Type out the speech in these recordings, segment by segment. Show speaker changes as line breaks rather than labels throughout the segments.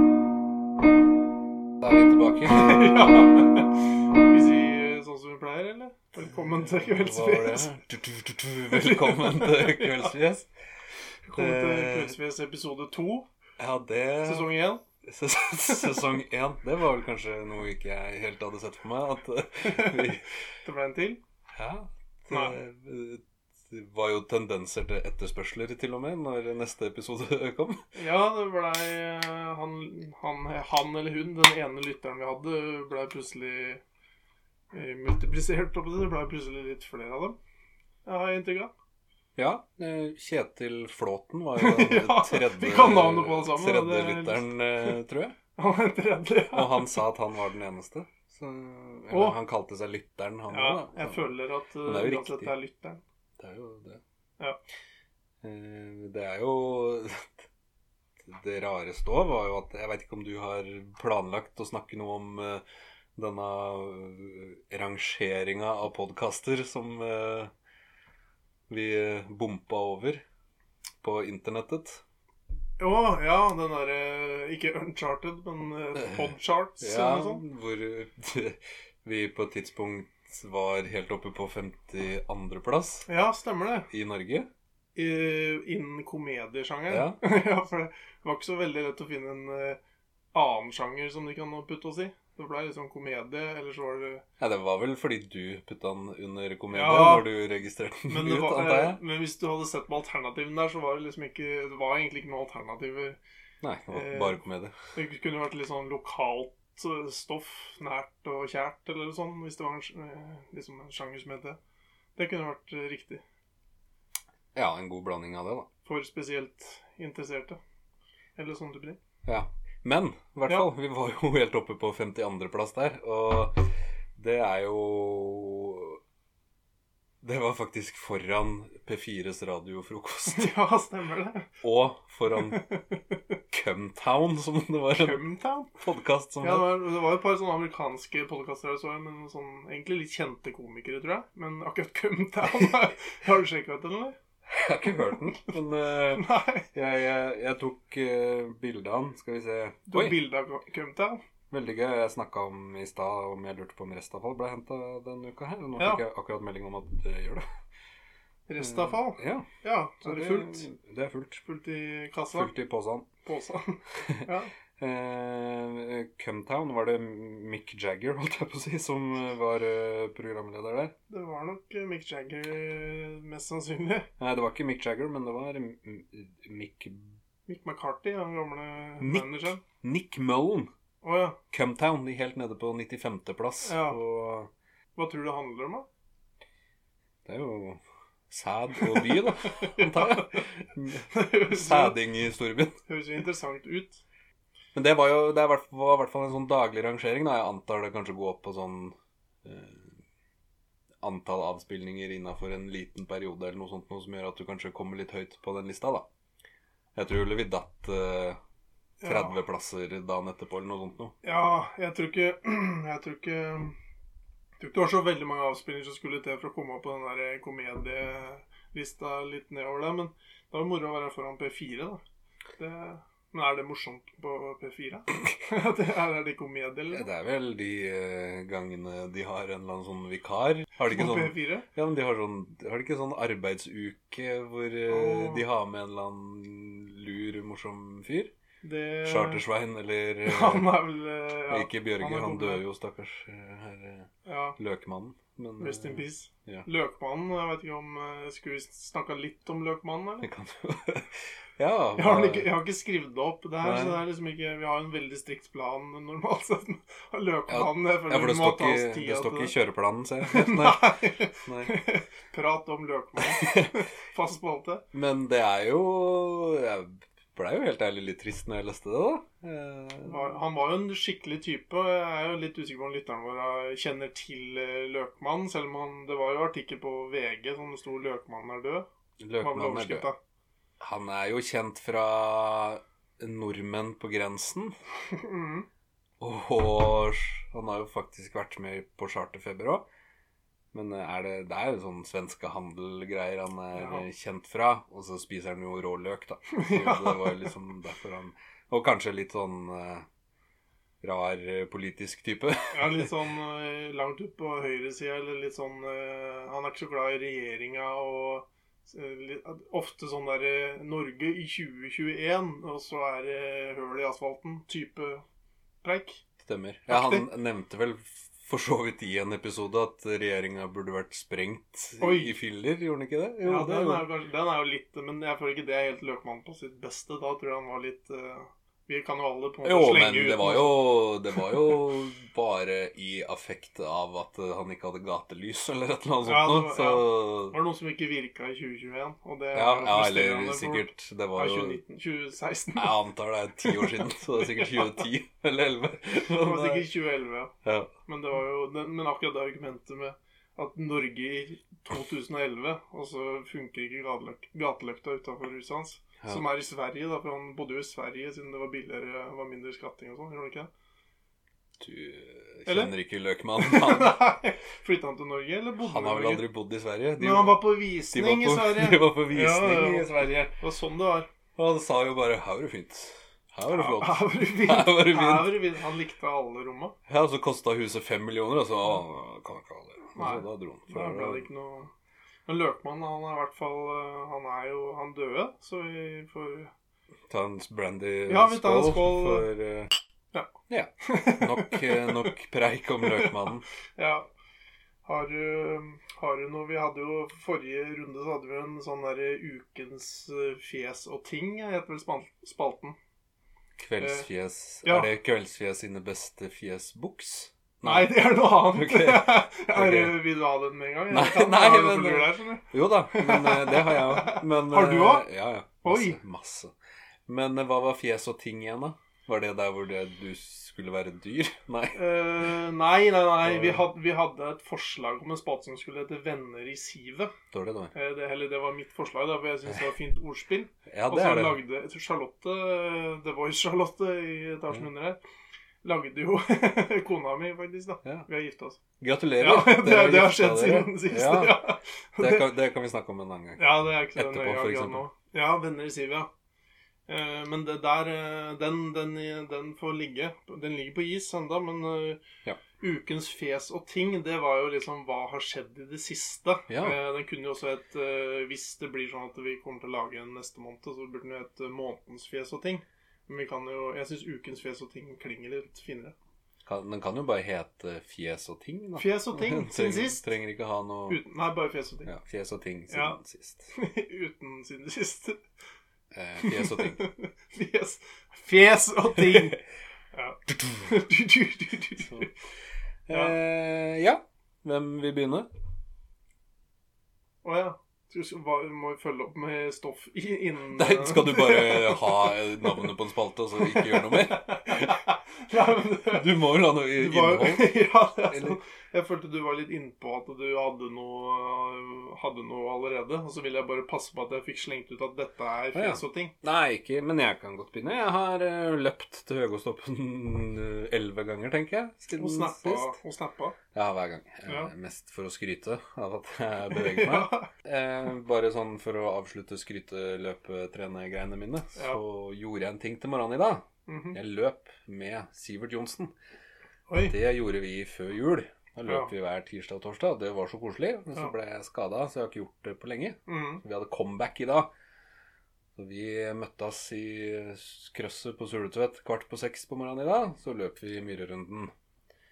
eh, sånn pleier, eller? Velkommen til
Hva var
Kveldsfjes.
det? Du, du, du, du. Velkommen til Kveldsfjes.
Velkommen til
Eh,
Kveldsfjes episode to,
Ja, det
sesong én.
ses- Sesong én. Det var vel kanskje noe ikke jeg helt hadde sett for meg. At eh, vi
Det ble en til.
Ja.
Nei.
Det, det var jo tendenser til etterspørsler, til og med, når neste episode kom.
Ja, det blei han, han, han eller hun, den ene lytteren vi hadde, blei plutselig eh, multiplisert opp i det. Det blei plutselig litt flere av dem. Jeg har jeg inntrykk av.
Ja. eh, Kjetil Flåten var jo den
Ja,
tredje,
vi kan navnet på alle sammen, og
tredje
det er litt-
lytteren, eh, tror jeg.
Han er tredje.
Og han sa at han var den eneste. Så, eller,
Å.
han kalte seg lytteren, han
Ja,
også, da.
jeg
Så
føler at
Men det er jo
eh, uansett
riktig.
det er lytteren.
Det er jo det.
Ja.
Eh, Det er jo Det rareste òg var jo at Jeg veit ikke om du har planlagt å snakke noe om eh, denne eh, rangeringa av podkaster som eh, vi eh, bompa over på internettet.
Å, ja, den derre Ikke Uncharted, men eh, Podcharts
Ja,
eller noe sånt.
hvor eh, vi på et tidspunkt var helt oppe på 52.-plass
Ja, stemmer det.
i Norge.
Eh, innen komediesjangeren.
Ja.
Ja. for det var ikke så veldig lett å finne en eh, annen sjanger som de kan putte oss i. Det ble liksom komedie, eller så var det
Ja, det var vel fordi du putta den under komedie
Ja.
når du registrerte den
men, det
ut,
var,
antar jeg?
eh, men hvis du hadde sett på alternativene der, så var det liksom ikke Det var egentlig ikke noen alternativer.
Nei, det var
eh,
bare komedie.
Det kunne vært litt sånn lokalt eh, stoff, nært og kjært, eller noe sånt, hvis det var en, sj- eh, liksom en sjanger som het det. Det kunne vært eh, riktig.
Ja, en god blanding av det, da.
For spesielt interesserte. Eller sånn type ting.
Ja. Men i hvert
Ja.
fall, vi var jo helt oppe på 52.-plass der, og det er jo Det var faktisk foran P4s radiofrokost
Ja, stemmer det.
og foran Cumtown, som det var en
Cumtown.
podkast som
Ja, det var, det var et par sånne amerikanske podkaster jeg så, men sånn, egentlig litt kjente komikere, tror jeg. Men akkurat Cumtown Har du sjekka ut den, eller?
Jeg har ikke hørt den, men eh,
Nei.
jeg, jeg, jeg tok eh, bilde av den. Skal vi se
Du har bilde av Cumtown?
Veldig gøy. Jeg snakka om i stad om jeg lurte på om restavfall ble henta denne uka her. Nå
Ja.
fikk jeg akkurat melding om at det gjør det.
Restavfall?
Ja,
Mm. Ja.
så
Er det fullt?
Det er fullt.
Fullt i kassa?
Fullt i posen.
Påsa? Ja.
Eh, Cumtown var det Mick Jagger, holdt jeg på å si, som var eh, programleder der.
Det var nok eh, Mick Jagger, eh, mest sannsynlig.
Nei, det var ikke Mick Jagger, men det var M- Mick
Mick McCarthy, den gamle
Nick.
manageren.
Nick Mullen.
Å ja.
Cumtown, de helt nede på 95.-plass.
Ja.
Og
Hva tror du det handler om, da?
det er jo sæd og by, da. Antar jeg.
Det høres jo-
Sæding i storbyen.
høres jo interessant ut.
Men det var jo det er hvert- var i hvert fall en sånn daglig rangering. da Jeg antar det kanskje går opp på sånn eh, antall avspillinger innafor en liten periode eller noe sånt noe som gjør at du kanskje kommer litt høyt på den lista, da. Jeg tror vel vi datt eh, 30 plasser dagen etterpå eller noe sånt noe.
Ja, jeg tror ikke Jeg tror ikke jeg tror ikke det var så veldig mange avspillinger som skulle til for å komme opp på den der komedielista litt nedover der, men det var moro å være foran P4, da. Det, men er det morsomt på P4? det er, er det komedie,
Ja,
eller?
det er vel de eh, gangene de har en eller annen sånn vikar. Har de ikke
På
sånn
P4?
Ja, men de har, sånn, har de ikke sånn arbeidsuke hvor eh,
Åh.
de har med en eller annen lur, morsom fyr?
Det
Chartersvein eller eh,
Han er vel eh, ja,
Ikke Bjørge,
han er
han,
kommet.
døde jo, stakkars eh, herre
ja.
Løkmannen. Men
Rest
eh,
in peace.
ja.
Løkmannen, jeg vet ikke om eh, Skulle vi snakka litt om Løkmannen, eller?
det kan jo Ja.
Jeg har,
hva-
ikke, jeg har ikke skrevet det opp. Det her,
Nei.
så det er liksom ikke, vi har en veldig strikt plan normalt sett. Løkmannen Jeg
ja,
føler
for
vi
det
må
står
ta oss
ikke, det står
tida til
ikke i
det.
kjøreplanen, ser jeg. Nei,
Nei.
nei.
Prat om Løkmannen. Fast spalte.
Men det er jo Jeg blei jo helt ærlig litt trist når jeg leste det, da. Eh,
Var- Han var jo en skikkelig type. og Jeg er jo litt usikker på om lytteren vår kjenner til eh, Løkmannen. Selv om han, det var jo artikkel på VG som det sto 'Løkmannen er død'. Hva ble
Løkmannen er død.
overskrifta?
Han er jo kjent fra Nordmenn på grensen.
Mhm.
Og han har jo faktisk vært med på charterfeber òg. Men eh, er det, det er jo sånn svenske handelgreier han er
Ja.
kjent fra. Og så spiser han jo rå løk, da. Så
Ja.
det var jo liksom derfor han Og kanskje litt sånn eh, rar eh, politisk type.
Ja, litt sånn eh, langt ut på høyresida, eller litt sånn eh, Han er ikke så glad i regjeringa og eh, litt- at- Ofte sånn derre Norge i 2021, og så er det høl i asfalten. Type preik.
Stemmer. Ja, han nevnte vel for så vidt i en episode at regjeringa burde vært sprengt
Oi.
i filler, gjorde han ikke det? Jo,
Ja,
det
den
gjorde
er, jo kanskje, den er jo litt Men jeg føler ikke det er helt Løkmann på sitt beste. Da tror jeg han var litt eh, Vi kan jo alle på en måte
Jo,
slenge
men
ut
det
noe
var jo, det var jo bare i affekt av at eh, han ikke hadde gatelys eller et eller annet
Ja,
sånt.
det var-
noe,
Var det noen som ikke virka i 2021? Og det
så,
er
ja,
jo
ja,
frustrerende
eller
for-
sikkert Det
Ja,
var jo
2019, 2016.
Jeg antar det er ti år siden, så det er sikkert 2010 eller 2011.
Det
Men,
var
eh,
sikkert 2011, ja.
ja.
Men, det var jo, den- men akkurat det argumentet med at Norge i 2011, og så funker ikke gateløk- gateløkta utafor huset hans.
eh, Ja.
Som er i Sverige, da, for han bodde jo i Sverige siden det var billigere, var mindre skatting og sånn. Gjorde han ikke det?
Du eh,
Eller?
kjenner ikke Løkmann. Han,
Nei. Flytta han til Norge, eller bodde
han har vel
i Norge?
aldri bodd i Sverige.
Men han var
de
på
var
visning
på,
i Sverige.
De var på visning
Ja, ja, ja.
i Sverige.
Det var sånn det var.
Og han sa jo bare 'Her var det fint'. Her var det flott.
Her var det fint.
Her var det
Her
fint.
var det fint. Han likte alle romma.
Ja, og så kosta huset fem millioner, og så «Å, kan jeg ikke ha det. Og så
Nei.
da dro han.
Da ble det ikke noe Men Løkmann, han er i hvert fall eh, Han er jo Han døde, så vi får
Ta en brandy
Ja, vi tar en skål.
for eh,
Ja.
ja. Nok, eh, nok preik om Løkmannen.
Ja. Har du, har du noe Vi hadde jo forrige runde så hadde vi en sånn derre Ukens eh, fjes og ting, het vel spal- spalten.
Kveldsfjes.
Eh, Ja.
Er det Kveldsfjes sine beste fjesbuks?
Nei, det er noe annet.
Ok.
Er det-
Ok.
Vil du ha den med en gang? Jeg
Nei,
kan-
nei,
jeg har det
men-
på lur her, skjønner du.
Jo da, men eh, det har jeg òg.
Har du òg?
Ja, ja.
Oi.
Masse, masse. Men eh, hva var fjes og ting igjen, da? Var det der hvor det, du skulle være dyr? Nei.
Eh, nei, nei, nei. Vi hadde, vi hadde et forslag om en spalte som skulle hete Venner i sivet.
Dårlig, da.
Eh, det, eller det var mitt forslag, da, for jeg syns det var et fint ordspill.
Ja,
Og
det
så
er det.
lagde jeg tror Charlotte, eh, The Voice-Charlotte i etasjen
Ja.
under her, lagde jo kona mi, faktisk. da.
Ja.
Vi har gifta oss.
Gratulerer.
Ja, det,
Dere
det har
gifta
skjedd
dere.
siden sist.
Ja,
Ja.
Det kan, det kan vi snakke om en annen gang.
ja, det er ikke så
Etterpå,
nøye
for
akkurat
eksempel.
nå. Ja, venner i Siv, ja. Eh, Men det der, eh, den, den, den får ligge. Den ligger på is enda, men eh,
Ja.
ukens fes og ting, det var jo liksom hva har skjedd i det siste.
Ja.
Eh, Den kunne jo også hett eh, Hvis det blir sånn at vi kommer til å lage en neste måned, så burde den jo hett eh, månedens fes og ting. Men vi kan jo, jeg syns ukens fes og ting klinger litt finere.
Kan, den kan jo bare hete Fjes og ting, da.
Fjes og ting siden
trenger,
sist.
Trenger ikke ha noe
Uten, nei, bare fjes og ting.
ja, Fjes og ting siden
Ja.
sist.
Uten siden sist.
Eh, fjes og ting.
Fjes, fjes og ting. Ja. Du, du, du, du, du.
Så.
Ja.
Eh, ja. Hvem vil begynne?
Å ja. Du skal- hva- må jo følge opp med stoff i- innen
Nei, skal du bare ha navnet på en spalte og så ikke gjøre noe mer?
Nei, men det-
Du må vel ha noe i-
du var,
innhold?
ja, det er
Eller?
sånn. Jeg følte du var litt innpå at du hadde noe, hadde noe allerede. Og så ville jeg bare passe på at jeg fikk slengt ut at dette er
Å, ja.
fjes og ting.
Nei, ikke Men jeg kan godt begynne. Jeg har eh, løpt til Høgåstoppen eh, elleve ganger, tenker jeg. Siden
Og snappa.
sist.
Og snappa.
Ja, hver gang. Eh,
Ja.
Mest for å skryte av at jeg beveger meg.
Ja.
Eh, bare sånn for å avslutte skryteløpetrene-greiene mine,
Ja.
så gjorde jeg en ting til morgenen i dag.
Mhm.
Jeg løp med Sivert Johnsen.
Oi.
Det gjorde vi før jul. Da løp vi hver tirsdag og torsdag. Det var så koselig. Men så
Ja.
ble jeg skada, så jeg har ikke gjort det på lenge.
Mhm.
Vi hadde comeback i dag. Så vi møttes i krøsset på Suletvedt kvart på seks på morgenen i dag. Så løp vi Myrerunden.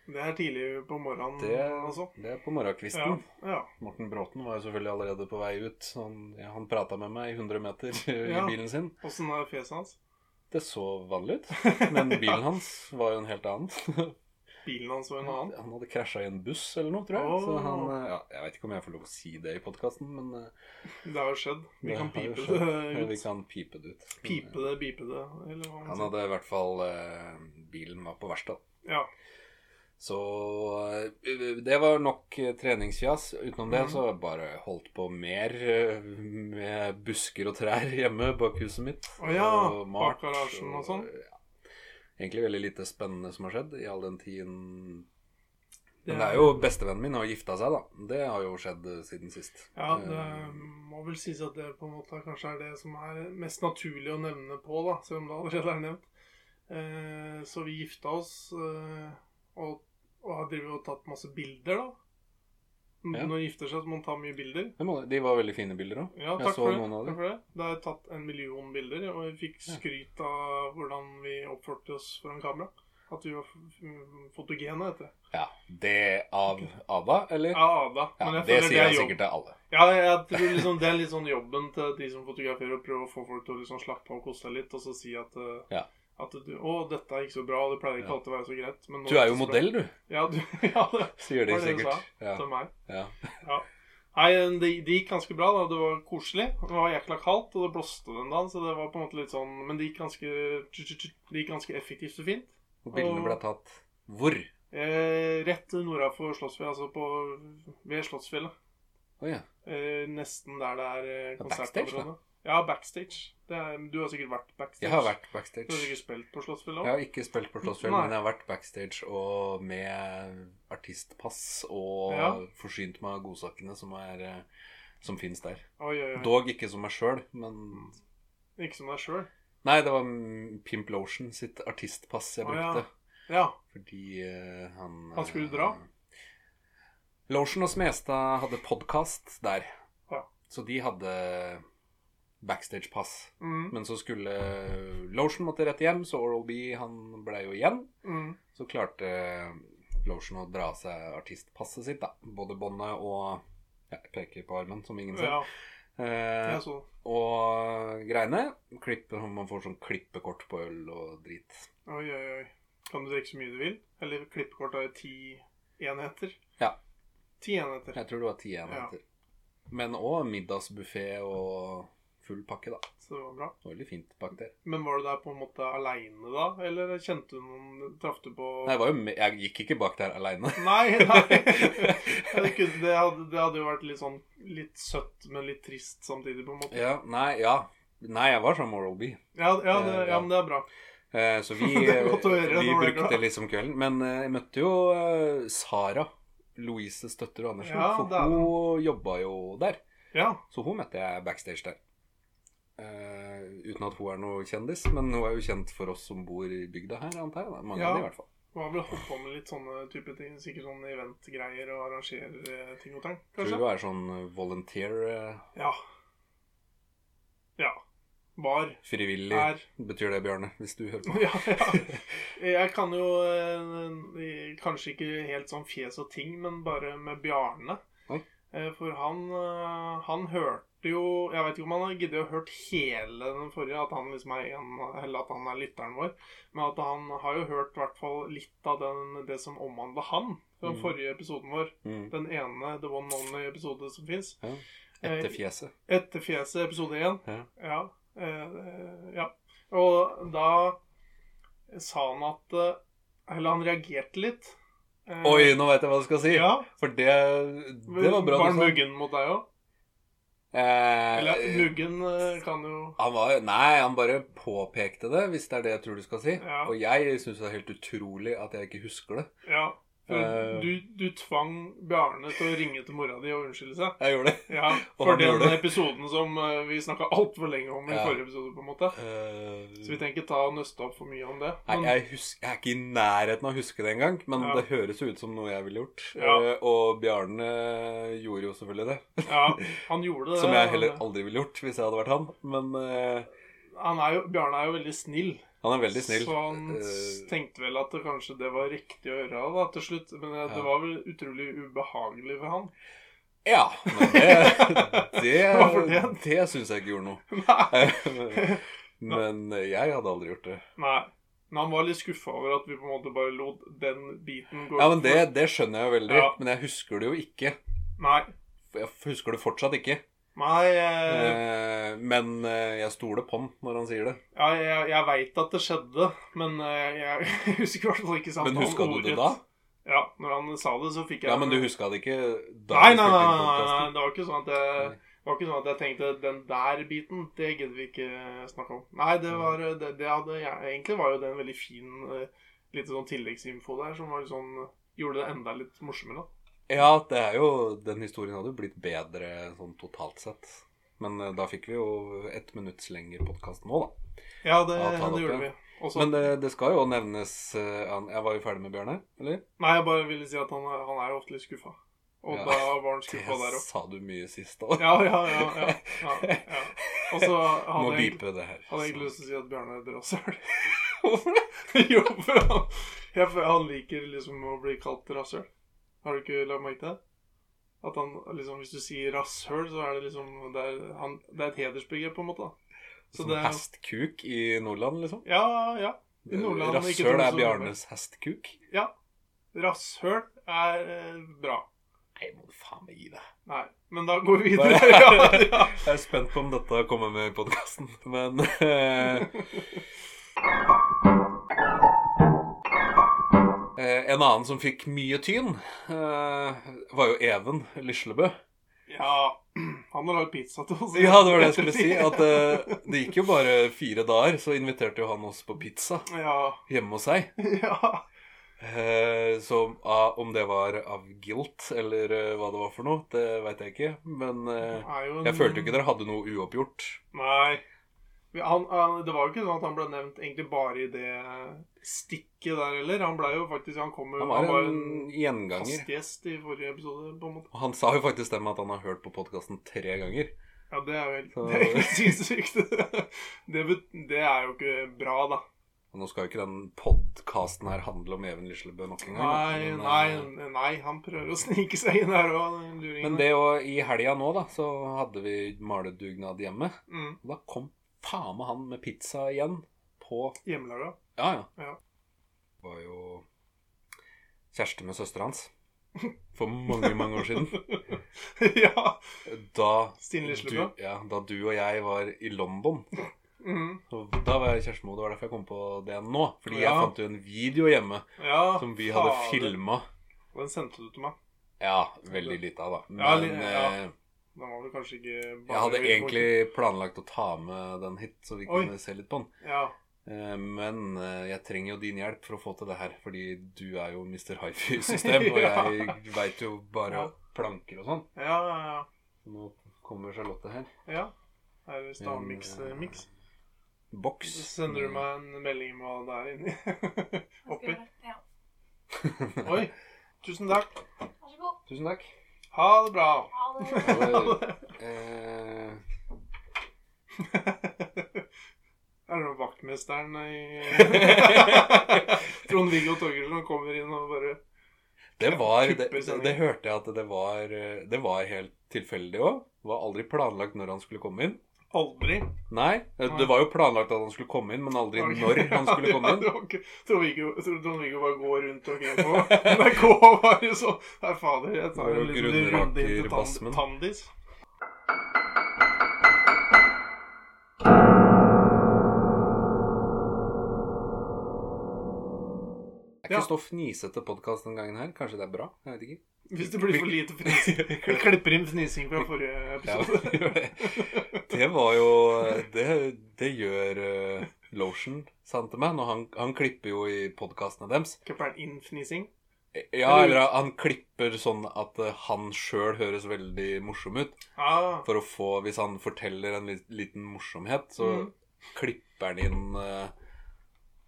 Det er tidlig på morgenen,
Det,
altså.
det er på morgenkvisten.
Ja. ja.
Morten Bråten var jo selvfølgelig allerede på vei ut. så Han, ja, han prata med meg i 100 meter i
Ja.
bilen sin.
Åssen er fjeset hans?
Det så vanlig ut, men bilen hans var jo en helt annen.
Bilen hans og en annen?
Han hadde krasja i en buss eller noe, tror jeg. Så
Åh.
han eh, ja, Jeg vet ikke om jeg får lov å si det i podkasten, men eh,
Det har jo skjedd. Vi
det
kan
har jo
pipe
skjedd.
det
Vi
ut.
kan pipe det ut. Men, eh,
Pipe det, bipe det, eller hva man
Han
sier.
hadde i hvert fall eh, Bilen var på verkstedet.
Ja.
Så eh, det var nok eh, treningsfjas. Utenom det
Mhm.
så har jeg bare holdt på mer eh, med busker og trær hjemme bak huset mitt.
Å ja,
Og malt,
bak garasjen og sånn.
ja. Egentlig veldig lite spennende som har skjedd i all den tiden.
Det
Men det
er-
er jo bestevennen min har gifta seg, da. Det har jo skjedd eh, siden sist.
Ja,
Eh,
det må vel sies at det på en måte kanskje er det som er mest naturlig å nevne på, da, selv om det allerede er nevnt. Eh, så vi gifta oss eh, og, og har drevet og tatt masse bilder, da.
Ja.
Når man gifter seg, så må man ta mye bilder.
Det må- De var veldig fine bilder òg.
Ja,
Jeg
takk
så
for, det.
noen av dem.
takk for det. Det er tatt en million bilder, og vi fikk
Ja.
skryt av hvordan vi oppførte oss foran kamera. At vi var f- f- fotogene, heter det.
Ja. Det av ABBA, eller?
Ja, Ada.
Ja,
Men jeg
det sier
føler det er
han
jobb.
sikkert til alle.
Ja, jeg tror liksom, det er litt sånn jobben til de som fotograferer, å prøve å få folk til å liksom slappe av og kose seg litt, og så si at, eh,
Ja.
at du, 'Å, dette er ikke så bra', og det pleier ikke
Ja.
alltid å være så greit. Men nå
Du er jo
det så bra.»
modell, du.
Ja, du, ja det
Sier de
var det du sa
sikkert. Ja,
til meg.
ja.
Nei, det, det gikk ganske bra. da, Det var koselig. Det var jækla kaldt, og det blåste den dagen. Så det var på en måte litt sånn Men det gikk ganske, det gikk ganske effektivt og fint.
Og bildene ble tatt hvor? Å
Eh, rett nordafor Slottsfjellet, altså på, ved Slottsfjellet.
ja.
Eh, nesten der det er eh,
Ja, backstage, da.
konsertområdet. Ja, backstage. Det er, du har sikkert vært backstage.
Jeg har vært
Du har
backstage.
sikkert spilt på Slottsfjellet
Jeg
òg?
har ikke spilt på Slottsfjell,
Nei.
men jeg har vært backstage og med artistpass og
Ja.
forsynt meg av godsakene som, er, eh, som fins der.
Oi, oi, oi.
Dog ikke som meg sjøl, men
Ikke som deg sjøl?
Nei, det var mm, Pimp Lotion sitt artistpass jeg
Å, ja.
brukte.
Ja.
Fordi eh, han
Han skulle dra?
Lotion og Smestad hadde podkast der.
Ja.
Så de hadde backstage-pass.
Mm,
Men så skulle Lotion måtte rett hjem, så Oral B han ble jo igjen.
mm.
Så klarte Lotion å dra av seg artistpasset sitt, da. Både båndet og ja, jeg peker på armen, som ingen ser.
Ja, sånn.
Eh,
jeg så
og greiene. Klipp, man får sånn klippekort på øl og drit.
Oi, oi, oi. Kan du drikke så mye du vil? Eller klippekort er ti enheter?
Ja.
Ti enheter.
Jeg tror det var ti enheter. Men òg middagsbuffé og full pakke, da.
Så det var bra.
Det var Veldig fint bak der.
Men var du der på en måte aleine da? Eller kjente du noen Traff du på
Nei, jeg, var jo med, jeg gikk ikke bak der aleine.
Nei, nei. Jeg kunne- Det hadde, det hadde jo vært litt sånn litt søtt, men litt trist samtidig, på en måte.
Ja, nei, ja. Nei, jeg var sånn Moral B.
Ja, ja, det, ja men det er bra.
Eh, Så vi,
Det er godt å høre
vi
når du er
brukte
glad.
liksom kvelden. Men eh, jeg møtte jo eh, Sara. Louise Støtter Andersen.
Ja,
for
det er
hun jobba jo der.
Ja.
Så hun møtte jeg backstage der. Eh, uten at hun er noe kjendis, men hun er jo kjent for oss som bor i bygda her, antar jeg. da. Mange
Ja.
av de, i hvert fall.
Du har vel holdt på med litt sånne type ting? Sikkert sånne eventgreier og arrangerer eh, ting og tang,
Tror
kanskje?
hun er sånn eh, volunteer, eh,
Ja. Ja. Var.
frivillig.
Er.
Betyr det, Bjarne, hvis du hører på?
Ja, ja. Jeg kan jo eh, kanskje ikke helt sånn fjes og ting, men bare med Bjarne.
Oi.
Eh, For han, eh, han hørte jo Jeg vet ikke om han har giddet å hørt hele den forrige, at han liksom er en, eller at han er lytteren vår, men at han har jo hørt i hvert fall litt av den, det som omhandla han. Den
Mm.
forrige episoden vår.
Mm.
Den ene The One Only-episode som Eh, fins.
Etter fjeset.
Etter fjeset, episode 1.
Ja.
Ja. eh, ja. Og da sa han at eh, Eller han reagerte litt. Eh,
Oi, nå vet jeg hva du skal si!
Ja.
For det, det var bra
Var han
du sa.
muggen mot deg òg?
Eh,
Eller muggen eh, kan jo
Han var, nei, han bare påpekte det, hvis det er det jeg tror du skal si.
Ja.
Og jeg syns det er helt utrolig at jeg ikke husker det.
Ja. For
Eh.
du, du tvang Bjarne til å ringe til mora di og unnskylde seg.
Jeg gjorde det.
Ja,
Og
For
han
den
gjorde det.
episoden som eh, vi snakka altfor lenge om i
Ja.
forrige episode, på en måte. Så vi
Eh,
trenger ikke ta og nøste opp for mye om det.
nei,
Men-
jeg, hus- jeg er ikke i nærheten av å huske det engang, men
Ja.
det høres jo ut som noe jeg ville gjort.
Ja.
Eh, og Bjarne eh, gjorde jo selvfølgelig det.
ja, han gjorde det.
Som jeg heller
Han-
aldri ville gjort hvis jeg hadde vært han. Men eh,
han er jo, Bjarne er jo veldig snill.
han er veldig snill.
Så han
Eh,
tenkte vel at det kanskje det var riktig å gjøre da, til slutt. Men det,
Ja.
det var vel utrolig ubehagelig for han.
ja, men det Det,
Hvorfor
det,
det?
syns jeg ikke gjorde noe.
Nei.
men jeg hadde aldri gjort det.
Nei. Men han var litt skuffa over at vi på en måte bare lot den biten gå.
Ja, men det, det skjønner jeg jo veldig,
Ja.
men jeg husker det jo ikke.
Nei.
Jeg husker det fortsatt ikke.
Nei, eh,
Eh, men eh, jeg stoler på han når han sier det.
ja, jeg, jeg veit at det skjedde, men eh, jeg husker i hvert fall ikke
Men
samtalen.
huska du det da?
Ja, når han sa det, så fikk jeg
Ja, men du huska det ikke da?
Nei,
vi
nei, nei,
spilte inn
nei, nei,
podcasten?
det var ikke sånn at jeg
Nei.
det var ikke sånn at jeg tenkte den der biten, det gidder vi ikke snakke om. Nei, det var det, det hadde jeg, Egentlig var jo det en veldig fin eh, litt sånn tilleggsinfo der som var litt sånn Gjorde det enda litt morsommere.
Ja, det er jo Den historien hadde jo blitt bedre sånn totalt sett. Men eh, da fikk vi jo ett minutts lengre podkast nå, da.
Ja, det,
Ja, ta det
det
opp,
gjorde vi.
ja.
Og så-
Men det, det skal jo nevnes eh, han- Jeg var jo ferdig med Bjørne, eller?
Nei, jeg bare ville si at han, er- han er jo ofte litt skuffa. Og
Ja.
da var han skuffa der
Det
òg.
sa du mye sist òg.
Ja, ja, ja. ja, ja, ja. Og så hadde
Må
jeg egentlig-
bipe det her.
hadde jeg egentlig lyst til å si at Bjarne er et rasshøl.
Hvorfor det?
jo, for han, jeg, for han liker liksom å bli kalt rasshøl. Har du ikke lagt merke til det? At han, liksom, Hvis du sier rasshøl, så er det liksom Det er, han, det er et hedersbegrep, på en måte. da. Så
Som
det er-
hestkuk i Nordland, liksom?
Ja, ja. I Nordland, ikke
Rasshøl
Troms
er
og
Bjarnes hestkuk?
ja. Rasshøl er eh, bra.
Nei, må du faen meg gi deg.
Nei. Men da går vi videre.
Nei.
ja, ja.
Jeg er spent på om dette kommer med i podkasten, men eh, eh, En annen som fikk mye tyn, eh, var jo Even Lislebø.
Ja, han har lagd pizza til oss.
Ja, det var det jeg skulle si. At eh, det gikk jo bare fire dager, så inviterte jo han oss på pizza
Ja.
hjemme hos seg.
ja.
Eh, så ah, om det var av guilt eller eh, hva det var for noe, det veit jeg ikke. Men eh,
Er jo en...
jeg følte jo ikke dere hadde noe uoppgjort.
Nei. Vi- Han, han, det var jo ikke sånn at han ble nevnt egentlig bare i det eh, stikket der heller. Han ble jo faktisk Han kom jo
Han var en
en
gjenganger.
fast gjest i forrige episode, på en måte.
Og han sa jo faktisk det med at han har hørt på podkasten tre ganger.
Ja, det er jo helt
Så-
Det er helt sinnssykt. Det, bet- det er jo ikke bra, da.
Og nå skal jo ikke den podkasten her handle om Even Lislebø nok en gang. da.
Nei,
Men,
nei,
eh,
nei. Han prøver å snike seg inn her òg, den luringen.
Men det å, i helga nå, da, så hadde vi maledugnad hjemme.
mm,
Og da kom faen meg han med pizza igjen på
Hjemmelaga.
Ja, ja.
Ja.
Det var jo kjæreste med søstera hans for mange, mange år siden.
ja.
Da du,
Stine Lislebø.
ja, da du og jeg var i London.
Mm,
Og Da var jeg kjæreste med henne. Det var derfor jeg kom på det nå. Fordi jeg
Ja.
fant jo en video hjemme
ja.
som vi hadde
fader.
filma.
Den sendte du til meg.
Ja, veldig lite av, da. Men
Ja, li- ja.
eh,
Den var vel kanskje ikke bare
jeg hadde egentlig planlagt å ta med den hit, så vi
Oi.
kunne se litt på den.
Ja.
Eh, Men eh, jeg trenger jo din hjelp for å få til det her, fordi du er jo Mr. Hifi-system, og
Ja.
jeg veit jo bare
Ja.
planker og sånn.
Ja, ja,
Nå kommer Charlotte her.
ja. ja. Her er stavmiks
Men, eh,
eh, miks.
Boks.
Så sender du meg en melding med hva det er inni. Oppi.
Ja.
Oi. Tusen takk.
Vær så god.
Tusen takk.
Ha det bra.
Ha det.
Eh,
Ha det.
eh,
Er det noe vaktmesteren i Trond-Viggo Torgersen kommer inn og bare
Det var det,
Kupper sending.
det hørte jeg at det var eh, Det var helt tilfeldig òg. Var aldri planlagt når han skulle komme inn.
Aldri.
Nei, eh,
Nei.
det var jo planlagt at han skulle komme inn, men aldri når han skulle komme inn.
inn. Trond-Viggo bare går rundt og greier på NRK og bare sånn Nei, fader, jeg tar
Går
en
og
liten runde inn
grunnraker
til
basmen.
Tand- Tandis.
Det er
Ja.
ikke så fnisete podkast den gangen her. Kanskje det er bra? Jeg vet ikke.
Hvis det blir for lite fnising. Vi klipper inn fnising fra forrige episode.
Ja, det var jo Det, det gjør eh, Lotion, sant til meg. Når han, han klipper jo i podkastene deres.
Klipper den inn fnising?
Ja,
Eller ut.
eller han klipper sånn at eh, han sjøl høres veldig morsom ut.
Ah,
For å få, hvis han forteller en lit- liten morsomhet, så
Mhm.
klipper han inn eh,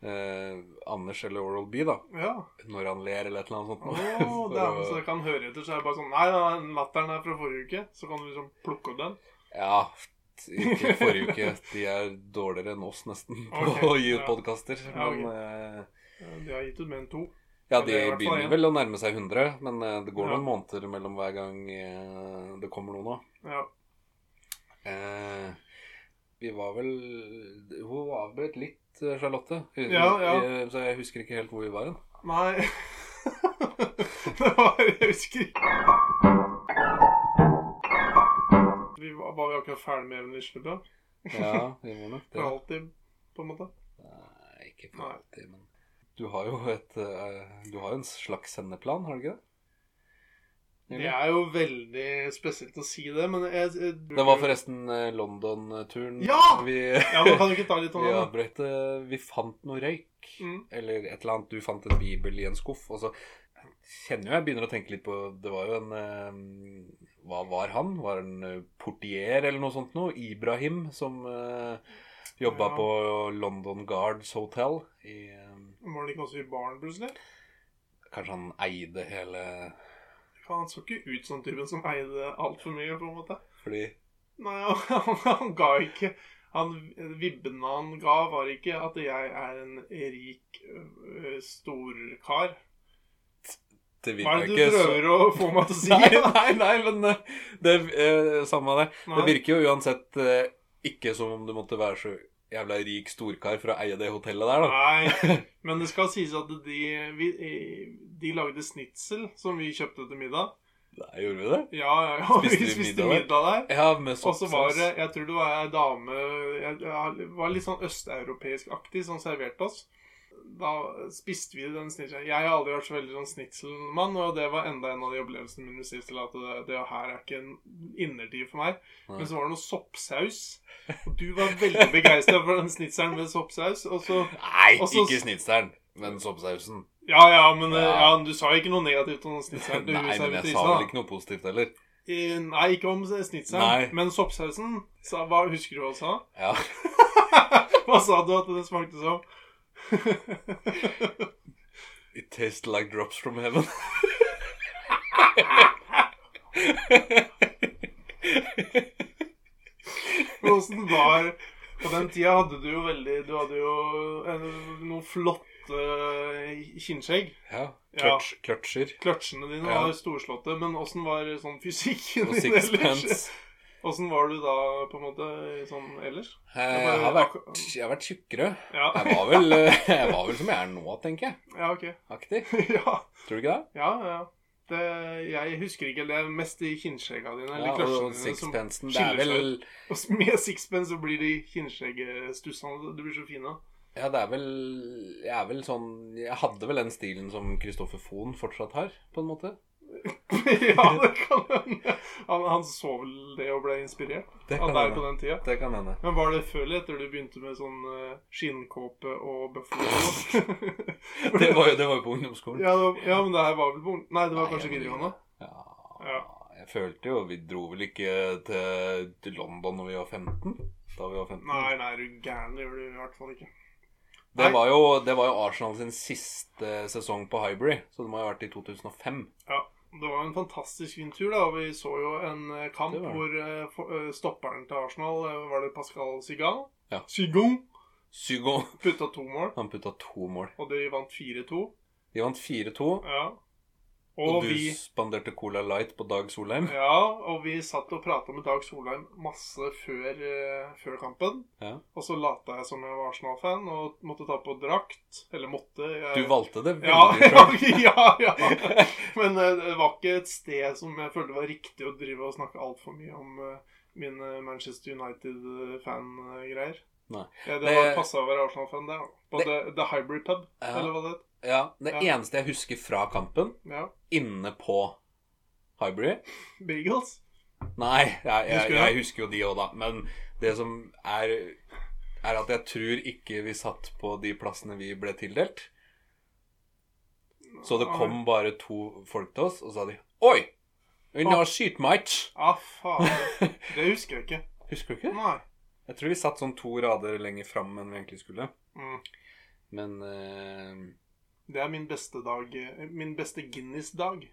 eh, Anders eller Oral B, da.
ja.
Når han ler eller et eller annet sånt.
Å,
noe. For
det er,
å-
så jeg kan høre etter, så er det bare sånn Nei, nei, nei, latteren er fra forrige uke. Så kan du liksom plukke opp den.
Ja, t- ikke forrige uke. De er dårligere enn oss nesten på
Ok,
å gi ut
ja.
podkaster.
Ja,
Men eh,
Eh, De har gitt ut mer enn to.
ja,
Men
de
det er i hvert fall
begynner
en.
vel å nærme seg 100, men eh, det går
Ja.
noen måneder mellom hver gang eh, det kommer noe nå.
Ja.
Eh, vi var vel Hun avbrøt litt, eh, Charlotte. Hun-
Ja, ja.
eh, Så jeg husker ikke helt hvor vi var hen.
Nei Det var Jeg husker ikke. Vi var, var vi akkurat ferdig med Even Lislebø?
Ja, vi var nok
For
det.
alltid, på en måte?
Nei, ikke for
Nei.
alltid, men Du har jo et eh, Du har jo en slags sendeplan, har du ikke det?
Det er jo veldig spesielt å si det, men jeg, jeg
Det var forresten eh, London-turen.
Ja! Sånn.
Vi,
Ja, men Kan du ikke ta litt om
vi
det? da?
avbrøt det. Vi fant noe røyk.
Mm.
Eller et eller annet. Du fant en bibel i en skuff. Og så kjenner jo jeg begynner å tenke litt på Det var jo en eh, Hva var han? Var han eh, portier eller noe sånt noe? Ibrahim som eh, Jobba
Ja.
på London Guards Hotel. I, eh,
Var han ikke også i baren plutselig?
kanskje han eide hele
Han så ikke ut som typen som eide altfor mye, på en måte.
Fordi
Nei, han, han ga ikke han, Vibben han ga, var ikke at jeg er en rik, øh, storkar.
det
Hva er
virka
det du
ikke så
prøver å få meg til å si?
Nei, nei, nei, men eh, det eh, Samme det. Det
Nei.
virker jo uansett eh, ikke som om du måtte være så jævla rik storkar for å eie det hotellet der, da.
Nei, men det skal sies at de, vi, eh, de lagde snitsel som vi kjøpte til middag.
Nei, gjorde vi det?
Ja, ja, ja.
Spiste
vi
vi
spiste
middag
middag der.
Ja, med
Og så var
soppsaus.
det Jeg tror det var ei dame jeg, jeg var litt sånn østeuropeisk-aktig som serverte oss. Da spiste vi den snitselen. Jeg har aldri vært så veldig sånn snitselmann, og det var enda en av de opplevelsene mine sist til at det, det her er ikke en innertid for meg.
Nei.
Men så var det noe soppsaus, og du var veldig begeistra for den snitselen med soppsaus. Og så
Nei,
Og så-
ikke snitseren, men soppsausen.
Ja, ja, men eh,
Ja.
ja. men du sa ikke noe negativt om den snitselen. til
Nei, men jeg
servitrisen,
sa
da.
vel ikke noe positivt heller.
Eh, Nei, ikke om snitselen.
Nei.
Men soppsausen, sa, hva husker du hva du sa?
Ja.
Hva sa du at det smakte som?
It tastes like drops from heaven.
Hvordan var På den tida hadde du jo veldig Du hadde jo en, noen flotte eh, kinnskjegg.
ja.
Ja.
Clutch, Clutcher.
Kløtsjene dine
Ja.
var storslåtte. Men åssen var sånn fysikken
Og
din ellers?
sixpence.
Åssen var du da på en måte sånn ellers?
Eh, Jeg har vært, jeg har vært tjukkere.
Ja,
Jeg var, vel, eh, jeg var vel som jeg er nå, tenker jeg.
ja ok.
Aktig.
ja,
Tror du ikke det?
ja. ja. Det, jeg husker ikke det er mest i kinnskjegga dine. Eller
Ja, og
kløtsjene dine. Som,
sixpencen. Det er vel
og med sixpence så blir de kinnskjeggstussene. Du blir så fin av.
Ja, det er vel Jeg er vel sånn Jeg hadde vel den stilen som Kristoffer Fohn fortsatt har, på en måte.
ja, det kan hende. Han, han så vel det og ble inspirert
Det
av
kan
deg på
hende.
den tida.
Det kan hende.
Men var det før eller etter du begynte med sånn eh, skinnkåpe og bøffel?
Det var jo, det var jo på ungdomsskolen.
ja, det var- ja, men det her var vel på ung- Nei, det var
Nei,
kanskje
jeg-
videregående.
Ja.
Ja.
Jeg følte jo Vi dro vel ikke til, til London når vi var 15? Da vi var 15.
Nei, nei, er du gæren. Det gjør du i hvert fall ikke.
Det, var jo, det var jo Arsenal sin siste sesong på Hybrid, så det må ha vært i 2005.
Det var en fantastisk fin tur, da. og Vi så jo en eh, kamp
Det var det.
hvor eh, for- eh, stopperen til Arsenal eh, var det Pascal Sigan.
Ja.
Sigan
Sygo
putta to mål,
Han putta to mål.
og de vant 4-2.
De vant 4-2.
Ja.
Og,
Og,
du
vi
spanderte Cola Light på Dag Solheim.
Ja, og vi satt og prata med Dag Solheim masse før, eh, før kampen.
Ja.
Og så lata jeg som jeg var Arsenal-fan og måtte ta på drakt. Eller måtte. Jeg...
Du valgte det
ja,
veldig
ja,
sjøl.
ja, ja. Men eh, det var ikke et sted som jeg følte var riktig å drive og snakke altfor mye om eh, mine Manchester United-fan-greier.
Nei.
Ja, det
Det-
var passa å være Arsenal-fan, det. ja. På
Det-
The, the Hybrid Pub,
Ja.
eller hva det het.
Ja, det
Ja.
eneste jeg husker fra kampen,
Ja.
inne på Hybrid
Beagles.
Nei, jeg, jeg,
Husker du
jeg,
det?
husker jo de òg, da. Men det som er er at jeg tror ikke vi satt på de plassene vi ble tildelt. Så det kom bare to folk til oss, og så sa de Oi! Vi har skytematch!
Ah, faen. Det husker jeg ikke.
Husker du ikke?
Nei.
Jeg tror vi satt sånn to rader lenger fram enn vi egentlig skulle.
Mm.
Men eh,
Det er min beste dag. eh, Min beste Guinness-dag.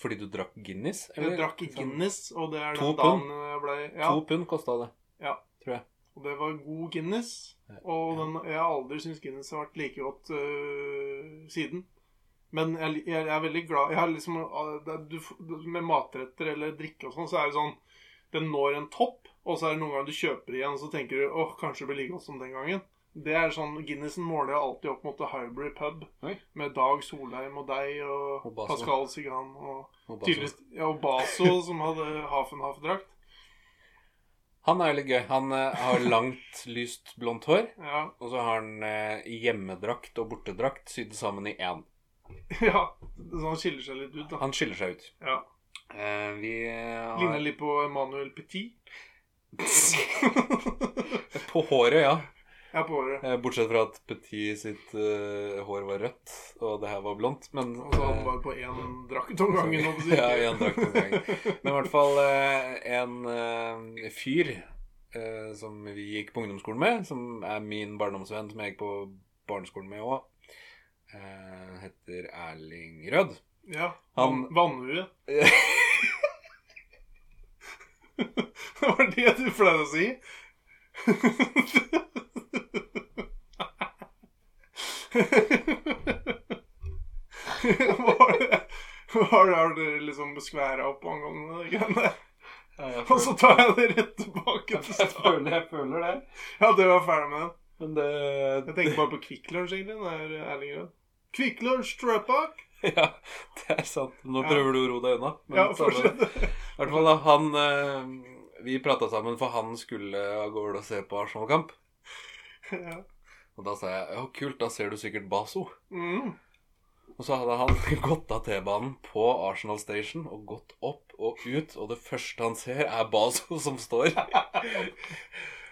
Fordi du drakk Guinness?
Jeg drakk Guinness, og det er
To
den dagen jeg ble Ja,
To pund kosta det.
og det var god Guinness. Og den, jeg har aldri syntes Guinness har vært like godt øh, siden. Men jeg, jeg, er veldig glad jeg har liksom, øh, det er- du, f- Med matretter eller drikke og sånn, så er det sånn Den når en topp, og så er det noen ganger du kjøper igjen, og så tenker du åh, kanskje det blir like godt som den gangen. Det er sånn, Guinnessen måler jeg alltid opp mot The Hybrid Pub
Oi.
med Dag Solheim og deg og,
Og Basso.
Pascal Sigan og
Og bare
Tydeligvis, ja, og Baso, som hadde Hafenhaf-drakt.
sånn. Han er jo litt gøy. Han eh, har langt, lyst blondt hår.
Ja,
Og så har han eh, hjemmedrakt og bortedrakt sydd sammen i én.
ja, så han skiller seg litt ut, da.
Han skiller seg ut.
Ja.
Eh, vi eh,
Ligner
har
litt på Emanuel Petit.
På håret, ja.
Jeg er på håret.
Eh, Bortsett fra at Petit sitt eh, hår var rødt, og det her var blondt. Men
Og så hadde han
eh,
bare på én drakt om gangen. holdt jeg på å si.
Ja, én drakt om gangen. Men i hvert fall eh, en eh, fyr eh, som vi gikk på ungdomsskolen med, som er min barndomsvenn som jeg gikk på barneskolen med òg, eh, heter Erling Rød.
Ja.
Han-
Vannhue.
Ja.
det var det du pleide å si. Var det Var det, har dere liksom skværa opp angående de greiene der?
Jeg
Og så tar jeg det rett tilbake til start.
føler, jeg føler det.
Ja, det var ferdig med den.
Men det
Jeg tenker bare på Kvikk Lunsj, egentlig. når Erling Rød. Kvikk Lunsj, Trøbak.
Ja, det er sant. Nå
Ja.
prøver du å roe deg unna. men
Ja,
samme-
fortsett.
I hvert fall da, han eh, Vi prata sammen, for han skulle av gårde og se på Arsenal-kamp.
Ja.
Og da sa jeg ja, kult, da ser du sikkert Baso.
Mm.
Og så hadde han gått av T-banen på Arsenal Station og gått opp og ut, og det første han ser, er Baso som står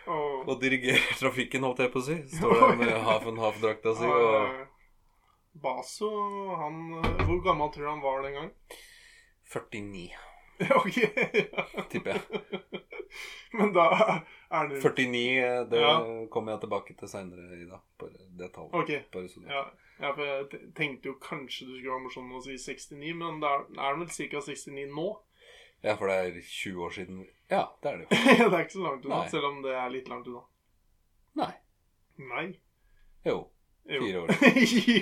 Og
og dirigerer trafikken, holdt jeg på å si. Står der med half and half-drakta si og
Eh, Baso, han eh, Hvor gammel tror du han var den gang?
49,
ok, ja.
tipper jeg.
Men da er det
49, eh, det
Ja.
kommer jeg tilbake til seinere i dag. Bare det tallet.
Ok.
Bare sånn. så du-
Ja. ja, for jeg te- tenkte jo kanskje du skulle være morsom og si 69, men da er er han vel ca. 69 nå?
ja, for det er 20 år siden Ja, det er det jo.
det er ikke så langt unna,
Nei.
selv om det er litt langt unna.
Nei.
Nei.
Jo.
Jo.
Fire år.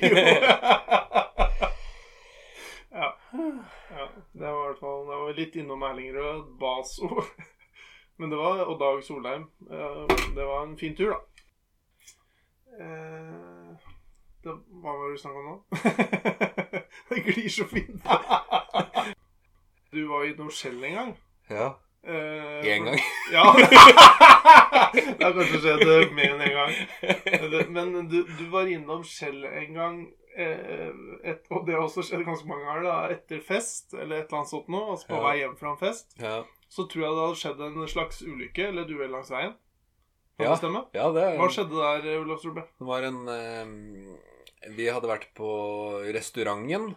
jo. ja. ja. Det var i hvert fall Det var litt innom Erling Rød, Baso Men det var, og Dag Solheim. Eh, Det var en fin tur, da. Eh, Det, hva var det du snakka om nå? det glir så fint. du var i Norskjell en gang.
Ja.
Eh,
Én gang.
Ja. det har kanskje skjedd eh, mer enn én gang. Det- Men du, du var innom Shell en gang, eh, et, og det har også skjedd ganske mange ganger, da, etter fest eller et eller annet sånt noe, altså på
Ja.
vei hjem fra en fest,
Ja.
så tror jeg det hadde skjedd en slags ulykke eller duell langs veien. Kan
Ja.
det stemme?
ja, det er
Hva skjedde der, eh, Olaf Strube?
Det var en eh, Vi hadde vært på restauranten.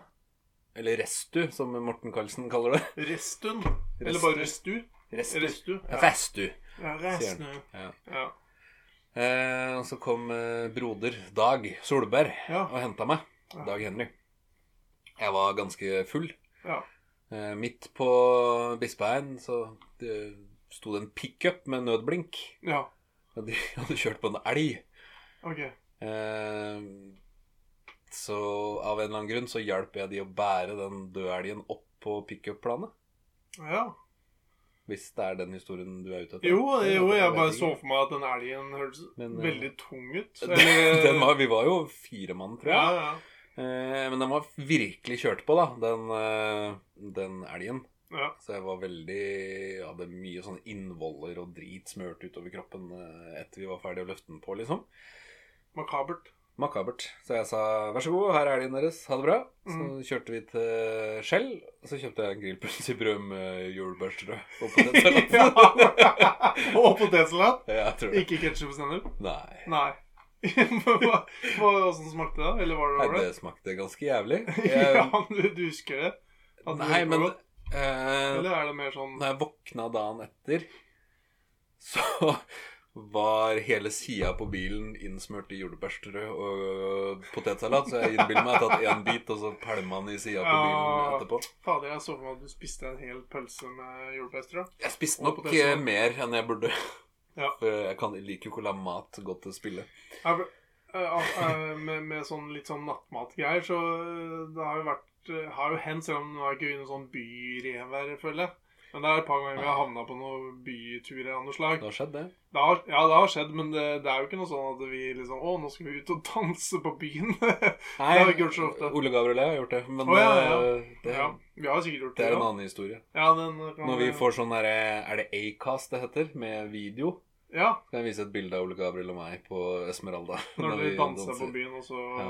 Eller Restu, som Morten Karlsen kaller det.
Restun? Eller bare Restu?
Restu.
Restu?
Ja,
Ja,
Restu.
ja
sier
Restu.
Ja.
Ja.
Eh, og så kom eh, broder Dag Solberg
Ja.
og henta meg.
Ja.
Dag Henry. Jeg var ganske full.
Ja.
Eh, midt på Bispeheien så det sto det en pickup med nødblink.
ja.
Og de hadde kjørt på en elg.
Ok.
Eh, Så av en eller annen grunn så hjalp jeg de å bære den dødelgen opp på pickup-planet.
Ja.
Hvis det er den historien du er ute etter.
Jo, jo, jeg
vet
bare
ikke.
så for meg at den elgen hørtes
Men, eh,
veldig tung ut.
den var, Vi var jo fire mann, tror
ja,
jeg.
ja.
Eh, Men den var virkelig kjørt på, da, den, eh, den elgen.
ja.
Så jeg var veldig jeg Hadde mye sånn innvoller og drit smurt utover kroppen eh, etter vi var ferdig å løfte den på, liksom.
Makabert.
Makabert. Så jeg sa vær så god, her er elgen deres, ha det bra. Så
Mm.
kjørte vi til Skjell, og så kjøpte jeg en grillpølse i brød med jordbærstrø. og potetsalat.
Ja. Og potetsalat.
Ja, jeg tror det.
Ikke ketsjup og sennep?
Nei.
Nei. hva, hva, hvordan smakte det? Eller var det
Nei,
ålreit?
det smakte ganske jævlig. Jeg,
Ja, men du, du husker det? At det
nei,
var
men
godt?
eh,
Eller er det mer sånn
når jeg våkna dagen etter, så var hele sida på bilen innsmurt i jordbærstrø og potetsalat. Så jeg innbiller meg at jeg har tatt én bit, og så pælma den i sida på bilen
Ja.
etterpå.
Fader, jeg så for meg at du spiste en hel pølse med jordbærstrø.
Jeg spiste
Og
nok
potetsalat.
eh, mer enn jeg burde.
Ja.
For jeg, kan, jeg liker jo ikke å la mat gå til spille.
Jeg- eh, eh, Med, med sånn litt sånn nattmatgreier, så eh, det har jo vært eh, Har jo hendt, selv om nå er jeg ikke i noen sånn byrev her, føler jeg. Men det er et par ganger vi har havna på noen byturer av noe slag.
Det har skjedd, det.
Det har, ja, det har skjedd, men det, det er jo ikke noe sånn at vi liksom Å, nå skal vi ut og danse på byen.
Nei,
har vi ikke gjort så ofte.
Ole Gabrielé har gjort det, men
Å, ja, ja.
eh, Det,
ja, vi har sikkert gjort
det
det.
er en
ja.
annen historie.
Ja, den kan
Når vi får sånn derre Er det Acast det heter? Med video?
Ja,
Skal jeg vise et bilde av Ole Gabriel og meg på Esmeralda?
når vi danser på byen, og så Ja.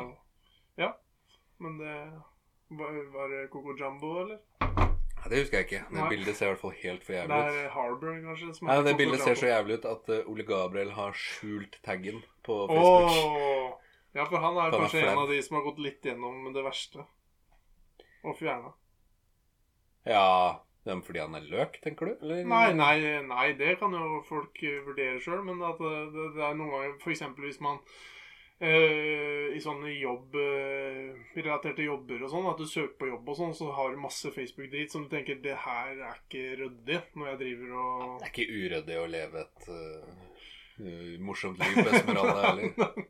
Ja.
Men det Var, var det Coco Jumbo, eller?
Nei, det husker jeg ikke. Det
Nei.
bildet ser i hvert fall helt for
Det
jævlig ut.
er eh, Harbour, kanskje? som
Nei,
er
Det
Coco
bildet ser
Jumbo.
så jævlig ut at eh, Ole Gabriel har skjult taggen på Facebook.
Åh! Ja, for han er
Han er
kanskje
flau.
en av de som har gått litt gjennom det verste. Og fjerna.
Ja, Det er fordi han er løk, tenker du? Eller?
Nei, nei, nei, det kan jo folk eh, vurdere sjøl, men at det, det, det er noen ganger f.eks. hvis man eh, i sånne jobb eh, relaterte jobber og sånn, at du søker på jobb og sånn, så har du masse Facebook-drit som du tenker det her er ikke ryddig når jeg driver og
Det er ikke uryddig å leve et eh, eh, morsomt liv på Esmeralda heller.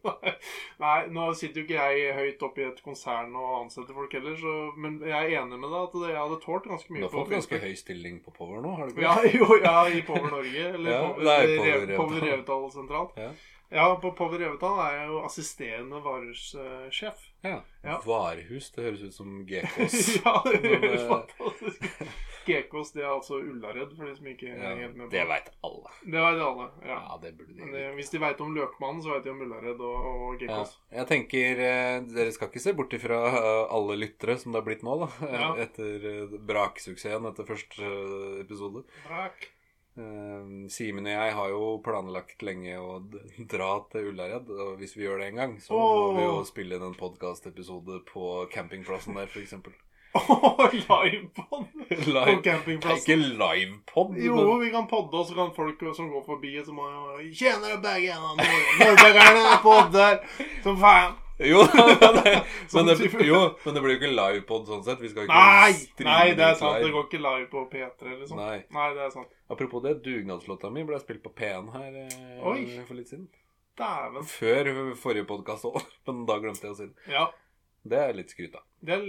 Nei, nå sitter jo ikke jeg høyt oppe i et konsern og ansetter folk heller, så, men jeg er enig med deg at det, jeg hadde tålt ganske
Du
mye
har fått ganske
Facebook.
høy stilling på Power nå, har du ikke?
Ja, jo, ja, i Power Norge. Eller
Ja,
Power,
det er i
Rev-
Power Revetal.
Power Revetal sentralt.
Ja.
Ja, på Power Revetal er jeg jo assisterende varehussjef.
Ja.
Ja.
Varehus, det høres ut som GKs.
ja, det
Men,
høres
eh,
fantastisk ut. GKs, det er altså Ullared, for de som ikke
Ja,
er helt med på
det veit alle.
Det vet alle. ja.
Ja, det burde
Men
de
det, hvis de veit om Løkmannen, så veit de om Ullared og, og
Ja.
GKs.
Jeg tenker eh, Dere skal ikke se bort ifra eh, alle lyttere som det har blitt nå, da.
Ja.
Etter eh, braksuksessen etter første eh, episode.
Brak.
Eh, Simen og jeg har jo planlagt lenge å d- dra til Ullared. Og hvis vi gjør det en gang, så
Åh.
må vi jo spille inn en podkastepisode på campingplassen der, f.eks.
Åh, livepod på
Live. Nei,
campingplassen.
ikke livepod,
Jo,
men
vi kan podde, og så kan folk som går forbi, som har Tjener begge hendene, Norbergerne podder som faen.
Jo, men det, men
Sånn
det,
type-
jo, men det blir jo ikke livepod sånn sett. Vi skal jo ikke
Nei!
streame
Nei, det er
ut
sant.
live.
Det går ikke live på P3 eller sånn.
Nei.
Nei, det er sant.
Apropos det, dugnadslåta mi ble spilt på P1 her eh,
Oi.
for litt siden.
Dæven.
Før forrige podkast òg, men da glemte jeg å si det.
Ja.
Det er litt skryt, da.
Det er,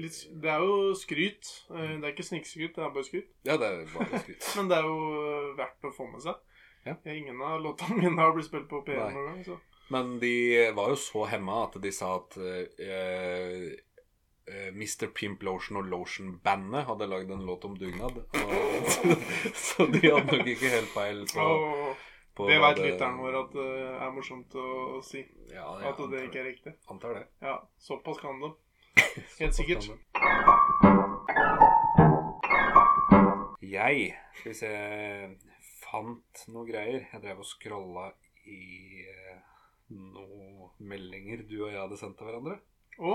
litt, det er jo skryt. Eh, Det er ikke snikskryt, det er bare skryt.
Ja, det er bare skryt.
Men det er jo eh, verdt å få med seg.
Ja.
Ingen av låtene mine har blitt spilt på P1
Nei.
noen gang. Så.
Men de var jo så hemma at de sa at eh, eh, Mr. Pimp Lotion og Lotion-bandet hadde lagd en låt om dugnad. Og, så de hadde nok ikke helt feil på,
Og
på
det
hva
veit lytteren vår at det er morsomt å, å si.
ja, jeg
At det
antar-
ikke er riktig.
Antar det.
Ja, såpass kan det. Helt sikkert.
Jeg skal vi se, fant noe greier. Jeg drev og scrolla i eh, noen meldinger du og jeg hadde sendt til hverandre.
Å,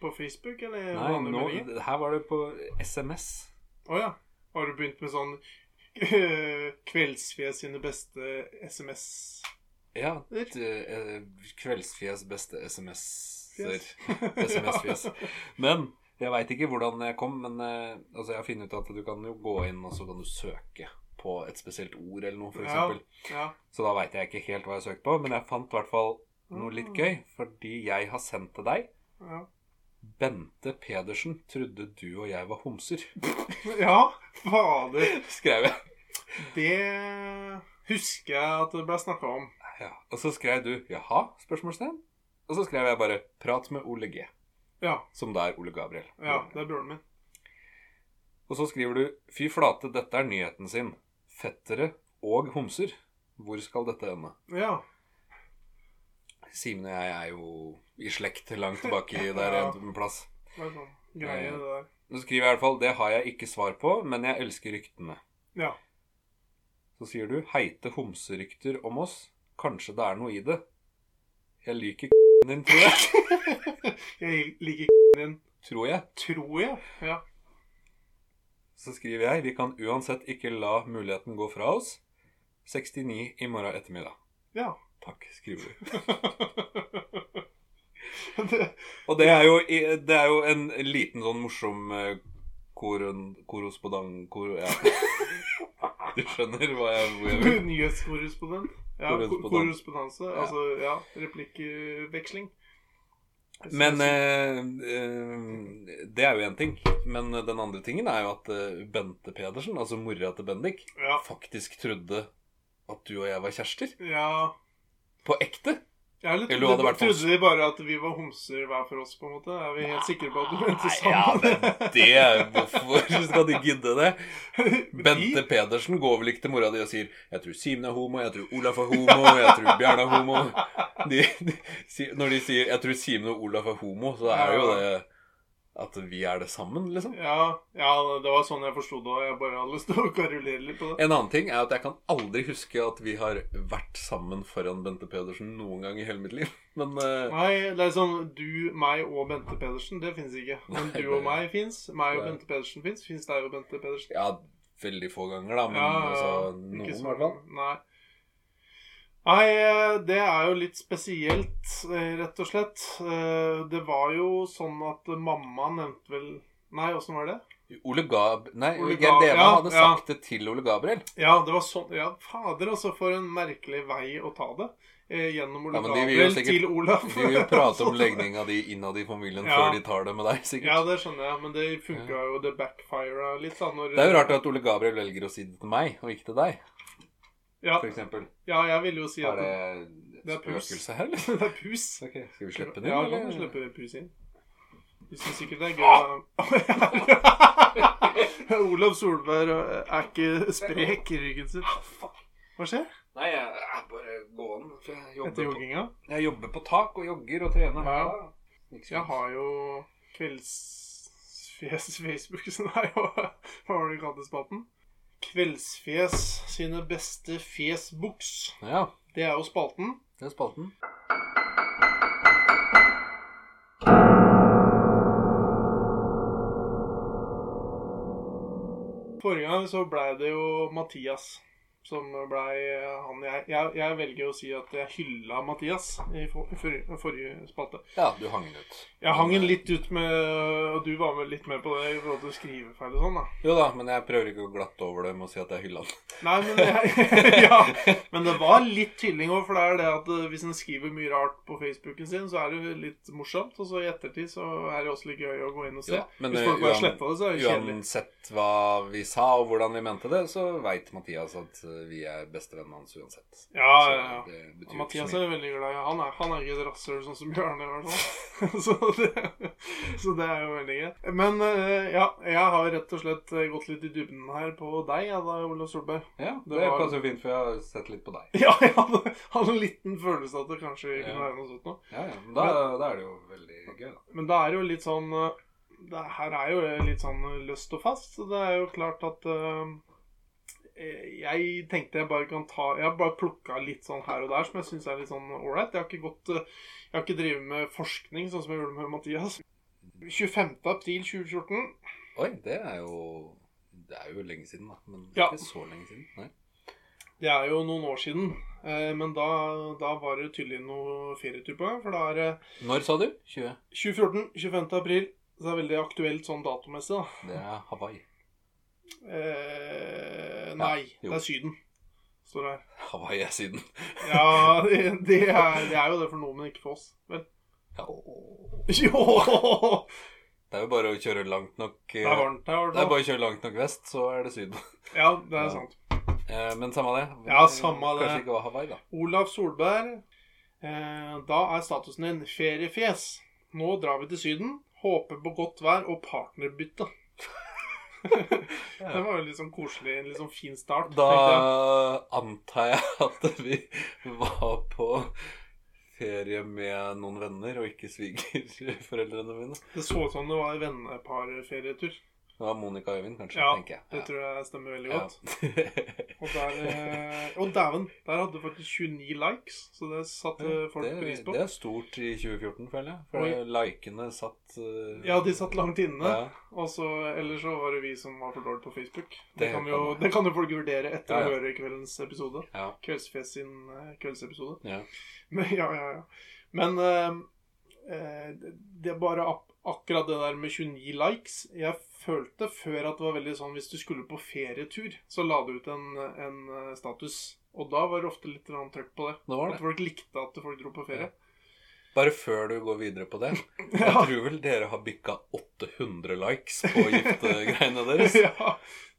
på Facebook eller
Nei,
vanlige
nå,
meldinger?
her var det på SMS.
Å ja. Har du begynt med sånn eh, Kveldsfjes sine beste SMS?
Ja. et, eh, Kveldsfjes beste SMS-er.
Fjes.
SMS-fjes. Men jeg veit ikke hvordan jeg kom, men eh, altså, jeg har funnet ut at du kan jo gå inn og så kan du søke på et spesielt ord eller noe, f.eks.
Ja.
eksempel
Ja.
Så da veit jeg ikke helt hva jeg søkte på, men jeg fant i hvert fall noe litt
Mm.
gøy. Fordi jeg har sendt til deg
Ja.
Bente Pedersen trodde du og jeg var homser.
ja, fader.
Skrev jeg.
Det husker jeg at det ble snakka om.
Ja. Og så skrev du 'jaha?' spørsmålstegn. Og så skrev jeg bare 'prat med Ole G',
Ja.
som da er Ole Gabriel.
ja, Det er broren min.
Og så skriver du 'fy flate, dette er nyheten sin'. Fettere og homser. Hvor skal dette ende?
Ja.
Simen og jeg er jo i slekt langt tilbake der
Ja.
en plass.
Det er sånn greie, det der.
Nå skriver jeg i hvert fall 'det har jeg ikke svar på, men jeg elsker ryktene'.
Ja.
Så sier du 'heite homserykter om oss'. Kanskje det er noe i det. Jeg liker din, tror jeg.
Jeg liker k-
Tror jeg.
tror jeg. Ja.
Så skriver jeg 'vi kan uansett ikke la muligheten gå fra oss'. 69 i morgen ettermiddag.
ja.
Takk, skriver du.
det,
Og det er jo, i- det er jo en liten sånn morsom eh, koron, korrespondent kor, ja. Du skjønner hva jeg, hvor jeg vil?
Nyhetskorrespondent. Ja,
Korrespondent.
korrespondanse. Altså, ja, replikkveksling.
Men eh, eh, det er jo én ting. Men den andre tingen er jo at eh, Bente Pedersen, altså mora til Bendik,
Ja.
faktisk trodde at du og jeg var kjærester.
ja.
På ekte.
Jeg litt,
Eller du hadde vært
trodde de bare at vi var homser hver for oss, på en måte? Er vi helt sikre på at du mente sånn? sammen?
men det Hvorfor skal de gidde det? Bente Pedersen går vel ikke til mora di og sier 'Jeg tror Simen er homo, jeg tror Olaf er homo, jeg tror Bjørn er homo'. De, de, sier- når de sier 'Jeg tror Simen og Olaf er homo', så er jo det At vi er det sammen, liksom.
Ja, ja, det var sånn jeg forsto det. og Jeg bare hadde lyst til å karulere litt på det.
En annen ting er at jeg kan aldri huske at vi har vært sammen foran Bente Pedersen noen gang i hele mitt liv. Men eh,
Nei, det er sånn du, meg og Bente Pedersen, det fins ikke. Men
Nei,
du og
det-
meg fins. Meg og
Nei.
Bente Pedersen fins. Fins deg og Bente Pedersen.
ja, veldig få ganger, da. Men altså, noen,
ikke
i
sånn-
hvert fall.
Nei. Nei, eh, det er jo litt spesielt, eh, rett og slett. Eh, Det var jo sånn at mamma nevnte vel Nei, åssen var det?
Ole Gab... Nei,
Ole
Geir
Gab-
Deva
ja,
hadde
ja.
sagt det til Ole Gabriel.
Ja, det var sånn Ja, fader, altså, for en merkelig vei å ta det. Eh, Gjennom Ole
Ja, men de vil jo
Gabriel
sikkert-
til Olav.
De vil jo prate om
Sånn.
legninga di innad i familien
Ja.
før de tar det med deg, sikkert.
Ja, det skjønner jeg, men det funka jo. Det backfira litt, da. Når,
Det er jo rart at Ole Gabriel velger å si det til meg, og ikke til deg,
Ja,
for eksempel.
ja jeg ville jo si at
Er det
det er
et
pus.
spøkelse her, eller?
det er pus.
Ok, Skal vi slippe den
Ja,
inn,
vi kan
eller?
slippe pus inn. Vi syns sikkert det er gøy å Olav Solberg er ikke sprek i ryggen sin. Hva skjer
Nei, jeg er bare gåen. for Jeg
etter
jobber, på,
jogginga?
jeg jobber på tak og jogger og trener her.
Ja.
da. Ikke
Jeg
sant?
har jo Kveldsfjes Facebook som er jo Hva var det du kalte spalten? Kveldsfjes sine beste fjesbuks.
Ja,
Det er jo spalten.
det er spalten.
Forrige gang så blei det jo Mathias som blei eh, han jeg, jeg Jeg velger å si at jeg hylla Mathias i for, forrige- forrige spalte.
Ja, du hang den ut.
Jeg hang den litt ut med Og du var vel litt med på det i forhold til skrivefeil og sånn, da.
Jo da, men jeg prøver ikke å glatte over det med å si at jeg hylla den.
Nei, men jeg, Ja. Men det var litt tylling òg, for det er det at eh, hvis en skriver mye rart på Facebooken sin, så er det jo litt morsomt, og så i ettertid så er det også litt gøy å gå inn og se.
Ja, men,
hvis
eh,
folk bare
uan-
sletta det, så er det kjedelig.
Uansett hva vi sa og hvordan vi mente det, så veit Mathias at eh, vi er bestevennen hans uansett.
Ja,
Så
ja, ja.
det betyr
Ja,
ikke
Mathias
så mye.
er veldig glad i Han er, han er ikke et rasshøl sånn som Bjørn er, i hvert fall. Så det, så det er jo veldig greit. Men eh, ja, jeg har rett og slett eh, gått litt i dybden her på deg, jeg da, Olav Solberg.
Ja,
det
det
var-
passer jo fint, for jeg har sett litt på deg.
Ja, jeg hadde, hadde en liten følelse at det kanskje
Ja.
kunne være noe sånt noe.
Ja, ja, men da, da er det jo veldig gøy, da.
Men da er det jo litt sånn eh, det Her er jo litt sånn løst og fast. Så det er jo klart at eh, jeg tenkte jeg bare kan ta Jeg har bare plukka litt sånn her og der som jeg syns er litt sånn ålreit. Jeg har ikke gått eh, Jeg har ikke drevet med forskning sånn som jeg gjorde med Mathias. 25. april 2014.
Oi, det er jo Det er jo lenge siden, da. Men
Ja.
ikke så lenge siden. Nei.
Det er jo noen år siden. eh, Men da, da var det tydelig noe ferietur på gang. For da er det
Når sa du? 20?
2014, 25. april. Så det er veldig aktuelt sånn datomessig, da.
Det er Hawaii.
Eh, nei,
jo.
det er Syden. Står det her.
Hawaii er Syden.
Ja, det, det, er, det er jo det for noen, men ikke for oss. Men
Ja.
jo!
Det er jo bare å kjøre langt nok eh,
Det er varmt her. i hvert
Det er
fall.
bare å kjøre langt nok vest, så er det Syden.
Ja, det
Ja.
er sant.
Eh, Men samme det.
Ja, samme det.
Kanskje ikke var Hawaii, da.
Olav Solberg, eh, da er statusen din feriefjes. Nå drar vi til Syden. Håper på godt vær og partnerbytte. det var jo litt sånn koselig, en litt sånn fin start. tenkte jeg.
Da antar jeg at vi var på ferie med noen venner, og ikke svigerforeldrene mine.
Det så ut som det var venneparferietur.
Det var Monica og Øyvind, kanskje,
Ja,
tenker jeg.
Det tror jeg stemmer veldig godt.
Ja.
Og der, eh, og dæven, der hadde du faktisk 29 likes, så det satte folk pris
det,
på.
det er stort i 2014, føler jeg. For
Oi.
likene satt eh,
Ja, de satt langt inne.
Ja,
Og så, Eller så var det vi som var for dårlige på Facebook. Det,
Det
kan,
kan
vi jo,
være.
det kan jo folk vurdere etter
Ja, ja.
å høre kveldens episode.
ja,
Kveldsfjes sin eh, kveldsepisode.
ja.
Men, ja, ja, ja. Men eh, eh, det er bare ak akkurat det der med 29 likes Jeg følte før at det var veldig sånn hvis du skulle på ferietur, så la du ut en, en eh, status. Og da var det ofte litt grann trøkk på det.
Det var
At
det.
folk likte at folk dro på ferie.
Bare før du går videre på det Jeg
Ja.
tror vel dere har bikka 800 likes på giftegreiene deres.
ja.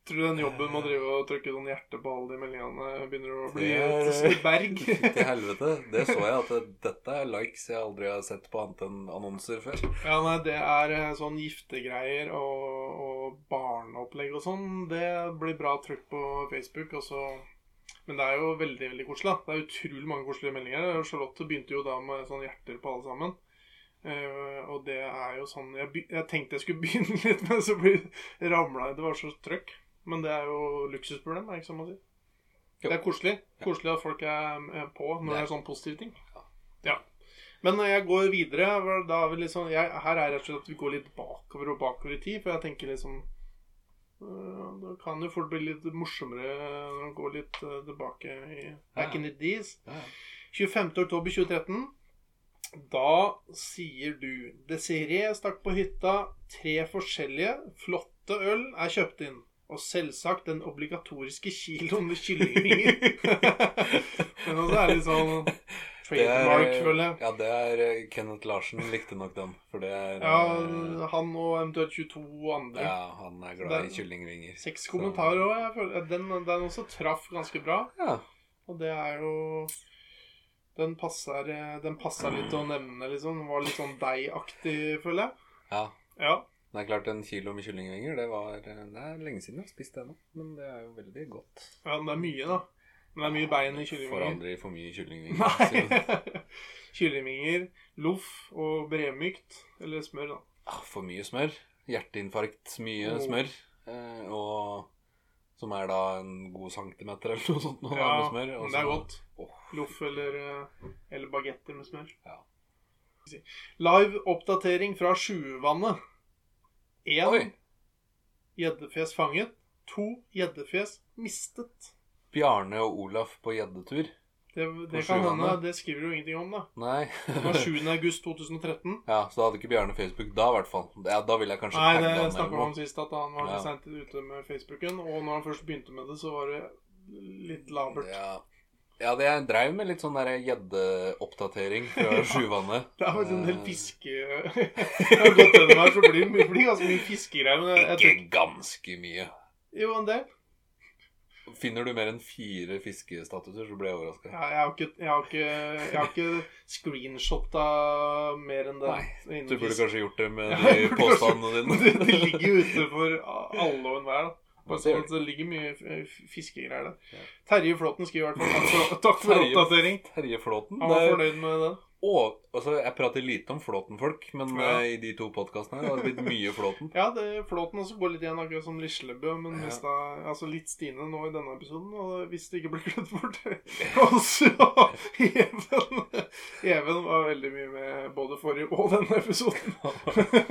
Tror du den jobben med å drive og trykke sånn hjerte på alle de meldingene begynner å bli
Det er-
et stort berg?
Til helvete. Det så jeg at det- dette er likes jeg aldri har sett på annet enn annonser før.
ja, nei, det er eh, sånn giftegreier og, og barneopplegg og sånn. Det blir bra trykk på Facebook, og så Men det er jo veldig, veldig koselig. da. Det er utrolig mange koselige meldinger. Charlotte begynte jo da med sånn hjerter på alle sammen. Eh, og det er jo sånn jeg, be- jeg tenkte jeg skulle begynne litt, men så blir- ramla jeg. Det var så trøkk. Men det er jo luksusproblem, er det ikke sånn man sier?
Jo.
Det er koselig. Koselig at folk er eh, på når det
Det er-
er sånn positive ting. Ja. Men når jeg går videre, var- da er vi litt sånn jeg, Her er rett og slett at vi går litt bakover og bakover i tid, for jeg tenker liksom øh, Det kan jo fort bli litt morsommere når man går litt øh, tilbake i back in the days.
Ja, ja.
25. oktober 2013. Da sier du Desiree stakk på hytta. Tre forskjellige flotte øl er kjøpt inn. Og selvsagt den obligatoriske kiloen med kyllingvinger. Men også er det litt sånn
Det er-
trademark, føler jeg.
Ja, det er eh, Kenneth Larsen likte nok dem. For det er eh,
Ja, han og eventuelt 22 andre.
ja, han er
Så
glad
det-
i kyllingvinger.
Seks kommentarer òg. Jeg føler at den, den også traff ganske bra.
Ja.
Og det er jo Den passer, eh, den passer litt å nevne, liksom. Den var litt sånn deigaktig, føler jeg.
ja.
Ja.
Det er klart, en kilo med kyllingvinger, det var eh, Det er lenge siden jeg har spist det nå. Men det er jo veldig godt.
ja, men det er mye, da. Men det er mye bein i
Får
kyllingvinger.
aldri for mye kyllingvinger. så-
Nei. kyllingvinger, loff og bremykt. Eller smør, da.
Ah, For mye smør. Hjerteinfarkt, mye
Åh.
smør. Eh, og som er da en god centimeter eller noe sånt. nå,
Ja,
med smør, og
men det er
så-
godt.
Åh.
Loff eller, eh, eller bagetter med smør.
Ja.
Live oppdatering fra Sjuvannet. Én
Oi!
gjeddefjes fanget. To gjeddefjes mistet.
Bjarne og Olaf på gjeddetur.
Det, det
På
kan hende.
Sjuvannet?
Det skriver du ingenting om, da.
Nei.
Det var 7. august 2013.
Ja, så da hadde ikke Bjarne Facebook da, i hvert fall. Ja, da ville jeg kanskje
Nei,
tagge
det
han
snakka
eller
vi om
noe.
sist, at han var
Ja.
sent ute med Facebooken. Og når han først begynte med det, så var det litt labert.
Ja. ja, det jeg dreiv med litt sånn der gjeddeoppdatering fra Sjuvannet.
Det er faktisk en del
Eh,
fiske... Jeg har gått gjennom her, så blir det blir ganske mye fiskegreier. Men jeg, jeg tror
Ikke ganske mye.
Jo, en del.
Finner du mer enn fire fiskestatuser, så blir jeg overraska.
Ja, jeg har ikke, jeg har ikke, jeg har ikke screenshotta mer enn det.
Nei,
innen
Du burde
fisk.
kanskje gjort det med
Ja,
de
jeg burde
påstandene
Men det, det
dine.
ligger jo ute for alle og enhver. da. Bare
Det
så
gjør
at det ligger mye eh, fiskegreier der.
Ja.
Terje Flåten skriver i hvert fall takk for, takk for
Terje-
oppdatering.
Terje Flåten.
Han var
det er-
fornøyd med den.
Å, altså, jeg prater lite om Flåten-folk, men
Ja.
eh, i de to podkastene har det blitt mye Flåten.
Ja, det Flåten også går litt igjen, akkurat som Lislebø. Men
Ja.
hvis da, altså litt Stine nå i denne episoden, og hvis det ikke blir klødd bort Og så Even. Even var veldig mye med både forrige og denne episoden.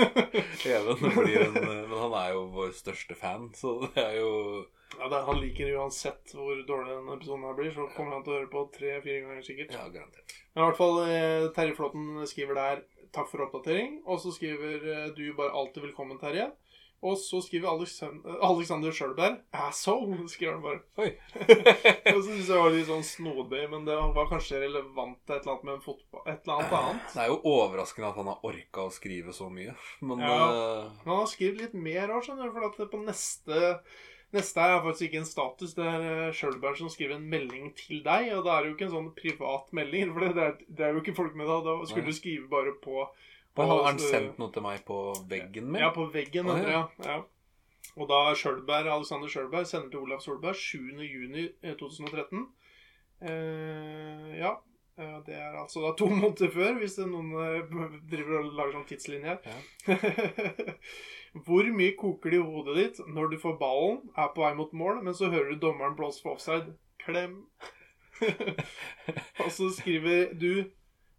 Even blir en eh, Men han er jo vår største fan, så det er jo
Ja, det, Han liker det uansett hvor dårlig denne episoden her blir, så kommer han til å høre på tre-fire ganger sikkert.
Ja, garantert.
Men i hvert fall, eh, Terje Flåten skriver der 'takk for oppdatering', og så skriver eh, du bare 'alltid velkommen', Terje. Og så skriver Alexan- eh, Alexander Schjølberg 'asshole', skriver han bare.
Oi.
Og så synes jeg det var litt sånn snodig, men det var kanskje relevant til et eller annet med en fotball Et eller annet annet.
Det er jo overraskende at han har orka å skrive så mye, men
Ja.
eh,
Men han har skrevet litt mer òg, skjønner du, for at det på neste Neste er faktisk ikke en status, det er eh, Schjølberg som skriver en melding til deg. Og da er det jo ikke en sånn privat melding, for det- det er, det er jo ikke folk med da. Da skulle
Nei.
du skrive bare på
men Har han
på-
sendt noe til meg på veggen min?
Ja, på veggen.
Å,
heter det,
ja.
ja. ja. Og da Schjølberg, Alexander Schjølberg sender til Olav Solberg 7.6.2013. Eh, ja. eh, Det er altså da to måneder før, hvis det er noen eh, driver og lager sånn tidslinje her. Hvor mye koker det i hodet ditt når du får ballen, er på vei mot mål, men så hører du dommeren blåse for offside? Klem. og så skriver du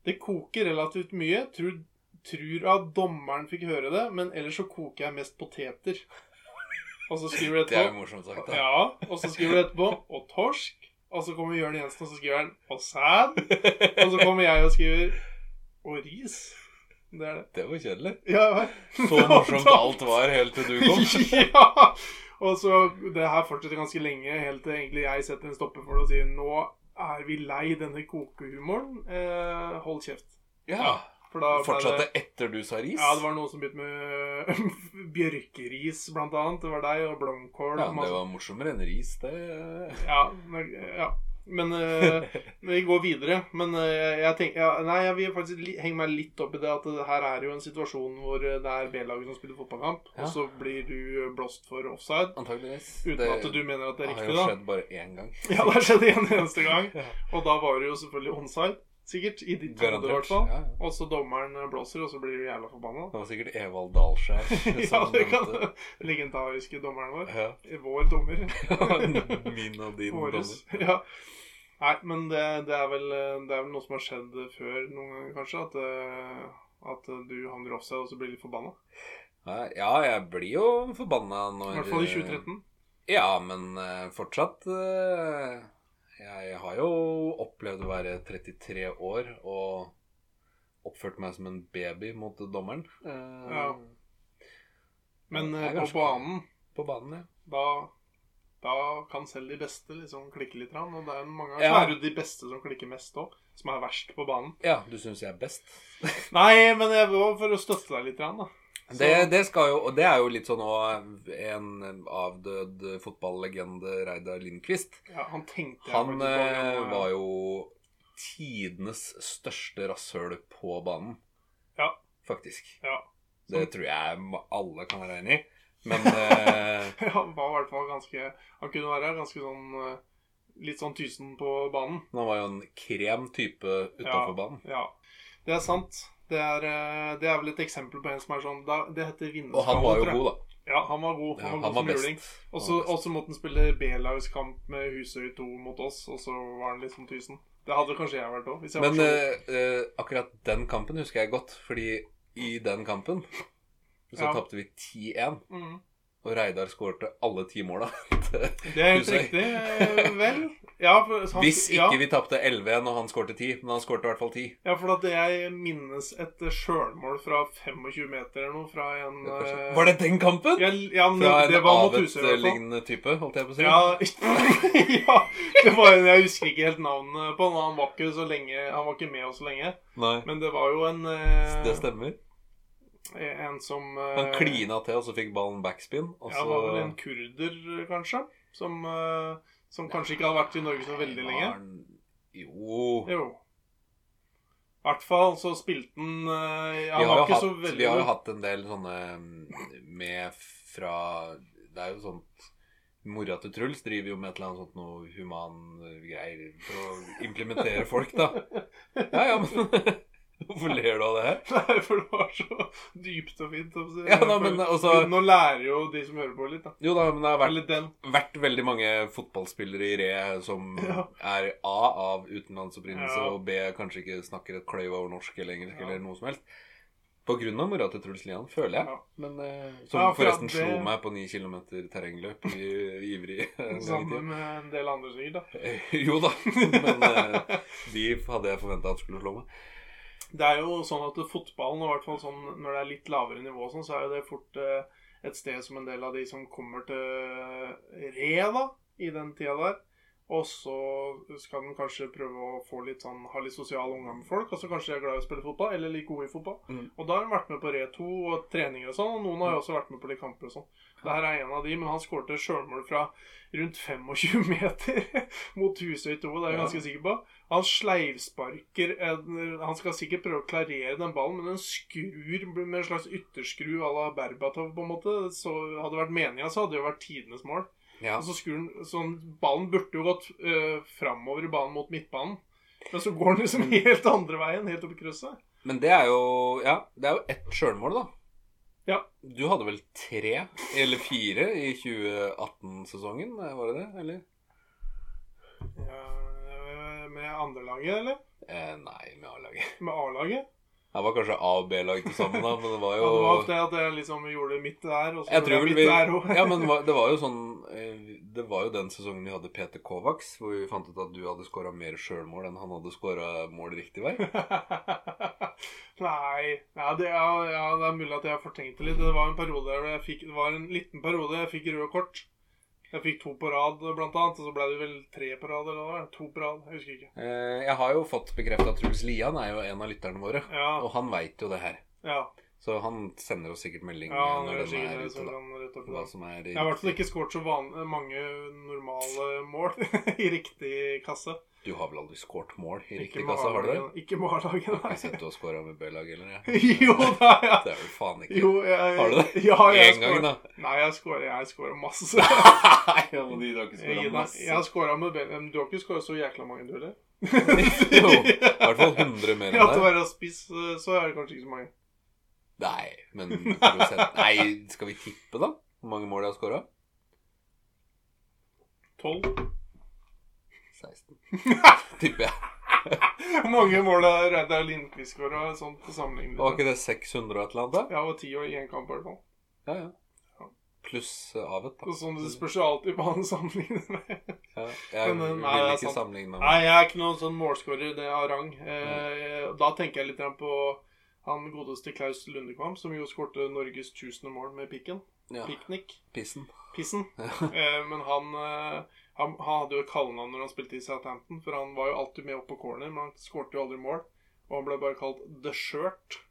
Det koker relativt mye. Tror, tror at dommeren fikk høre det, men ellers så koker jeg mest poteter. Og så skriver du
Det er jo
etterpå
morsomt sagt, da.
Ja, og så skriver du etterpå Og torsk. Og så kommer Jørn Jensen, og så skriver han Og sæd. Og så kommer jeg og skriver Og ris. Det er det.
Det var kjedelig.
Ja, ja.
Så morsomt alt var helt til du kom.
ja! Og så Det her fortsetter ganske lenge, helt til egentlig jeg setter en stopper for det og sier nå er vi lei denne kokehumoren. Eh, hold kjeft.
Ja.
For da ble
Fortsatte
det
etter du sa ris?
ja, det var noen som begynte med bjørkeris, blant annet. Det var deg, og
Ja,
blomkål. og
det
masse-
var morsommere enn ris, det. eh.
Ja, men- ja. Men eh, vi går videre. Men eh, jeg tenker ja, Nei, jeg vil faktisk li henge meg litt opp i det at det her er jo en situasjon hvor eh, det er B-laget som spiller fotballkamp,
Ja.
og så blir du blåst for offside.
Antakeligvis.
Uten at du mener at det
har
er
jo
riktig, da.
skjedd bare én gang.
Ja, det har skjedd en eneste gang.
Ja.
Og da var det jo selvfølgelig onside. Sikkert. I ditt hode, i
Garantert.
hvert fall.
Ja, ja.
Og så dommeren blåser, og så blir du jævla forbanna.
Det var sikkert Evald Dahlskjær
Ja,
som
det kan
nevnte.
legendariske dommeren vår.
Ja.
Vår dommer.
Min og din dommer.
Våres. Ja. Nei, men det, det, er vel, eh, det er vel noe som har skjedd før noen ganger, kanskje. At, eh, at eh, du havner offside og så blir litt forbanna.
Nei, Ja, jeg blir jo forbanna når
I hvert fall i 2013.
Ja, men eh, fortsatt eh, Jeg har jo opplevd å være 33 år og oppført meg som en baby mot dommeren. eh,
Ja. Men
Det er
eh, på
ganske-
banen,
På banen, ja.
da, da kan selv de beste liksom klikke litt. grann, Og det er mange ganger så
Ja.
er det jo de beste som klikker mest òg. Som er verst på banen.
Ja, du syns jeg er best?
Nei, men jeg var for å støtte deg litt, grann, da. Så-
Det, det skal jo, og det er jo litt sånn òg en avdød fotballegende, Reidar Lindqvist.
Ja, han tenkte jeg
Han
faktisk på,
eh,
men, eh,
var jo tidenes største rasshøl på banen.
Ja.
Faktisk.
Ja. Sånn.
Det tror jeg ma- alle kan være enig i. Men eh,
Ja, Han var i hvert fall ganske Han kunne være ganske sånn eh, Litt sånn tysen på banen.
han var jo en krem type utafor
Ja.
banen.
Ja. Det er sant. Det er, eh, det er vel et eksempel på en som er sånn da- Det heter vinnerskalle.
Og han var jo
tror jeg.
god, da.
Ja, han var god.
Ja,
Han var,
han var
god som juling.
best.
Og
Han
så-
var best.
og så måtte han spille B-lagskamp med Husøy 2 mot oss, og så var han litt sånn tysen. Det hadde kanskje jeg vært òg. Hvis jeg
Men
var sånn. så
eh, eh, akkurat den kampen husker jeg godt, fordi i den kampen så
Ja.
tapte vi 10-1.
mm.
Og Reidar skårte alle ti måla.
Det er helt
Husøy.
riktig, eh, vel? Ja, for, han-
Hvis
ja.
ikke vi tapte 11-1 og han skårte 10, men han skårte i hvert fall 10.
Ja, for at jeg minnes et eh, sjølmål fra 25 meter eller noe fra en eh,
Var det den kampen?
Ja, ja men
Fra
det,
en eh,
det var mot Husøy, i hvert fall.
Avet-lignende type, holdt jeg på å si.
Ja, ja, det var en Jeg husker ikke helt navnet på han. Han var ikke, så lenge, han var ikke med oss så lenge.
Nei,
Men det var jo en eh,
det stemmer.
En som eh,
Han klina til, og så fikk ballen backspin. Og
Ja,
så
var vel en kurder, kanskje? Som, eh, som kanskje ikke hadde vært i Norge så veldig lenge.
Var han- Jo
Jo. I hvert fall så spilte han eh,
vi har,
Han var
jo
ikke så
hatt,
veldig
vi har jo hatt en del sånne mm, med fra Det er jo sånt Mora til Truls driver jo med et eller annet sånt noe human eh, greier for å implementere folk, da. Ja, ja, men Hvorfor ler du av det her?
Nei, for det var så dypt og fint. å si.
Ja, da, men altså
Nå lærer jo de som hører på, litt. da.
Jo da, men det har vært,
Eller den.
vært veldig mange fotballspillere i Re som
Ja.
er A av utenlandsopprinnelse
Ja.
og B kanskje ikke snakker et kløyv over norsk eller engelsk
Ja.
eller noe som helst. På grunn av mora til Truls Lian, føler jeg.
Ja.
Men, eh, som
Ja, for at
forresten
det-
slo meg på 9 km terrengløp i i ivrig en gang i
Sammen
tiden.
med en del andre, sikkert. da.
Eh, Jo da, men eh, de hadde jeg forventa at skulle slå meg.
Det er jo sånn at fotballen, og i hvert fall sånn, når det er litt lavere nivå, og sånn, så er jo det fort eh, et sted som en del av de som kommer til Re, da, i den tida der. Og så skal den kanskje prøve å få litt sånn, ha litt sosial omgang med folk. Og så kanskje de er glad i å spille fotball, eller litt gode i fotball.
Mm.
Og da har de vært med på Re 2 og treninger og sånn, og noen har jo også vært med på litt kamper og sånn. Det her er en av de, men han skårte sjølmål fra rundt 25 meter mot Husøy 2, det er jeg
Ja.
ganske sikker på. Han sleivsparker en- Han skal sikkert prøve å klarere den ballen, men den skrur med en slags ytterskru à la Berbatov, på en måte. Så hadde det vært meninga, så hadde det jo vært tidenes mål.
Ja.
Og så skrur den sånn, Ballen burde jo gått øh, framover i banen mot midtbanen. Men så går den liksom helt andre veien, helt opp i krysset.
Men det er jo Ja, det er jo ett sjølmål, da.
Ja.
Du hadde vel tre, eller fire, i 2018-sesongen, var det det? Eller?
Ja, øh, med andrelaget, eller?
Eh, nei, med A-laget.
Med A-laget?
Det var kanskje A- og B-lag til sammen, da, men det var
Ja,
jo
det var ofte at jeg liksom gjorde mitt der, og så
Jeg
gjorde
tror
jeg
vel
mitt
vi
der òg.
Ja, men det var- det var jo sånn eh, Det var jo den sesongen vi hadde Peter Kovacs, hvor vi fant ut at du hadde skåra mer sjølmål enn han hadde skåra mål riktig vei.
Nei ja det, ja, ja, det er mulig at jeg har fortenkt det litt. Det var en periode der jeg fikk, det var en liten periode jeg fikk røde kort. Jeg fikk to på rad, blant annet. Og så ble det vel tre på rad, eller hva det var. To på rad. Jeg husker ikke.
Eh, jeg har jo fått bekrefta at Truls Lian er jo en av lytterne våre,
Ja,
og han veit jo det her.
ja.
Så han sender oss sikkert melding
ja
eh,
det
når
er
den
sikkert
er
det
ute,
som
da.
kan rette opp i
Hva
det.
som er
Jeg har i hvert fall ikke skåret så van mange normale mål i riktig kasse.
Du har vel aldri skåret mål i
Ikke
riktig
med
kasse, har du det?
A-laget, Ikke med A-laget,
Jeg har ikke
nei.
sett du har skåra med B-lag, eller? jeg.
Jo da, ja.
Det er vel faen ikke
Jo, jeg,
Har du det?
Ja, jeg
Én gang,
scoret-
da.
Nei, jeg scorer jeg scorer masse.
Nei, ja, men
Og de du har ikke skåra
Jeg,
masse?
jeg har scora med Bellingham. Du har ikke scora så jækla mange, du heller?
Jo, i hvert fall 100 mer
Ja, til å
enn deg.
være spiss, eh, så er det kanskje ikke så mange.
Nei, men prosent. Nei, skal vi tippe, da? Hvor mange mål jeg har skåra?
Tolv?
16. Tipper jeg.
Hvor mange mål har Reidar Lindqvist skåra sånn til sammenligning?
Var ikke det 600 og et eller annet?
Jeg var ti år i én kamp, i hvert fall.
da? Ja, ja. Pluss eh, Avet,
Så
da.
Sånn, det spørs jo alltid hva han sammenligner med.
Ja, jeg
Men, eh,
vil
nei, det er
ikke
sant.
sammenligne meg
Nei, jeg er ikke noen sånn målskårer det av rang. Eh, da tenker jeg litt grann på han godeste Klaus Lundekvam, som jo skårte Norges tusende mål med pikken.
med ja,
Piknik.
pissen.
Pissen.
Ja.
Eh, men han, eh, han, han hadde jo et kallenavn når han spilte i Southampton, for han var jo alltid med opp på corner, men han skårte jo aldri mål. Og han ble bare kalt The Shirt.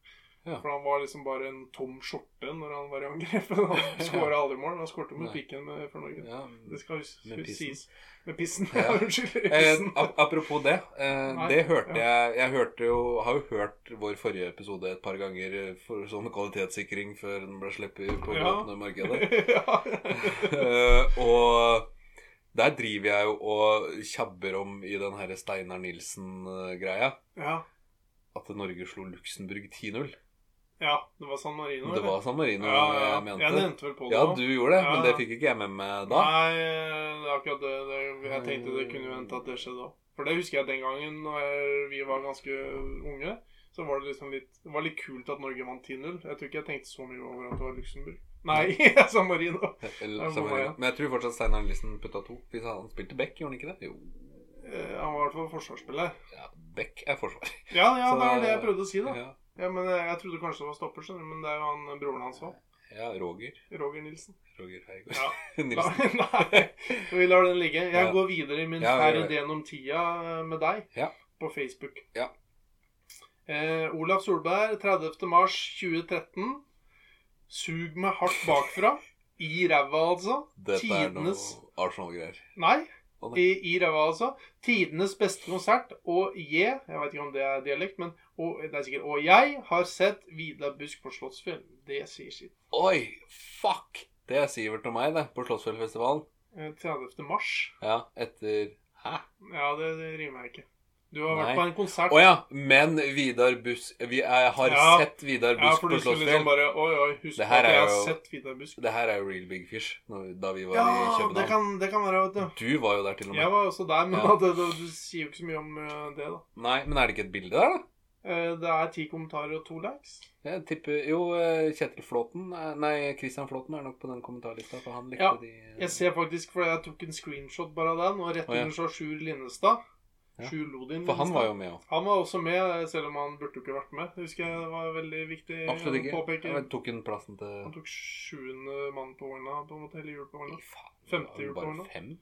Ja.
For han var liksom bare en tom skjorte når han var i angrep. Han skåra aldri mål, men han skårte med
Nei.
pikken med, for Norge.
Ja.
Det skal hus-
Med pissen.
sies. Med pissen.
Ja.
Unnskyld.
Eh,
pissen.
ap- apropos det. Eh,
Nei,
det hørte
ja.
jeg Jeg hørte jo, har jo hørt vår forrige episode et par ganger eh, for sånn kvalitetssikring før den ble sluppet på det
Ja.
åpne markedet.
ja.
Eh, og der driver jeg jo og tjabber om i den her Steinar Nilsen-greia
ja.
at Norge slo Luxembourg 10-0.
Ja, det var San Marino.
Det
eller?
var San Marino
ja, ja.
jeg
Jeg
mente.
nevnte vel på det
Ja,
nå.
du gjorde det,
Ja,
men det
ja.
fikk ikke jeg med meg da.
Nei, det er akkurat det, det. Jeg tenkte det kunne jo hende at det skjedde òg. For det husker jeg den gangen når jeg- vi var ganske unge. Så var det liksom litt Det var litt kult at Norge vant 10-0. Jeg tror ikke jeg tenkte så mye over at det var Luxembourg. Nei, San Marino.
Eller San
Ja, hvor var
Marino.
jeg?
Men jeg tror fortsatt Steinar Nilsen putta to. Hvis han spilte back, gjorde han ikke det? Jo.
Eh, Han var i hvert fall forsvarsspiller.
Ja, back er forsvar.
Ja, ja,
Så-
det var det jeg prøvde å si, da.
Ja,
Ja, men eh, jeg, jeg trodde kanskje det var stopper, skjønner du. Men det er jo han eh, broren hans òg.
ja Roger.
Roger Nilsen.
Roger Heigård.
Ja.
Nilsen.
Nei, vi lar den ligge. Jeg
Ja.
går videre i min
Ja,
færre
gjør det.
den om tida eh, med deg
Ja.
på Facebook.
Ja.
Eh, Olav Solberg, 30. mars 2013. Sug meg hardt bakfra. I ræva, altså.
Dette er noe
Tidenes
Arsenal-greier.
Nei.
Å, nei.
I, I ræva, altså. Tidenes beste konsert. Og jeg Jeg vet ikke om det er dialekt, men og, det er sikkert Og jeg har sett Vidar Busk på Slottsfjell. Det sier sitt.
Oi, fuck! Det er Sivert og meg, det, på Slottsfjellfestivalen.
Eh, 30. mars.
Ja, etter Hæ?
Ja, det, det rimer jeg ikke. Du har
Nei.
vært på en konsert.
Å ja, men Vidar Buss Vi jeg har
Ja.
sett Vidar
Ja,
Buss
for
på
du skulle liksom
Slottsfjell.
bare Oi, oi, husk
Det her
at jeg
er
har
jo-
sett Vidar Busk.
Det her er jo Real Big Fish, når, da vi var
Ja,
i
det
København.
kan, det kan være, vet du.
Du var jo der til og med.
Jeg var også der, men
Ja.
det, det, du sier jo ikke så mye om eh, det, da.
Nei, men er det ikke et bilde der, da?
Eh, Det er ti kommentarer og to likes.
Jeg tipper Jo, eh, Kjetil Flåten eh, Nei, Christian Flåten er nok på den kommentarlista, for han likte
Ja,
de eh,
Jeg ser faktisk, for jeg tok en screenshot bare av den, og rett
Å, ja.
under så Sjur Linnestad.
Ja.
Sjur Lodin.
For han
Linnestad.
var jo med òg.
Han var også med, eh, selv om han burde jo ikke vært med. Det husker jeg var veldig viktig
Absolutt
å
ikke.
påpeke.
Jeg tok han plassen til
Eh, Han tok sjuende mann på horna, på en måte, hele jul på horna.
Fy faen, det
Femte
var jo
jul på
bare
nå.
fem?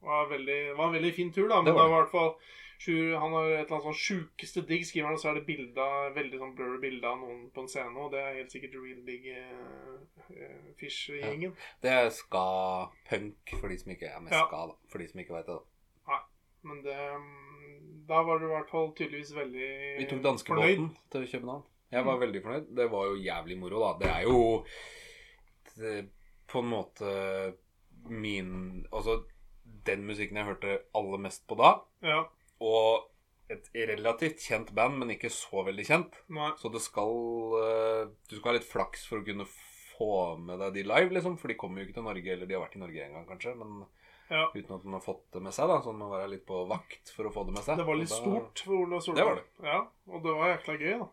var veldig, var en veldig fin tur, da. Men
Det
det
var
var,
det.
i hvert fall Sjur, Han har et eller annet sånn sjukeste digg, skriver han, og så er det bilde av- veldig sånn blurry bilde av noen på en scene, og det er helt sikkert Real Big eh, eh, Fish-gjengen.
Det er ska-punk for de som ikke er med
Ja.
ska, da. For de som ikke veit det. da.
Men det mm, Da var du i hvert fall tydeligvis veldig
Vi tok danskebåten til København. Jeg
Mm.
var veldig fornøyd. Det var jo jævlig moro, da. Det er jo det, på en måte min Altså den musikken jeg hørte aller mest på da.
Ja.
Og et relativt kjent band, men ikke så veldig kjent.
Nei.
Så det skal eh, Du skal ha litt flaks for å kunne få med deg de live, liksom. For de kommer jo ikke til Norge, eller de har vært i Norge en gang, kanskje. Men
Ja.
uten at man har fått det med seg, da. Så man må være litt på vakt for å få det med seg.
Det var
Og
litt
da-
stort for Ola Solberg.
Det var det.
Ja, og det var jækla gøy, da.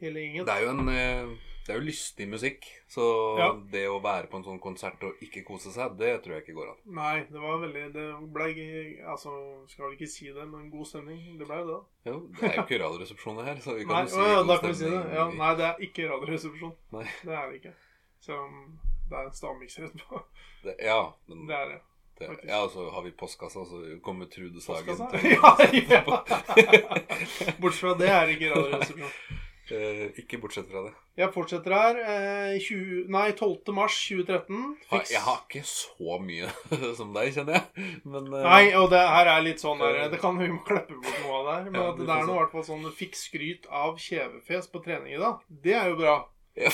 Hele gjengen.
Det er jo en eh, Det er jo lystig musikk. Så
Ja.
det å være på en sånn konsert og ikke kose seg, det tror jeg ikke går an.
Nei, det var veldig Det ble Altså, skal vel ikke si det, men god stemning. Det ble jo det, da.
Jo, det er jo ikke radioresepsjoner her, så vi
Nei,
kan jo
å, ja,
god
da kan vi si det.
stemning
Ja,
i-
nei, det er ikke radioresepsjon.
Nei.
Det er det ikke. Selv om det er en stavmikser etterpå.
det, ja, men
Det er det.
det,
faktisk.
ja, så har vi postkassa, og så kommer Trude Sagen
Postkassa?
til
Ja, ja. Bortsett fra det er det ikke radioresepsjon.
Eh, Ikke bortsett fra det.
Jeg fortsetter her. Eh, 20, nei, 12. mars 2013.
Ha-
Fiks-
Jeg har ikke så mye som deg, kjenner jeg. Men eh,
Nei, og det her er litt sånn der Det kan vi må kleppe bort noe av der. Men
Ja,
at
vi
det
får
er nå i hvert fall sånn Fikk skryt av kjevefes på trening i dag. Det er jo bra.
ja.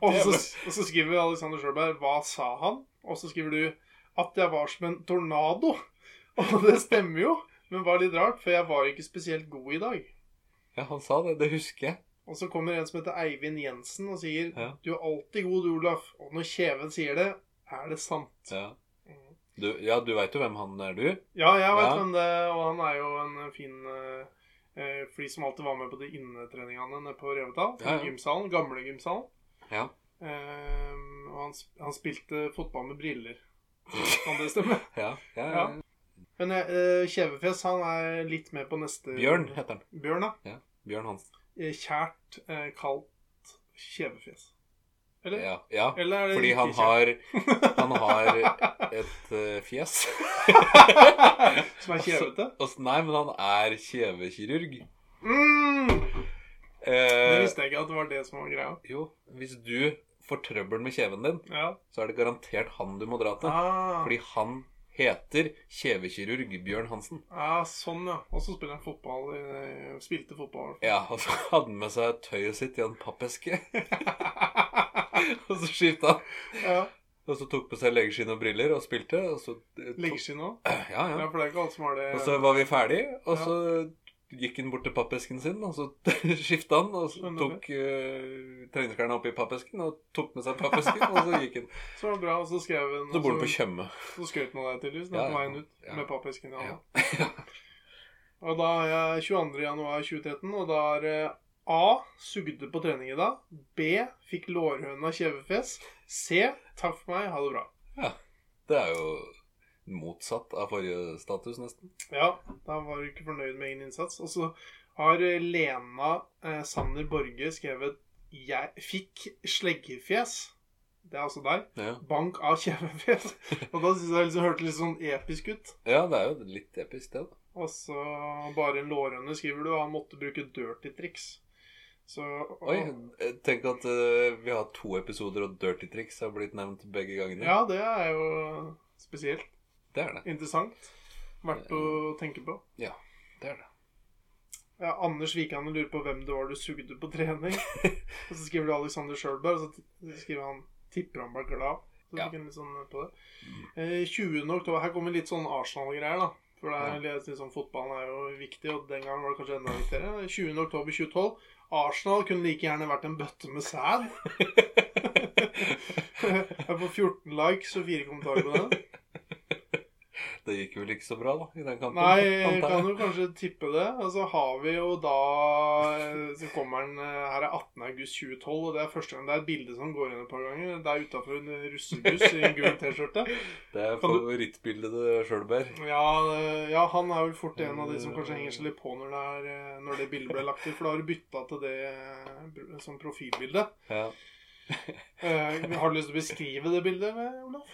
Og så, og så skriver Alexander Sjølberg 'Hva sa han?' Og så skriver du at jeg var som en tornado. Og det stemmer jo, men var litt rart, for jeg var ikke spesielt god i dag.
Ja, han sa det. Det husker jeg.
Og så kommer en som heter Eivind Jensen og sier
Ja.
'Du er alltid god, du, Olaf'. Og når kjeven sier det, er det sant.
Ja, du, ja, du veit jo hvem han er, du?
Ja, jeg vet
Ja.
hvem det er, og han er jo en fin eh, eh, For de som alltid var med på de innetreningene nede på Revetal,
Ja, ja.
gymsalen, gamle gymsalen.
Ja.
Eh, og han, sp- han spilte fotball med briller. Kan det stemme?
ja, ja,
Ja. Men eh, Kjevefjes han er litt med på neste
Bjørn heter han.
Bjørn, ja.
Bjørn Hansen.
Eh, Kjært, eh, kaldt kjevefjes. Eller?
Ja, ja.
Eller er det
Fordi
ikke
han
kjært?
har, han har et eh, fjes.
Som er kjevete?
Og så- Nei, men han er kjevekirurg.
Mm! Det
Eh,
visste jeg ikke at det var det som var greia.
jo, hvis du får trøbbel med kjeven din,
Ja.
så er det garantert han du må dra til.
Ah,
Fordi han heter kjevekirurg Bjørn Hansen.
ah, sånn, ja. Og så spiller han fotball. eh, Spilte fotball.
Ja, og så hadde han med seg tøyet sitt i en pappeske. og så skifta han.
Ja.
Og så tok på seg legeskinn og briller og spilte. Og så eh,
Leggeskinn òg.
Ja,
Ja,
ja.
for det er ikke alle som har det.
Og så var vi ferdig, og så gikk han bort til pappesken sin, og så skifta han, og så
Skjønner
tok uh, treningsklærne oppi pappesken, og tok med seg pappesken, og så gikk han.
Så var det bra, og så skrev hun
Så bor han
og
på Tjøme.
Så skrøt man av deg tydeligvis da,
Ja,
på
ja.
veien ut
Ja.
med pappesken i
Ja.
hånda. Og da er jeg 22. januar 2013, og da er eh, A. Sugde på trening i dag. B. Fikk lårhøna kjevefjes. C. Takk for meg, ha det bra.
Det er jo motsatt av forrige status, nesten.
Ja, da var du ikke fornøyd med egen innsats. Og så har eh, Lena eh, Sander Borge skrevet Jeg fikk sleggefjes. Det er altså deg.
Ja,
Bank av kjevefjes. Og da syns jeg liksom hørte litt sånn episk ut.
ja det er jo litt episk, det, da.
Og så bare en lårhøne, skriver du. og Han måtte bruke dirty triks. Så
Oi, jeg tenker at eh, vi har to episoder, og Dirty Tricks har blitt nevnt begge gangene.
Ja, det er jo spesielt
Det er det.
interessant. Verdt å tenke på.
det, er det.
Ja, Anders Vikane lurer på hvem det var du sugde på trening. og så skriver du Alexander Sjølberg, og så skriver han tipper han var glad. Så
Ja.
fikk han litt sånn på det. Eh, 20. oktober Her kommer litt sånn Arsenal-greier, da. For det er litt sånn, fotballen er jo viktig, og den gangen var det kanskje enda viktigere. Eh, 20. oktober 2012. Arsenal kunne like gjerne vært en bøtte med sæd. Jeg får 14 likes og 4 kommentarer på den.
det gikk vel ikke så bra, da, i den kampen?
Nei, jeg
antar jeg.
kan jo kanskje tippe det. Og så har vi jo da eh, Så kommer den eh, Her er 18. august 2012, og det er første gang det er et bilde som går inn et par ganger. Det er utafor en russebuss i en gul T-skjorte.
Det er
Kan du-
favorittbildet til Sjølberg.
Ja, eh, ja, han er vel fort en av de som kanskje henger seg litt på når det, er, eh, når det bildet ble lagt til, for da har du bytta til det eh, br- som profilbilde.
Ja.
Eh, Har du lyst til å beskrive det bildet, Olaf?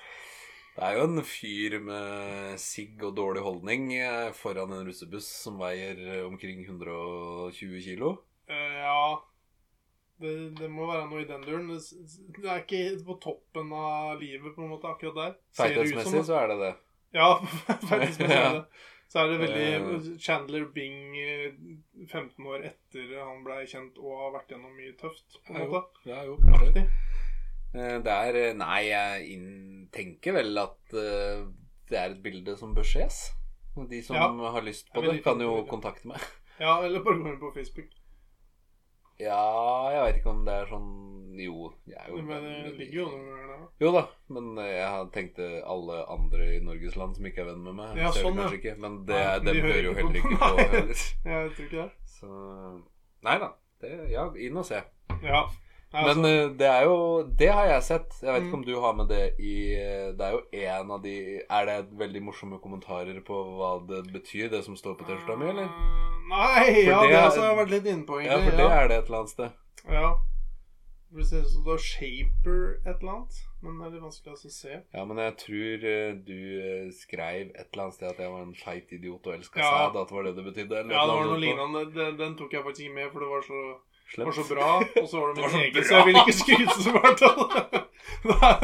Det er jo en fyr med sigg og dårlig holdning eh, foran en russebuss som veier eh, omkring 120 kilo.
Eh, ja det, det må være noe i den duren. Det, s- det er ikke på toppen av livet, på en måte, akkurat der.
Feithetsmessig
da.
så er det det.
Ja, feithetsmessig er det. Så er det veldig
Eh.
Chandler Bing eh, 15 år etter han blei kjent og har vært gjennom mye tøft, på en
Ja,
måte.
Det er jo kanskje
Aktig.
Eh, Det er eh, Nei, jeg inn- tenker vel at eh, det er et bilde som bør ses. Og De som
Ja.
har lyst
Jeg
på
vil
det,
ikke
kan jo
kommentere.
kontakte meg.
Ja, eller bare gå inn på Facebook.
Ja, jeg veit ikke om det er sånn Jo, jeg er jo
Men eh, det ligger jo noen ganger der. da.
Jo da, men eh, jeg tenkte alle andre i Norges land som ikke er venn med meg.
Ja,
ser det
sånn, ja.
kanskje ikke, Men det,
Nei,
dem
de hører
hører jo
ikke på.
heller ikke på.
Nei.
heller.
Jeg tror ikke det.
Så Nei da. Det, ja, inn og se.
Ja. Nei, altså,
Men eh, det er jo Det har jeg sett. Jeg vet
Mm.
ikke om du har med det i eh, Det er jo en av de Er det veldig morsomme kommentarer på hva det betyr, det som står på T-skjorta mi, eller?
Eh, Nei,
For
ja,
det
det
er-
altså, har jeg vært litt inne på,
Ja,
egentlig.
for det er det et eller annet sted.
Ja. Det ser ut som det er shaper et eller annet, men det er litt vanskelig å se.
Ja, men jeg tror eh, du eh, skreiv et eller annet sted at jeg var en feit idiot og elska
Ja.
sæd, at det var det det betydde? eller
Ja,
et eller
det var
annet
noe
sånt noe.
lignende. Den, den tok jeg faktisk ikke med, for det var så,
Slemt.
var så bra. Og så var det
Det var
min
så
egen, så
bra.
jeg ville ikke skryte så fælt av det. Nei,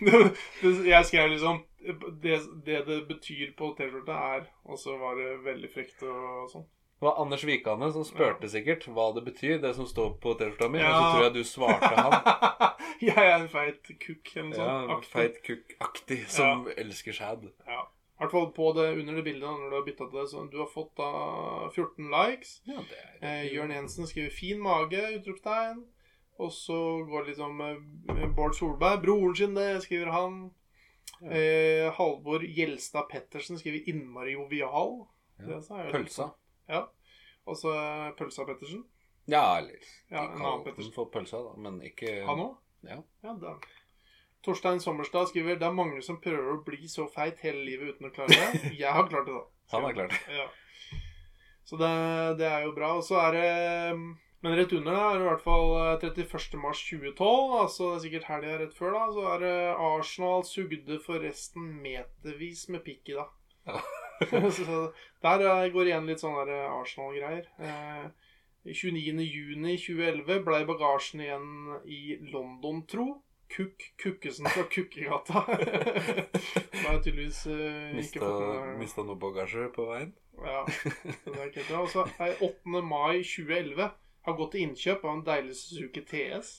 det- det- Jeg skrev liksom det, det det betyr på T-skjorta, er Og så var det veldig frekt og sånn.
Det var Anders Vikane som spurte sikkert hva det betyr, det som står på T-skjorta mi. Og
Ja.
så tror jeg du svarte han.
jeg er en feit kukk, eller
Ja,
noe sånt. Aktiv.
Feit kukk-aktig, som elsker sæd.
Ja. I hvert fall på det, under det bildet, når du har bytta til det. Så du har fått da 14 likes.
Ja, det er
Eh, Jørn Jensen skriver 'fin mage', utropstegn. Og så går det liksom eh, Bård Solberg. 'Broren sin, det', skriver han.
Ja.
Eh, Halvor Gjelstad Pettersen skriver 'innmari jovial'.
Ja.
Det sa jeg jo.
Pølsa.
Og så eh, Pølsa Pettersen.
Ja, eller
Ja, en
de
annen
kalte den
Pettersen.
for pølsa, da, men ikke
Han òg?
Ja.
ja da. Torstein Sommerstad skriver 'Det er mange som prøver å bli så feit hele livet uten å klare det'. Jeg har klart det, da.
Han er klart.
Ja. Så det, det er jo bra. Og så er det Men rett under da er det i hvert fall eh, 31.3.2012, altså det er sikkert helga rett før, da, så er det Arsenal sugde forresten metervis med pikk i, da.
Ja.
så der eh, går igjen litt sånn der, eh, Arsenal-greier. Eh, 29.6.2011 blei bagasjen igjen i London, tro. Kukk Kukkesen fra Kukkegata. Det har jeg tydeligvis eh, ikke
Mista,
fått med
mista noe bagasje på veien.
ja, det er ikke helt bra. Og så er 8. mai 2011 har gått til innkjøp av en deilig Suzuki TS.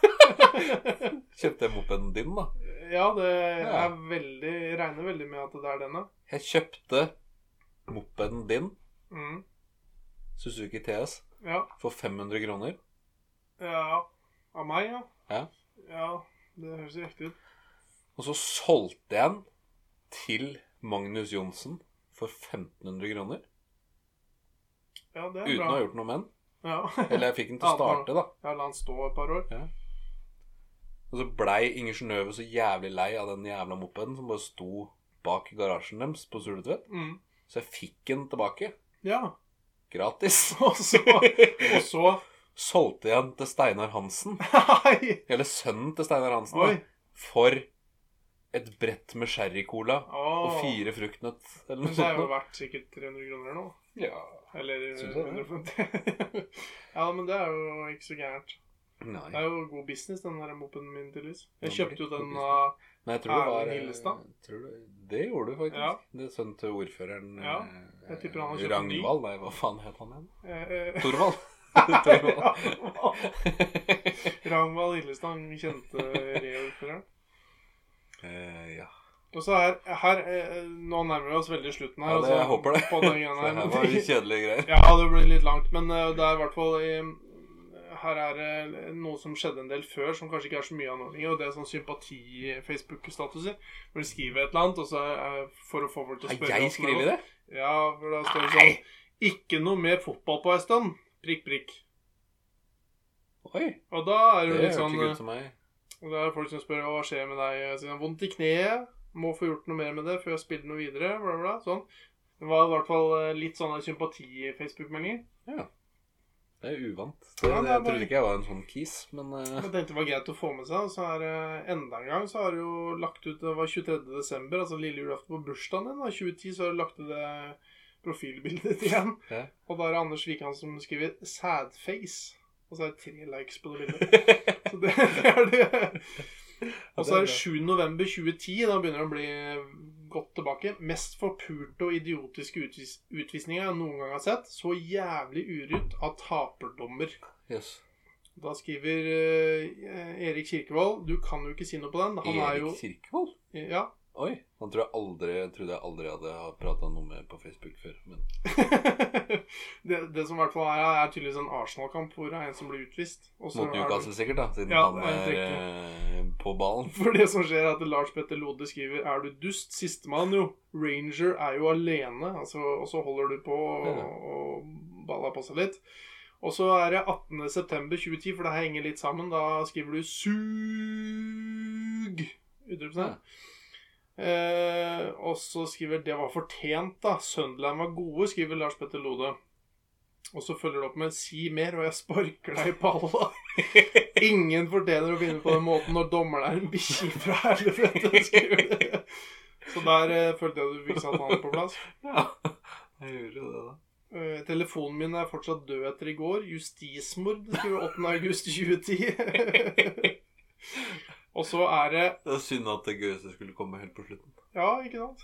Kjøpte jeg mopeden din, da?
Ja, det
Ja.
er veldig Jeg regner veldig med at det er denne.
Jeg kjøpte mopeden din,
Mm.
Suzuki TS,
Ja.
for 500 kroner.
ja. Av meg, ja.
Ja.
Ja, det høres riktig ut.
Og så solgte jeg den til Magnus Johnsen for 1500 kroner.
Ja, det er
Uten å
bra.
ha gjort noe med den.
Ja.
Eller jeg fikk den til å starte, da.
ja, la den stå et par år.
Og så blei Inger Synnøve så jævlig lei av den jævla mopeden som bare sto bak i garasjen deres på Suletvedt.
Mm.
Så jeg fikk den tilbake.
Ja.
Gratis.
Og så, og så
Solgte jeg den til Steinar Hansen.
Nei!
Eller sønnen til Steinar Hansen.
Oi.
da, For et brett med sherrycola og
Åh.
fire Sånn. fruktnøtt eller
Men
noe
det er
sånt.
jo
noe.
verdt sikkert 300 kroner nå.
Ja.
Eller
Synes jeg det.
150. ja, men det er jo ikke så gærent. Det
Nei.
er jo god business, den der mopeden min, tydeligvis. Jeg
Ja, det
kjøpte jo
blir
den
god
av
Men jeg tror det var
Erlend Hillestad?
jeg tror det, det gjorde du faktisk.
Ja.
Det er sønnen til ordføreren
Ja,
eh,
jeg tipper han har kjøpt en ny.
Ragnvald. Nei, hva faen het han igjen?
eh, eh,
Torvald. Torvald.
Ragnvald Hillestang, kjente reordføreren.
Eh, ja.
Og så her, her eh, Nå nærmer vi oss veldig slutten her. altså,
Ja, det- jeg håper det.
På den
Så
greia
det her var
her.
kjedelige greier.
Ja, det blir litt langt, men eh, det er i hvert fall eh, Her er det noe som skjedde en del før, som kanskje ikke er så mye av nå lenger. Og det er sånn sympati-Facebook-statuser. Hvor de skriver et eller annet, og så eh, for å få folk til å
Har
spørre
jeg
hvordan det går.
skrevet det?
Ja, for da står det sånn Ikke noe mer fotball på en stund. Prikk, prikk.
Oi.
Og da er det
Det
jo litt
hørtes
sånn
ikke ut som meg.
Og det er folk som spør hva skjer med deg. Jeg sier, Vondt i kneet. Må få gjort noe mer med det før jeg spiller noe videre. Bla, bla, sånn. Det var i hvert fall eh, litt sånn sympati-Facebook-meldinger.
Det er uvant. Det,
Ja, det er
jeg
bare-
trodde ikke jeg var en sånn kis, men eh,
Jeg tenkte det var greit å få med seg. Og så er det enda en gang så har du jo lagt ut Det var 23. desember, altså lille julaften på bursdagen din. da, 2010 så har du lagt ut det profilbildet ditt igjen.
Ja.
Og da er det Anders Wikan som skriver 'sadface'. Og så er det tre likes på det bildet. Så det, det er det. Og så er det 7. november 2010, da begynner det å bli godt tilbake. Mest forpurte og idiotiske utvis utvisninger jeg noen gang har sett. Så jævlig urutt av taperdommer.
Jøss.
Da skriver eh, Erik Kirkevold Du kan jo ikke si noe på den. Han er jo
Erik Kirkevold?
Ja.
Oi. Han tror jeg aldri, jeg trodde jeg aldri hadde prata noe med på Facebook før. Men
det, det som i hvert fall er, her, er tydeligvis en Arsenal-kamp hvor det er en som blir utvist. Og så
mot
er det-
Newcastle sikkert, da, siden
Ja,
han
det er helt
er eh, på ballen.
For det som skjer er at Lars Petter Lode skriver Er du dust? Sistemann jo Ranger er jo alene altså, Og så holder du på og, og baller på seg litt Og så er det 18. september 2010 For det her henger litt sammen Da skriver du Sug Utropstegn. eh, Og så skriver Det var fortjent da Søndland var gode Skriver Lars Petter Lode og så følger det opp med 'si mer, og jeg sparker deg i palla'. Ingen fortjener å vinne på den måten når dommeren er en bikkje fra helvete. skriver det. Så der eh, følte jeg du fikk satt han på plass.
Ja, jeg gjorde det, da.
Eh, telefonen min er fortsatt død etter i går. Justismord skriver 8. august 2010. Og så er det
Det er synd at det gøyeste skulle komme helt på slutten.
Ja, ikke sant?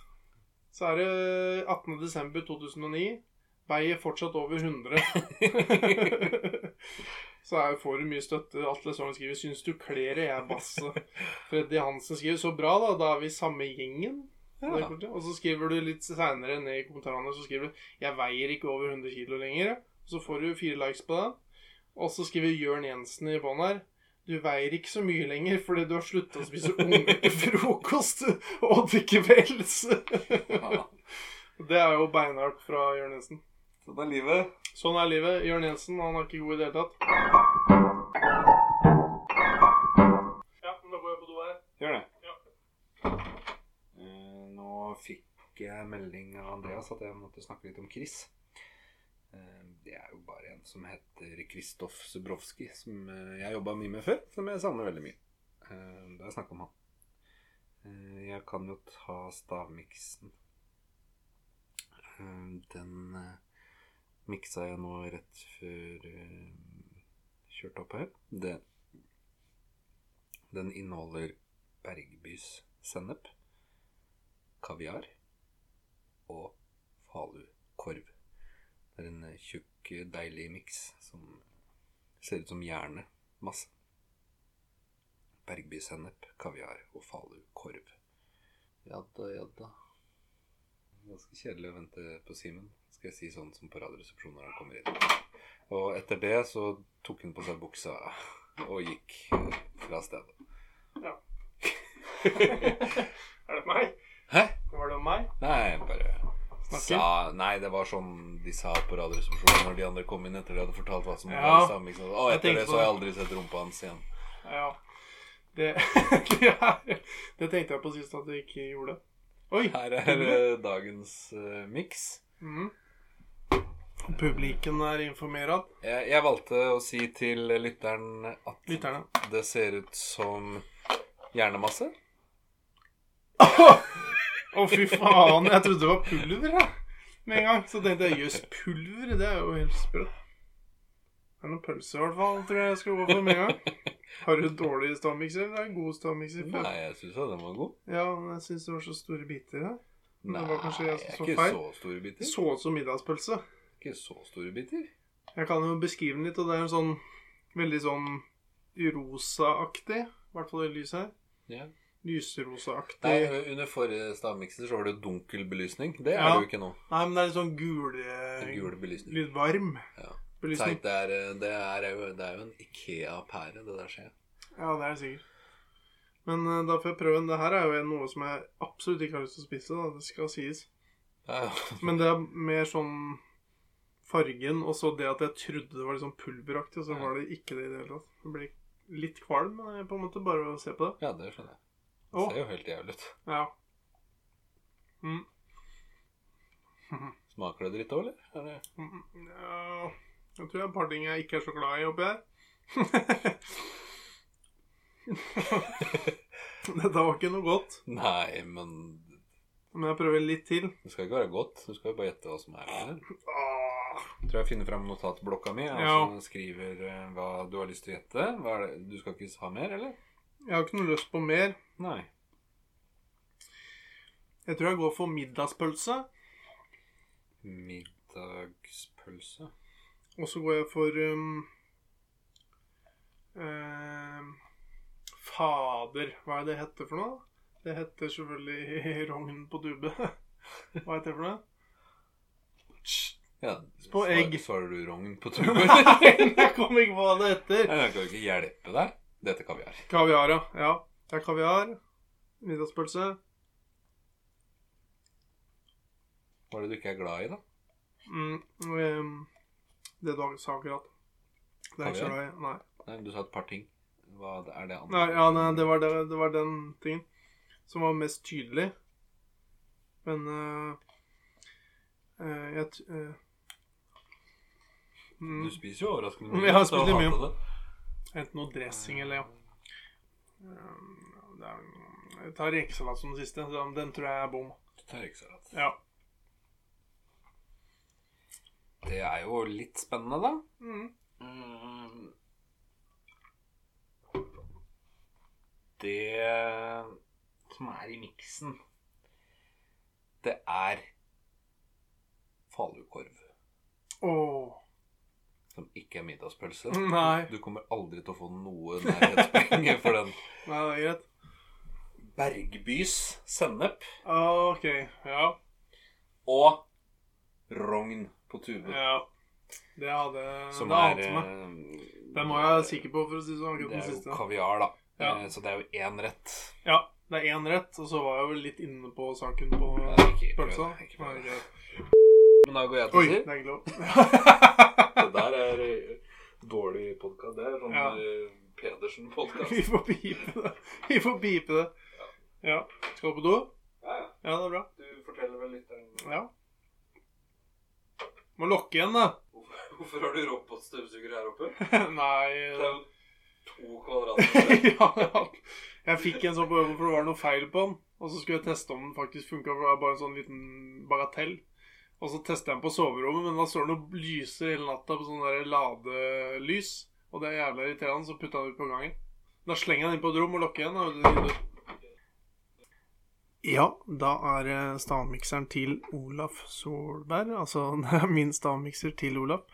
Så er det 18. desember 2009. veier fortsatt over 100. så her får du mye støtte. Atle Sogn skriver 'Syns du kler det, jeg basse'. Freddy Hansen skriver 'Så bra, da. Da er vi samme gjengen'. Så det er
Ja.
kort, ja. Og så skriver du litt seinere ned i kommentarene så skriver du 'Jeg veier ikke over 100 kg lenger'. Og så får du fire likes på den. Og så skriver Jørn Jensen i bånn her 'Du veier ikke så mye lenger fordi du har slutta å spise unger til frokost og til kvelds'.
ja.
Det er jo beinhardt fra Jørn Jensen.
Sånn er livet.
Sånn er livet. Jørn Jensen han er ikke god i det hele tatt. Ja, men da går jeg på do her.
Gjør det.
Ja.
Eh, nå fikk jeg melding av Andreas at jeg måtte snakke litt om Chris. Eh, det er jo bare en som heter Kristoff Zubrovskij, som eh, jeg jobba mye med før, som jeg savner veldig mye. Eh, da har jeg snakka om han. Eh, jeg kan jo ta stavmiksen. Eh, den eh, miksa jeg nå rett før eh, kjørte opp her. Det, den inneholder Bergbys sennep, kaviar og falukorv. Det er en eh, tjukk, eh, deilig miks som ser ut som hjerne. Masse. Bergby sennep, kaviar og falukorv. Ja da, ja da. Ganske kjedelig å vente på Simen. Skal jeg si sånn som på Radioresepsjonen når han kommer inn. Og etter det så tok hun på seg buksa og gikk eh, fra stedet.
er det meg?
Hæ?
Var det om meg?
Nei, bare
Snakke?
sa, Nei, det var sånn de sa på Radioresepsjonen når de andre kom inn etter de hadde fortalt hva som
Ja.
var i Samiksen. Å,
Jeg
etter
tenkte
det
på
så har jeg aldri sett rumpa hans igjen.
Ja. Det, det, er, det tenkte jeg på sist at jeg ikke gjorde. Oi!
Her er eh, dagens uh, miks.
Mhm. Publiken er informert.
Jeg, jeg valgte å si til lytteren at
Lytterne.
det ser ut som hjernemasse.
Å, fy faen! Jeg trodde det var pulver, jeg. Med en gang. Så tenkte jeg jøss, pulver? Det er jo helt sprøtt. Det er noen pølser, i hvert fall, tror jeg jeg skal gå for med en gang. Har du dårlig stavmikser? Det er en god stavmikser. for-
Nei, jeg syns jo den var god.
Ja, men jeg syns det var så store biter her. Men
Nei,
det var kanskje jeg som så
ikke
feil.
så store
Det
biter.
så ut som middagspølse.
Ikke så store biter.
Jeg kan jo beskrive den litt, og det er en sånn veldig sånn rosaaktig. I hvert fall i lyset her.
Ja.
Lyserosaaktig.
Nei,
Nei,
under forrige stavmikser så var det dunkel belysning. Det er
Ja.
det jo ikke nå.
men det er litt sånn gul,
Gul belysning.
Litt varm
Ja.
belysning.
Tenk, det, er, eh, det, er jo, det er jo en Ikea-pære, det der skjer.
Ja, det er det sikkert. Men eh, da får jeg prøve den. Det her er jo noe som jeg absolutt ikke har lyst til å spise. da, Det skal sies.
Ja, ja.
Men det er mer sånn fargen, og så det at jeg trodde det var litt sånn pulveraktig, og så
Ja.
var det ikke det i det hele tatt. Jeg ble litt kvalm, eh, på en måte, bare av å se på det.
ja det skjønner jeg. Det
Å,
ser jo helt jævlig ut.
ja. Mm,
Smaker det dritt òg, eller? Er det-
Mm, ja. Jeg tror det er et par ting jeg ikke er så glad i oppi her. Dette var ikke noe godt,
Nei, men
men jeg prøver litt til.
det skal ikke være godt. Du skal jo bare gjette hva som er der.
Ah,
Tror jeg finner fram notatblokka mi og
Ja.
så skriver eh, hva du har lyst til å gjette. Hva er det? Du skal ikke ha mer, eller?
Jeg har ikke noe lyst på mer.
Nei.
Jeg tror jeg går for middagspølse,
Middagspølse.
og så går jeg for um, eh, Fader, hva er det det heter for noe? Det heter selvfølgelig rogn på tube. Hva heter det for noe?
Ja,
På
svar-
egg.
Svarer du rogn på tuben? Nei,
Nei, jeg kom ikke på hva det heter.
Jeg kan jo ikke hjelpe deg. Dette kaviar.
Kaviar, ja. ja. Det er kaviar. Middagspølse.
Hva er det du ikke er glad i, da?
Mm, ehm, det du har- sa akkurat. Det er ikke så glad i. Nei.
Nei, du sa et par ting. Hva er det andre?
Nei, ja, nei det, var, det, det var den tingen som var mest tydelig. Men eh, eh, jeg t- eh, mm,
Du spiser jo overraskende
Jeg har spist
så
litt mye.
hater det.
Enten noe dressing eller ja. Ehm, det er- Jeg tar rekesalat som den siste. så Den, den tror jeg er bom.
Du tar ikke så rett.
Ja.
Det er jo litt spennende, da.
Mm.
Mm. Det som er i miksen, det er falukorv.
Åh.
Som ikke er middagspølse.
Nei.
Du kommer aldri til å få noe nærhetspenger for den.
Nei, det er greit.
Bergbys sennep
Ah, Ok, ja.
og rogn på tube.
ja. Det hadde
Som
Det
er
ante meg.
eh,
Den var jeg sikker på, for å si det sånn.
Det er
akkurat den
jo
siste.
kaviar, da.
Ja.
Eh, Så det er jo én rett.
Ja, det er én rett, og så var jeg vel litt inne på saken på
Nei, ikke prøv
pølsa.
det, ikke
Nei,
prøv det.
greit.
Men da går jeg til
Oi,
å si
det er ikke lov.
Det der er eh, dårlig podkast. Det er sånn
Ja.
eh, Pedersen-podkast.
Vi får pipe det. Vi får pipe det. Ja. Skal du på do?
Ja, ja.
Ja, det er bra.
Du forteller vel litt om
Ja. Må lokke igjen, da.
Hvorfor har du robotstøvsuger her oppe? Det er
Nei
jo to kvadratmeter.
ja, ja. Jeg fikk en sånn på øvelse, for det var noe feil på den. Og så skulle jeg teste om den faktisk funka, for det var bare en sånn liten bagatell. Og så testa jeg den på soverommet, men da står den og lyser hele natta på sånn der ladelys. Og det er jævla irriterende, så putta jeg den ut på gangen. Da slenger jeg den inn på et rom og lukker igjen. da, vet du, vinduet. Ja, da er eh, stavmikseren til Olaf Solberg. Altså det er min stavmikser til Olaf.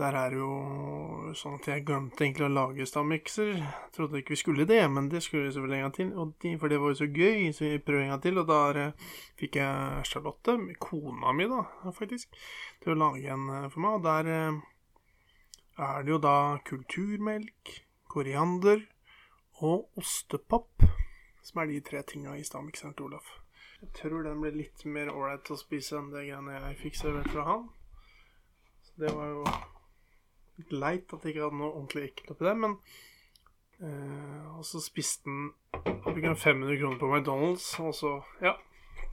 Der er det jo sånn at jeg glemte egentlig å lage stavmikser. Trodde ikke vi skulle det, men det skulle vi selvfølgelig en gang til. Og de, for det var jo så gøy, så vi prøver en gang til. Og da eh, fikk jeg Charlotte, kona mi da, faktisk, til å lage en eh, for meg. Og der eh, er det jo da kulturmelk, koriander og ostepopp. Som er de tre tinga i stavmikseren til Olaf. Jeg tror den ble litt mer ålreit å spise enn det greiene jeg fikk servert fra han. Så det var jo litt leit at jeg ikke hadde noe ordentlig ekkelt oppi der, men eh, Og så spiste den og fikk han 500 kroner på McDonald's, og så Ja.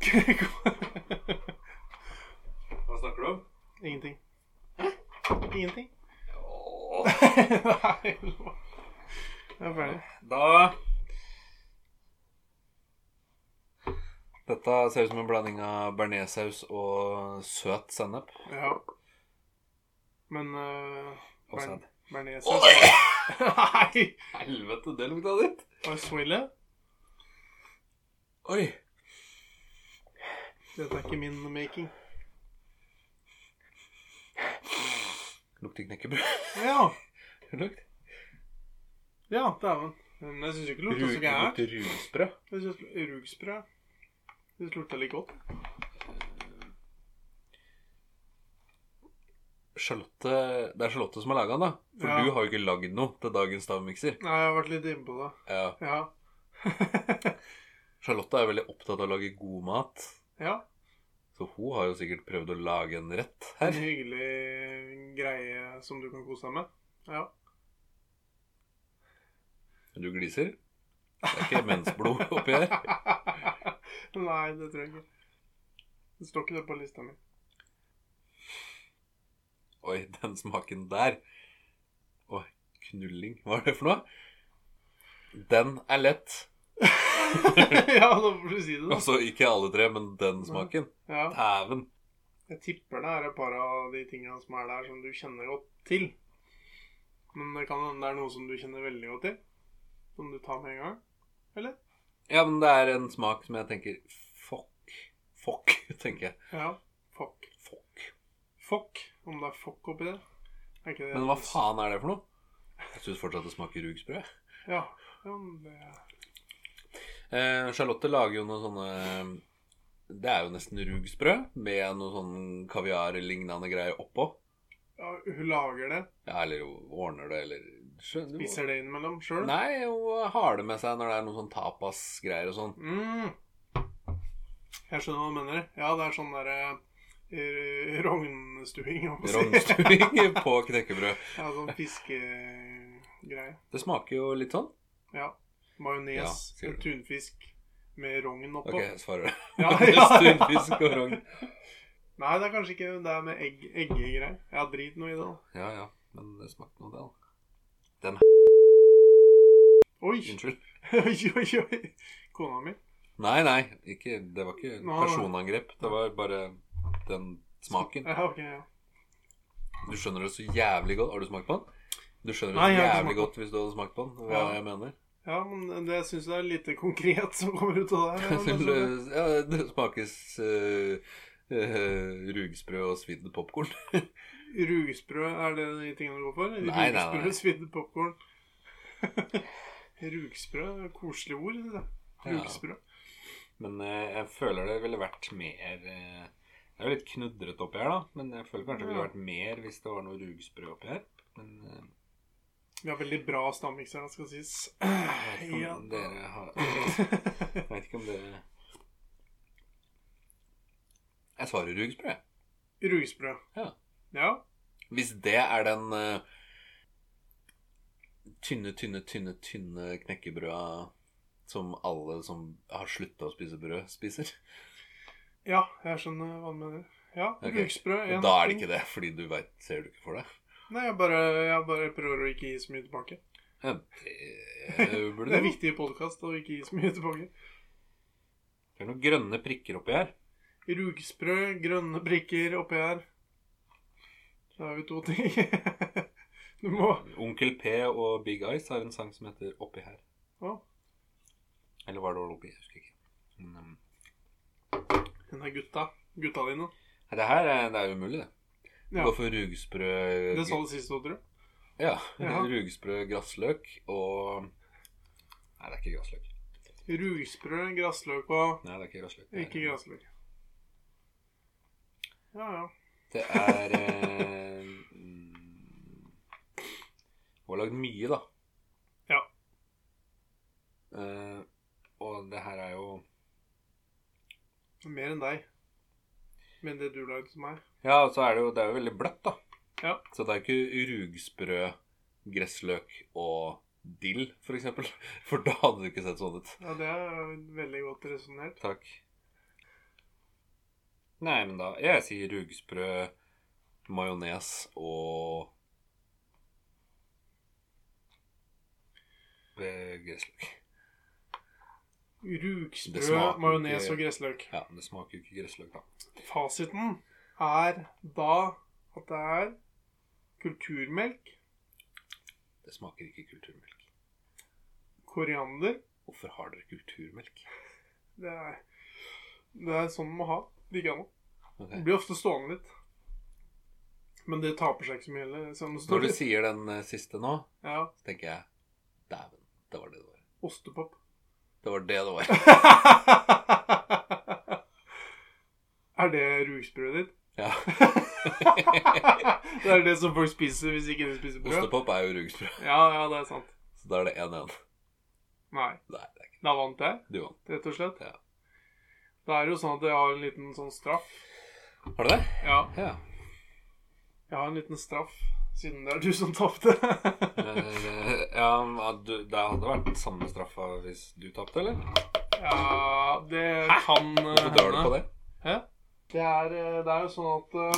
Hva snakker du om?
Ingenting. Ingenting?
Åh.
Nei, nå. Jeg er ferdig.
Da Dette ser ut som en blanding av bearnéssaus og søt sennep.
Ja. Men uh,
Og sæd.
bearnéssaus Nei!
Helvete, det lukta dritt!
Var det så ille?
Oi.
Dette er ikke min making.
Lukter knekkebrød.
Ja.
Lukt.
Ja, dæven. Men jeg syns ikke det lukta så gærent.
Lukter rusbrød.
Jeg synes Rugsprø. Det lukta litt godt.
Charlotte Det er Charlotte som har laga den, da. For
Ja.
du har jo ikke lagd noe til dagens stavmikser.
Nei, jeg har vært litt inne på det.
Ja.
Ja.
Charlotte er veldig opptatt av å lage god mat,
ja.
så hun har jo sikkert prøvd å lage en rett
En
her.
hyggelig greie som du kan kose deg med. Ja.
Du gliser. Det er ikke mensblod oppi her.
Nei, det tror jeg ikke. Det står ikke det på lista mi.
Oi, den smaken der. Oi, knulling. Hva er det for noe? Den er lett.
ja, da får du si det, da.
Altså, ikke alle tre, men den smaken.
Ja.
Dæven.
Jeg tipper det er et par av de tinga som er der, som du kjenner godt til. Men det kan hende det er noe som du kjenner veldig godt til. Som du tar med en gang. Eller?
Ja, men det er en smak som jeg tenker Fuck. Fuck, tenker jeg.
Ja. Fuck.
Fuck.
Fuck. Om det er fuck oppi der. Er ikke det
Men hva faen er det for noe? Jeg syns fortsatt det smaker rugsprø.
Ja. ja men det...
Eh, Charlotte lager jo noen sånne Det er jo nesten rugsprø med noe sånn kaviar-lignende greier oppå.
ja, hun lager det.
Ja, eller ordner det, eller Skjønner du?
Spiser det innimellom sjøl.
Nei, hun har det med seg når det er noen sånn tapasgreier og sånn.
Mm. Jeg skjønner hva du mener. Ja, det er sånn derre eh, rognstuing. om å si.
Rognstuing på knekkebrød.
Ja, sånn fiskegreie.
Det smaker jo litt sånn.
Ja.
Ja,
Majones,
sier du.
tunfisk med rogn oppå.
Ok, jeg svarer det.
Ja,
Stunfisk og rogn.
Nei, det er kanskje ikke det er med egg, eggegreier. Ja, drit noe i det. da.
Ja ja, men det smakte noe, det, da.
Oi!
Unnskyld.
oi, oi, oi. Kona mi.
Nei, nei, ikke, det var ikke
Nå har-
personangrep. Det var bare den smaken.
Ja, ok, ja.
Du skjønner det så jævlig godt. Har du smakt på den? Du skjønner det
Nei, jeg
så
har ikke
jævlig
smakt på
godt hvis du hadde smakt på den, hva
Ja.
jeg mener.
ja, men det syns altså, jeg er lite konkret som kommer ut av det her. ja, men det er sånn det.
Ja, det smakes eh, eh, rugsprø og svidd popkorn.
Rugsprø, er det de tingene du går for?
Nei, nei, nei.
Rugsprø, svidd popkorn. Rugsprø, koselig ord. Det.
Ja.
Rugsprø.
Men eh, jeg føler det ville vært mer eh, Det er jo litt knudret oppi her, da. Men jeg føler kanskje det ville
Ja.
vært mer hvis det var noe rugsprø oppi her. Men eh,
Vi har veldig bra stavmikser, det skal sies.
jeg vet ikke om
Ja.
dere har Jeg vet ikke om dere Jeg svarer rugsprø, jeg.
Rugsprø.
Ja.
ja.
Hvis det er den eh, tynne, tynne, tynne, tynne knekkebrøda som alle som har slutta å spise brød, spiser.
Ja, jeg skjønner hva du mener. Ja,
Ok.
rugsprø.
Og da er det ikke det, fordi du veit Ser du ikke for deg?
Nei, jeg bare, jeg bare prøver å ikke gi så mye tilbake.
Ja, det burde
Det er
du.
viktig i podkast å ikke gi så mye tilbake.
Det er noen grønne prikker oppi her.
Rugsprø, grønne prikker oppi her. Da er vi to ting. Du må
Onkel P og Big Eyes har en sang som heter 'Oppi her'.
Å,
Eller var det All Oppi? Jeg husker ikke. Men, um,
den er gutta. Gutta dine.
nei, det her er, det er umulig, det.
Ja.
Gå for rugsprø
Det sånn. sa du sist òg, tror jeg.
Ja.
Ja.
Rugsprø grassløk og Nei, det er ikke grassløk.
Rugsprø, gressløk og
Nei, det er ikke grassløk. Det er-
ikke gressløk. Ja, ja.
Det er eh, mm, Hun har lagd mye, da.
Ja.
Eh, og det her er jo
Mer enn deg. Men det du lagde til meg.
Ja, og så er det jo, det er jo veldig bløtt, da.
Ja.
Så det er ikke rugsprø, gressløk og dill, for eksempel. For da hadde det ikke sett sånn ut.
Ja, det er veldig godt resonnert.
Takk. Nei, men da Jeg sier rugsprø, majones og eh, Gressløk. Det
Rugsprø,
smaker
majones
ikke-
og gressløk.
Ja, men det smaker jo ikke gressløk, da.
Fasiten er da at det er kulturmelk,
Det smaker ikke kulturmelk.
koriander
Hvorfor har dere kulturmelk?
Det er, det er sånn man må ha. Det gikk an.
Ok.
Det blir ofte stående litt. Men det taper seg ikke så mye heller. selv om det står
Når du
litt.
sier den eh, siste nå,
Ja,
så tenker jeg Dæven, det var det det var.
ostepop.
Det var det det var.
er det rugsprøet ditt?
Ja.
det er det som folk spiser hvis ikke de spiser brød?
Ostepop er jo rugsprø,
Ja, ja, det er sant.
så da er det 1-1.
Nei.
Nei, det er ikke
Da vant jeg,
Du vant.
rett og slett.
Ja.
Da er det jo sånn at jeg har en liten sånn straff.
Har du det?
Ja,
Ja.
jeg har en liten straff, siden det er du som tapte.
Eh, ja, men du, det hadde vært samme straffa hvis du tapte, eller?
ja, det kan eh,
Hvorfor dør du på det?
Hæ? Det er, eh, det er jo sånn at eh,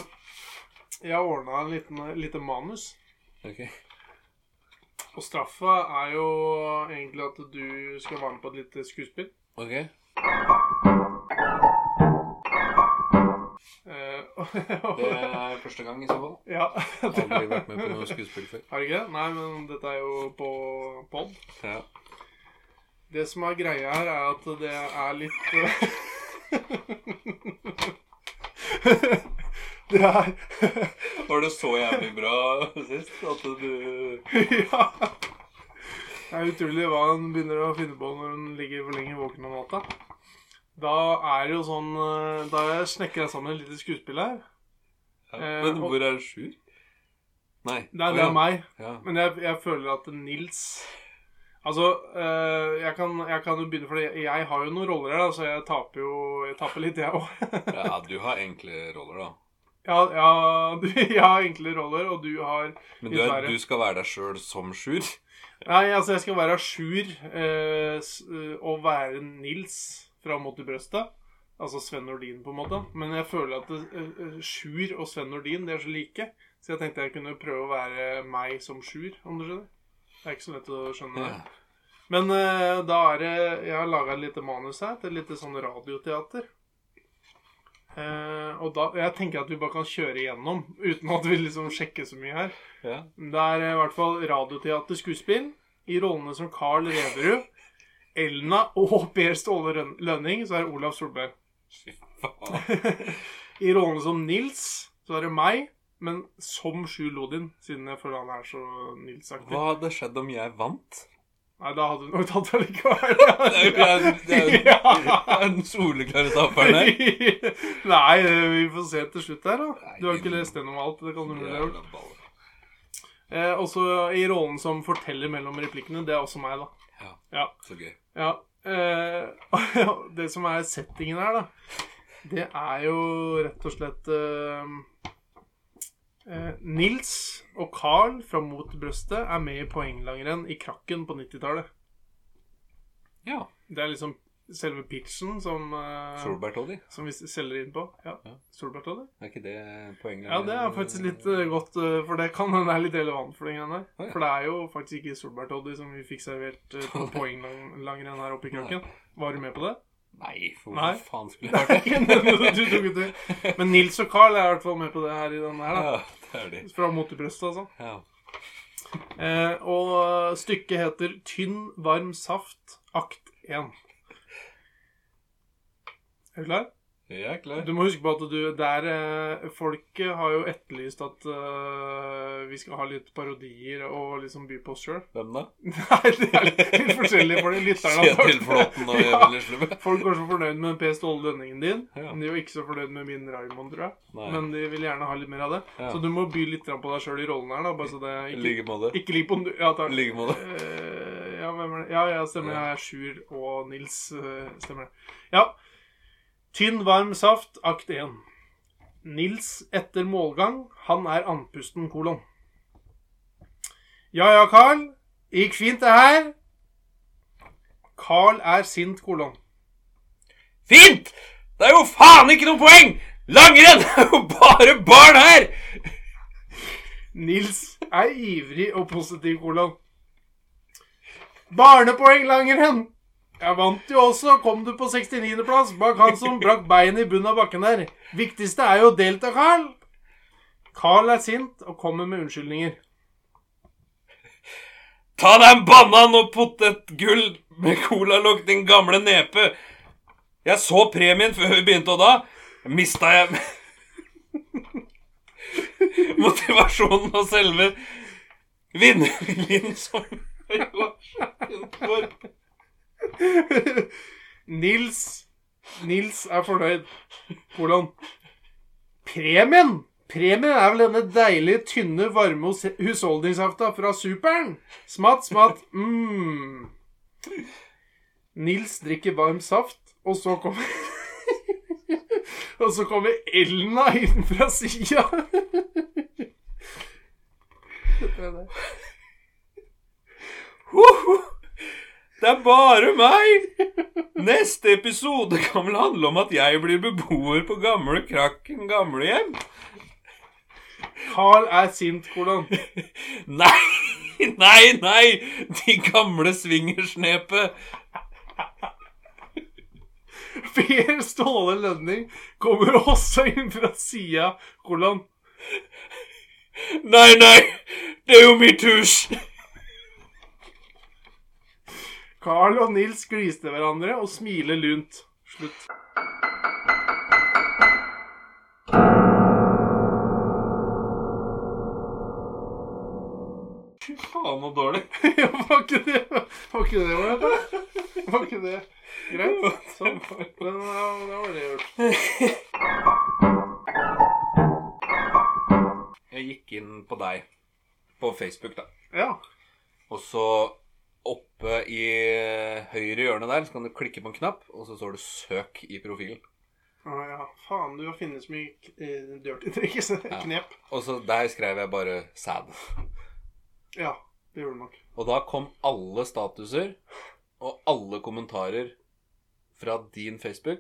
jeg ordna en liten, lite manus.
Ok.
Og straffa er jo egentlig at du skal være med på et lite skuespill.
Ok.
Eh,
Det er første gang i så fall.
ja.
Aldri vært med på noe skuespill før.
Er det ikke? det? Nei, men dette er jo på pod.
Ja.
Det som er greia her, er at det er litt eh, Det er
Var det så jævlig bra sist at du
Ja. Det er utrolig hva hun begynner å finne på når hun ligger for lenge våken om natta. Da er det jo sånn eh, Da har jeg snekra sammen et lite skuespill her.
ja.
Eh,
Men
og-
hvor er Sjur? Nei.
Det er,
Å,
det
ja.
er meg.
Ja.
Men jeg, jeg føler at Nils Altså, eh, jeg, kan, jeg kan jo begynne, for jeg, jeg har jo noen roller her, da, så jeg taper jo jeg taper litt, jeg òg.
ja, du har enkle roller, da.
ja, ja, du- jeg har enkle roller, og du har
Men du, er,
Dessverre.
du skal være deg sjøl som Sjur?
Nei, altså, jeg skal være à jour eh, s- eh, og være Nils fra Mot i brøstet. Altså Sven Nordin, på en måte. Men jeg føler at eh, eh, Sjur og Sven Nordin, de er så like. Så jeg tenkte jeg kunne prøve å være meg som Sjur, om du skjønner. Det er ikke så lett å skjønne. det.
Ja.
Men eh, da er det Jeg har laga et lite manus her til et lite sånn radioteater. Eh, og da, jeg tenker at vi bare kan kjøre igjennom uten at vi liksom sjekker så mye her.
Ja.
Det er eh, i hvert fall radioteater skuespill i rollene som Carl Reverud, Elna og Per Ståle Røn- Lønning. Så er det Olav Solberg.
Fy faen.
I rollen som Nils så er det meg, men som Sjul Odin, siden jeg føler han er så Nils-aktig.
Hva hadde skjedd om jeg vant?
Nei, da hadde du nok tatt det likevel.
Det er jo jeg, det er jo-
Ja.
jeg er den soleklare taperen her.
Nei, vi får se til slutt her, da.
Nei,
Du har ikke
din-
lest gjennom alt. Sånn Det kan du mulig ha gjort.
Jævla baller.
Eh, også i rollen som forteller mellom replikkene. Det er også meg, da.
Ja,
Ja.
så gøy.
ja. Eh, det som er settingen her, da, det er jo rett og slett eh, eh, Nils og Carl fra Mot brøstet er med i poenglangrenn i Krakken på 90-tallet.
Ja.
Det er liksom selve pitchen som, eh,
Solbært og de.
som vi selger inn på. Ja.
Ja.
Solbert og det.
Er ikke det poenget?
Ja, det er faktisk litt eh, godt, eh, for det kan hende er litt relevant for den greia der.
Å, ja.
For det er jo faktisk ikke solbærtoddy som vi fikk servert eh, på poenglangrenn her oppe i Kraken. Var du med på det?
Nei, for
Nei.
hvor faen skulle
Nei,
jeg vært det?
du tok ikke til. Men Nils og Carl er i hvert fall med på det her i denne her, da.
Ja, det er de.
Fra motebrøstet, altså.
Ja.
Eh, og stykket heter 'Tynn, varm saft', akt 1. Er du klar?
Jeg er klar.
Du må huske på at du der eh, Folket har jo etterlyst at eh, vi skal ha litt parodier og liksom by på oss sjøl.
Hvem da?
Nei, det er litt, litt forskjellig for de lytterne. av
Kjetil
folk.
Flåten og
Ja.
Even Leslebø?
Folk var så fornøyd med Per Ståle Lønningen din.
Ja.
Men de var ikke så fornøyd med min Raymond, tror jeg.
Nei.
Men de vil gjerne ha litt mer av det.
Ja.
Så du må by litt grann på deg sjøl i rollen her, da. Bare så det
I
ikke,
like måte.
ikke ligger på nu- Ja,
I
takk.
like måte.
Eh, ja, hvem er det? Ja, ja, stemmer. Jeg er Sjur og Nils. eh, Stemmer det. Ja. Tynn, varm saft, akt 1. Nils etter målgang, han er andpusten, kolon. Ja ja, Carl. Gikk fint, det her. Carl er sint, kolon.
Fint! Det er jo faen ikke noe poeng! Langrenn er jo bare barn her!
Nils er ivrig og positiv, kolon. Barnepoeng langrenn! Jeg vant jo også, kom du på 69.-plass bak han som brakk beinet i bunnen av bakken der. Viktigste er jo å delta, Carl. Carl er sint og kommer med unnskyldninger.
Ta deg en banan og potetgull med colalokk, din gamle nepe. Jeg så premien før vi begynte, og da mista jeg motivasjonen og selve vinnerviljen som jeg var kjent for.
Nils Nils er fornøyd. Kolon. Premien! Premien er vel denne deilige, tynne, varme hus- husholdningssafta fra Superen. Smatt, smatt. Mm. Nils drikker varm saft, og så kommer Og så kommer Elna inn fra sida.
Hoho! Det er bare meg! Neste episode kan vel handle om at jeg blir beboer på gamle Krakken gamlehjem.
Carl er sint, kolon.
Nei, nei, nei! De gamle swingersnepet.
Per Ståle Lønning kommer også inn fra sida, kolon.
Nei, nei! Det er jo mitt hus!
Carl og Nils gliste hverandre og smiler lunt. Slutt.
Fy faen, så dårlig.
var ikke det Var ikke det var det? Var ikke det greit? Sånn. Men ja, da var det gjort.
Jeg gikk inn på deg på Facebook, da.
Ja.
Og så oppe i høyre hjørne der så kan du klikke på en knapp, og så står det 'søk' i profilen.
Å, ja. Faen, du har funnet så mye k- eh, dirty tricks. Knep.
Og så der skrev jeg bare 'sad'.
Ja, det gjorde du nok.
Og da kom alle statuser og alle kommentarer fra din Facebook,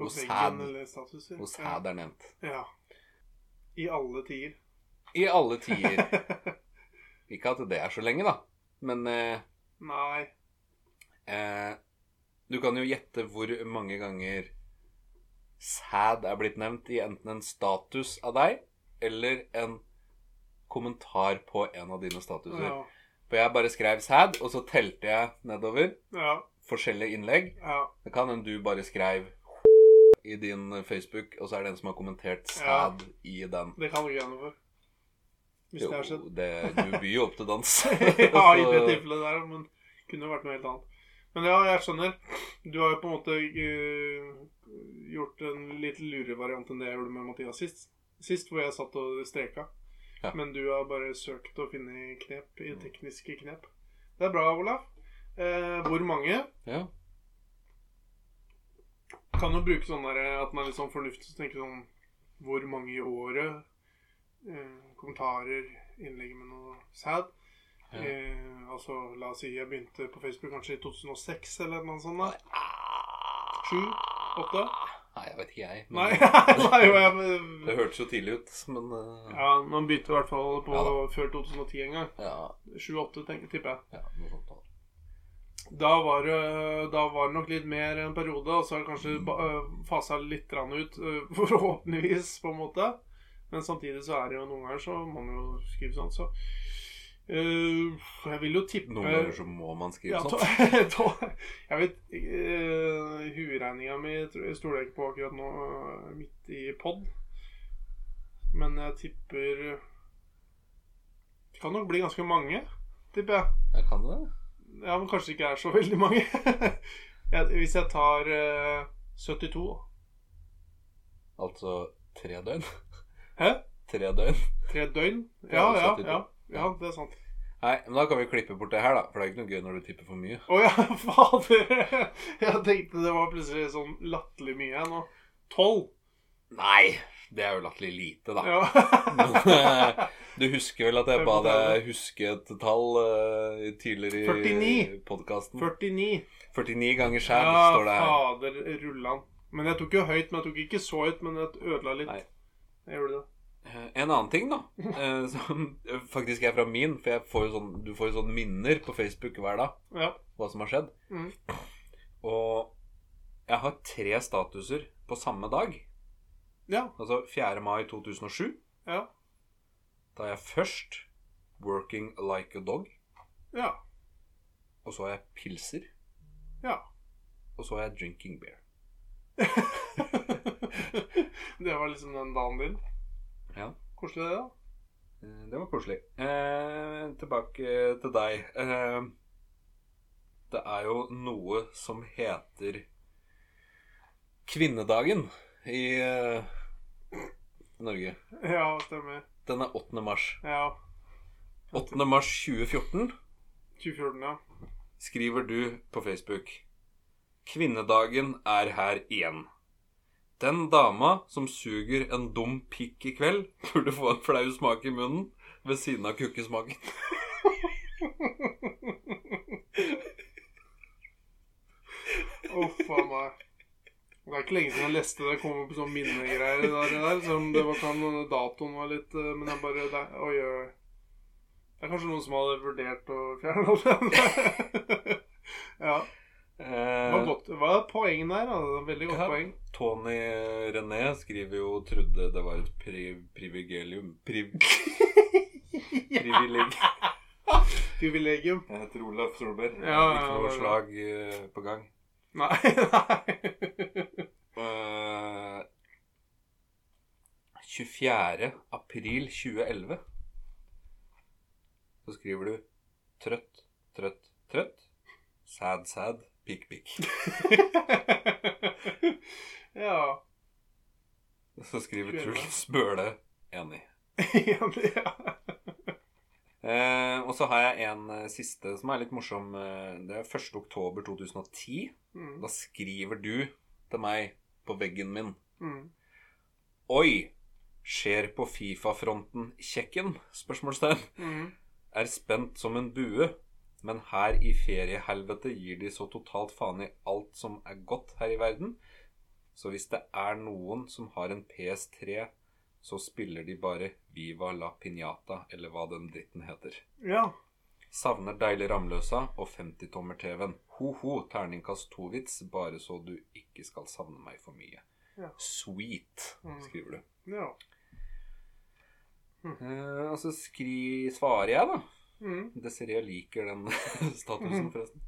På
Og
veggen
sad.
eller statuser.
hvor sad er nevnt.
Ja. ja. I alle tider.
I alle tider. Ikke at det er så lenge, da. Men eh,
Nei.
eh, du kan jo gjette hvor mange ganger sad er blitt nevnt i enten en status av deg eller en kommentar på en av dine statuser.
Ja.
For jeg bare skrev sad, og så telte jeg nedover
Ja.
forskjellige innlegg.
ja.
Det kan hende du bare skrev i din Facebook, og så er det en som har kommentert sad i den.
Det kan du ikke gjøre noe for. Hvis det har skjedd.
Jo, det, du byr jo opp til dans.
ja, i det
Så-
tilfellet der, men det kunne jo vært noe helt annet. Men ja, jeg skjønner. Du har jo på en måte eh, gjort en litt lurere variant enn det jeg gjorde med Mathias sist. Sist hvor jeg satt og streka.
Ja.
Men du har bare søkt å finne knep i
Mm.
tekniske knep. Det er bra, Olaf. Eh, hvor mange?
Ja.
Kan jo bruke sånn der, at man er litt sånn fornuftig og tenker sånn Hvor mange i året? Eh, kommentarer, innlegg med noe sad.
Ja.
Eh, altså, la oss si jeg begynte på Facebook kanskje i 2006 eller noe sånt. da. Sju? Åtte?
Nei, jeg vet ikke jeg.
Nei,
men-
nei jo, jeg,
Det hørtes jo tidlig ut, men eh,
ja, Man begynte i hvert fall på
Ja da.
før 2010 en gang.
ja.
Sju-åtte, tipper jeg.
ja, noe sånt da.
Da var, det- da var det nok litt mer en periode, og så har det kanskje ba- øh, fasa litt grann ut, øh, forhåpentligvis, på en måte. Men samtidig så er det jo noen ganger så må man jo skrive sånn, så Øh, Jeg vil jo tippe
Noen ganger så må man skrive sånn.
ja,
sånt.
ta- ta- Jeg vet uh, Hueregninga mi tror- stoler jeg ikke på akkurat nå, øh, midt i pod. Men jeg tipper Det kan nok bli ganske mange, tipper jeg.
Jeg kan det.
Ja, men kanskje det ikke er så veldig mange. jeg, hvis jeg tar eh, 72 da.
Altså tre døgn.
Hæ?
Tre døgn.
Tre døgn? Ja,
Ja,
ja,
72.
ja. Ja, det er sant.
Nei, men da kan vi klippe bort det her, da. For det er ikke noe gøy når du tipper for mye.
Å ja, fader! Jeg tenkte det var plutselig sånn latterlig mye her nå. Tolv!
Nei! Det er jo latterlig lite, da.
Ja.
Men, eh, Du husker vel at jeg ba deg
35.
huske et tall eh, tidligere i
49.
podkasten?
49.
49 ganger
Ja,
skjær, står det her.
fader rullan. Men jeg tok jo høyt, men jeg tok ikke så høyt, men jeg ødela litt.
Nei.
Jeg gjorde det.
Eh, En annen ting, da, eh, som faktisk er fra min, for jeg får jo sånn, du får jo sånn minner på Facebook hver dag,
Ja.
hva som har skjedd.
Mm.
Og jeg har tre statuser på samme dag.
Ja.
Altså 4. mai 2007.
Ja.
Da er jeg først 'Working like a dog',
Ja.
og så er jeg pilser,
ja.
og så er jeg 'drinking beer'.
det var liksom den dagen din.
Ja.
Koselig det, da.
Eh, Det var koselig. Eh, tilbake til deg. Eh, det er jo noe som heter kvinnedagen i eh, Norge.
Ja, stemmer.
Den er 8. mars.
Ja.
8. mars 2014
2014, ja.
skriver du på Facebook. Kvinnedagen er her igjen. Den dama som suger en dum pikk i kveld, burde få en flau smak i munnen ved siden av kukkesmaken.
Uff a meg. Det er ikke lenge siden jeg leste det. Jeg kom opp på sånne minnegreier der. der som det var kan datoen var litt eh, Men jeg bare det, Oi, oi. oi. Det er kanskje noen som hadde vurdert å fjerne den. ja. Det var
Eh,
godt. Hva er poenget der? da? Det var Veldig godt
Ja.
poeng.
Tony René skriver jo trodde det var et pri privilegium priv Privileg...
Privilegium.
Jeg heter Olaf Solberg.
Ja, ja, ja.
Ikke noe slag eh, på gang.
Nei, nei.
Eh, 24. april 2011 Så skriver du Trøtt, trøtt, trøtt Sad, sad, pikk, pikk
ja.
Så skriver Truls Bøhle Enig
ja.
eh, Og så har jeg en eh, siste som er litt morsom eh, Det er 1. oktober 2010
Mm.
Da skriver du til meg på veggen min
Mm.
Oi, skjer på FIFA-fronten kjekken? Spørsmålstegn
Mm.
er spent som en bue, men her i feriehelvete gir de så totalt faen i alt som er godt her i verden. Så hvis det er noen som har en PS3, så spiller de bare Viva la piñata, eller hva den dritten heter.
ja.
Savner deilig Ramløsa og 50-tommer-TV-en. Ho-ho, terningkast to-vits, bare så du ikke skal savne meg for mye.
Ja.
Sweet,
Mm.
skriver du.
Ja.
Eh, og så skri, svarer jeg, da.
Mm.
Desiree liker den statusen, forresten.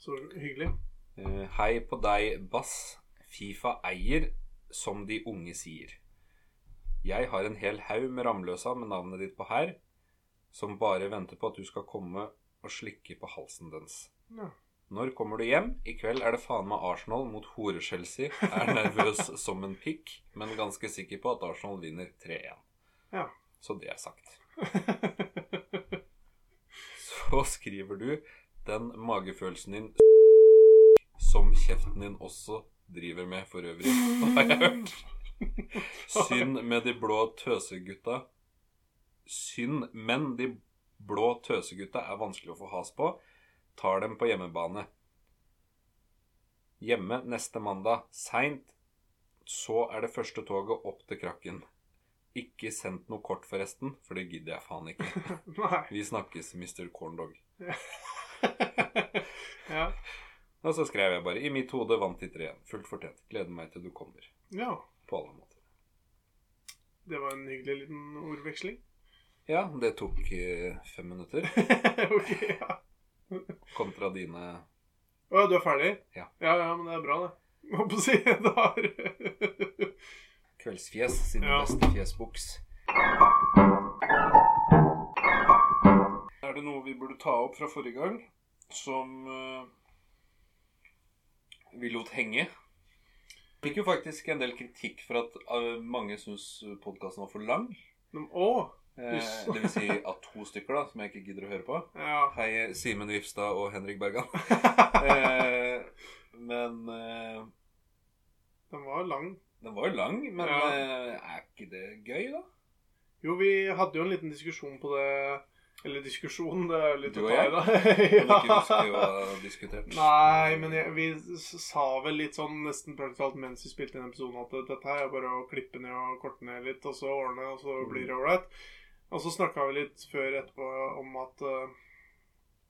Så hyggelig.
Eh, Hei på deg, Bass. Fifa eier, som de unge sier. Jeg har en hel haug med ramløsa med navnet ditt på her, som bare venter på at du skal komme og slikke på halsen dens.
Ja.
Når kommer du hjem? I kveld er det faen meg Arsenal mot hore-Chelsea. Er nervøs som en pikk, men ganske sikker på at Arsenal vinner 3-1.
Ja.
Så det er sagt. Så skriver du den magefølelsen din som kjeften din også driver med for øvrig, har jeg hørt. Synd med de blå tøsegutta. Synd, men de blå tøsegutta er vanskelig å få has på. Tar dem på hjemmebane. Hjemme neste mandag, seint, så er det første toget opp til Krakken. Ikke sendt noe kort, forresten, for det gidder jeg faen ikke.
Nei.
Vi snakkes, Mr. Corndog.
ja.
Og så skrev jeg bare 'I mitt hode vant de tre igjen. Fullt fortjent. Gleder meg til du kommer'.
ja.
På alle måter.
Det var en hyggelig liten ordveksling.
Ja, det tok eh, fem minutter.
ok, ja.
Kontra dine
Å, du er ferdig?
Ja.
ja. Ja, men det er bra, det. Må på å si det har
kveldsfjes, sine
Ja.
beste fjesbuks. Er det noe vi burde ta opp fra forrige gang som eh, vi lot henge? Fikk jo faktisk en del kritikk for at eh, mange syns podkasten var for lang.
De- Å!
Eh,
Yes.
det vil si at to stykker, da, som jeg ikke gidder å høre på.
Ja.
Hei, Simen Vifstad og Henrik Bergan. eh, men eh,
Den var lang.
Den var jo lang, men
Ja.
eh, er ikke det gøy, da?
Jo, vi hadde jo en liten diskusjon på det Eller diskusjon, det er jo litt
Du og
å ta i,
jeg? Om
da.
ikke husker å ha diskutert.
Nei, men jeg, vi s- sa vel litt sånn nesten praktisk talt mens vi spilte inn episoden at dette her er bare å klippe ned og korte ned litt, og så ordne, og så blir det ålreit. Og så snakka vi litt før etterpå om at eh,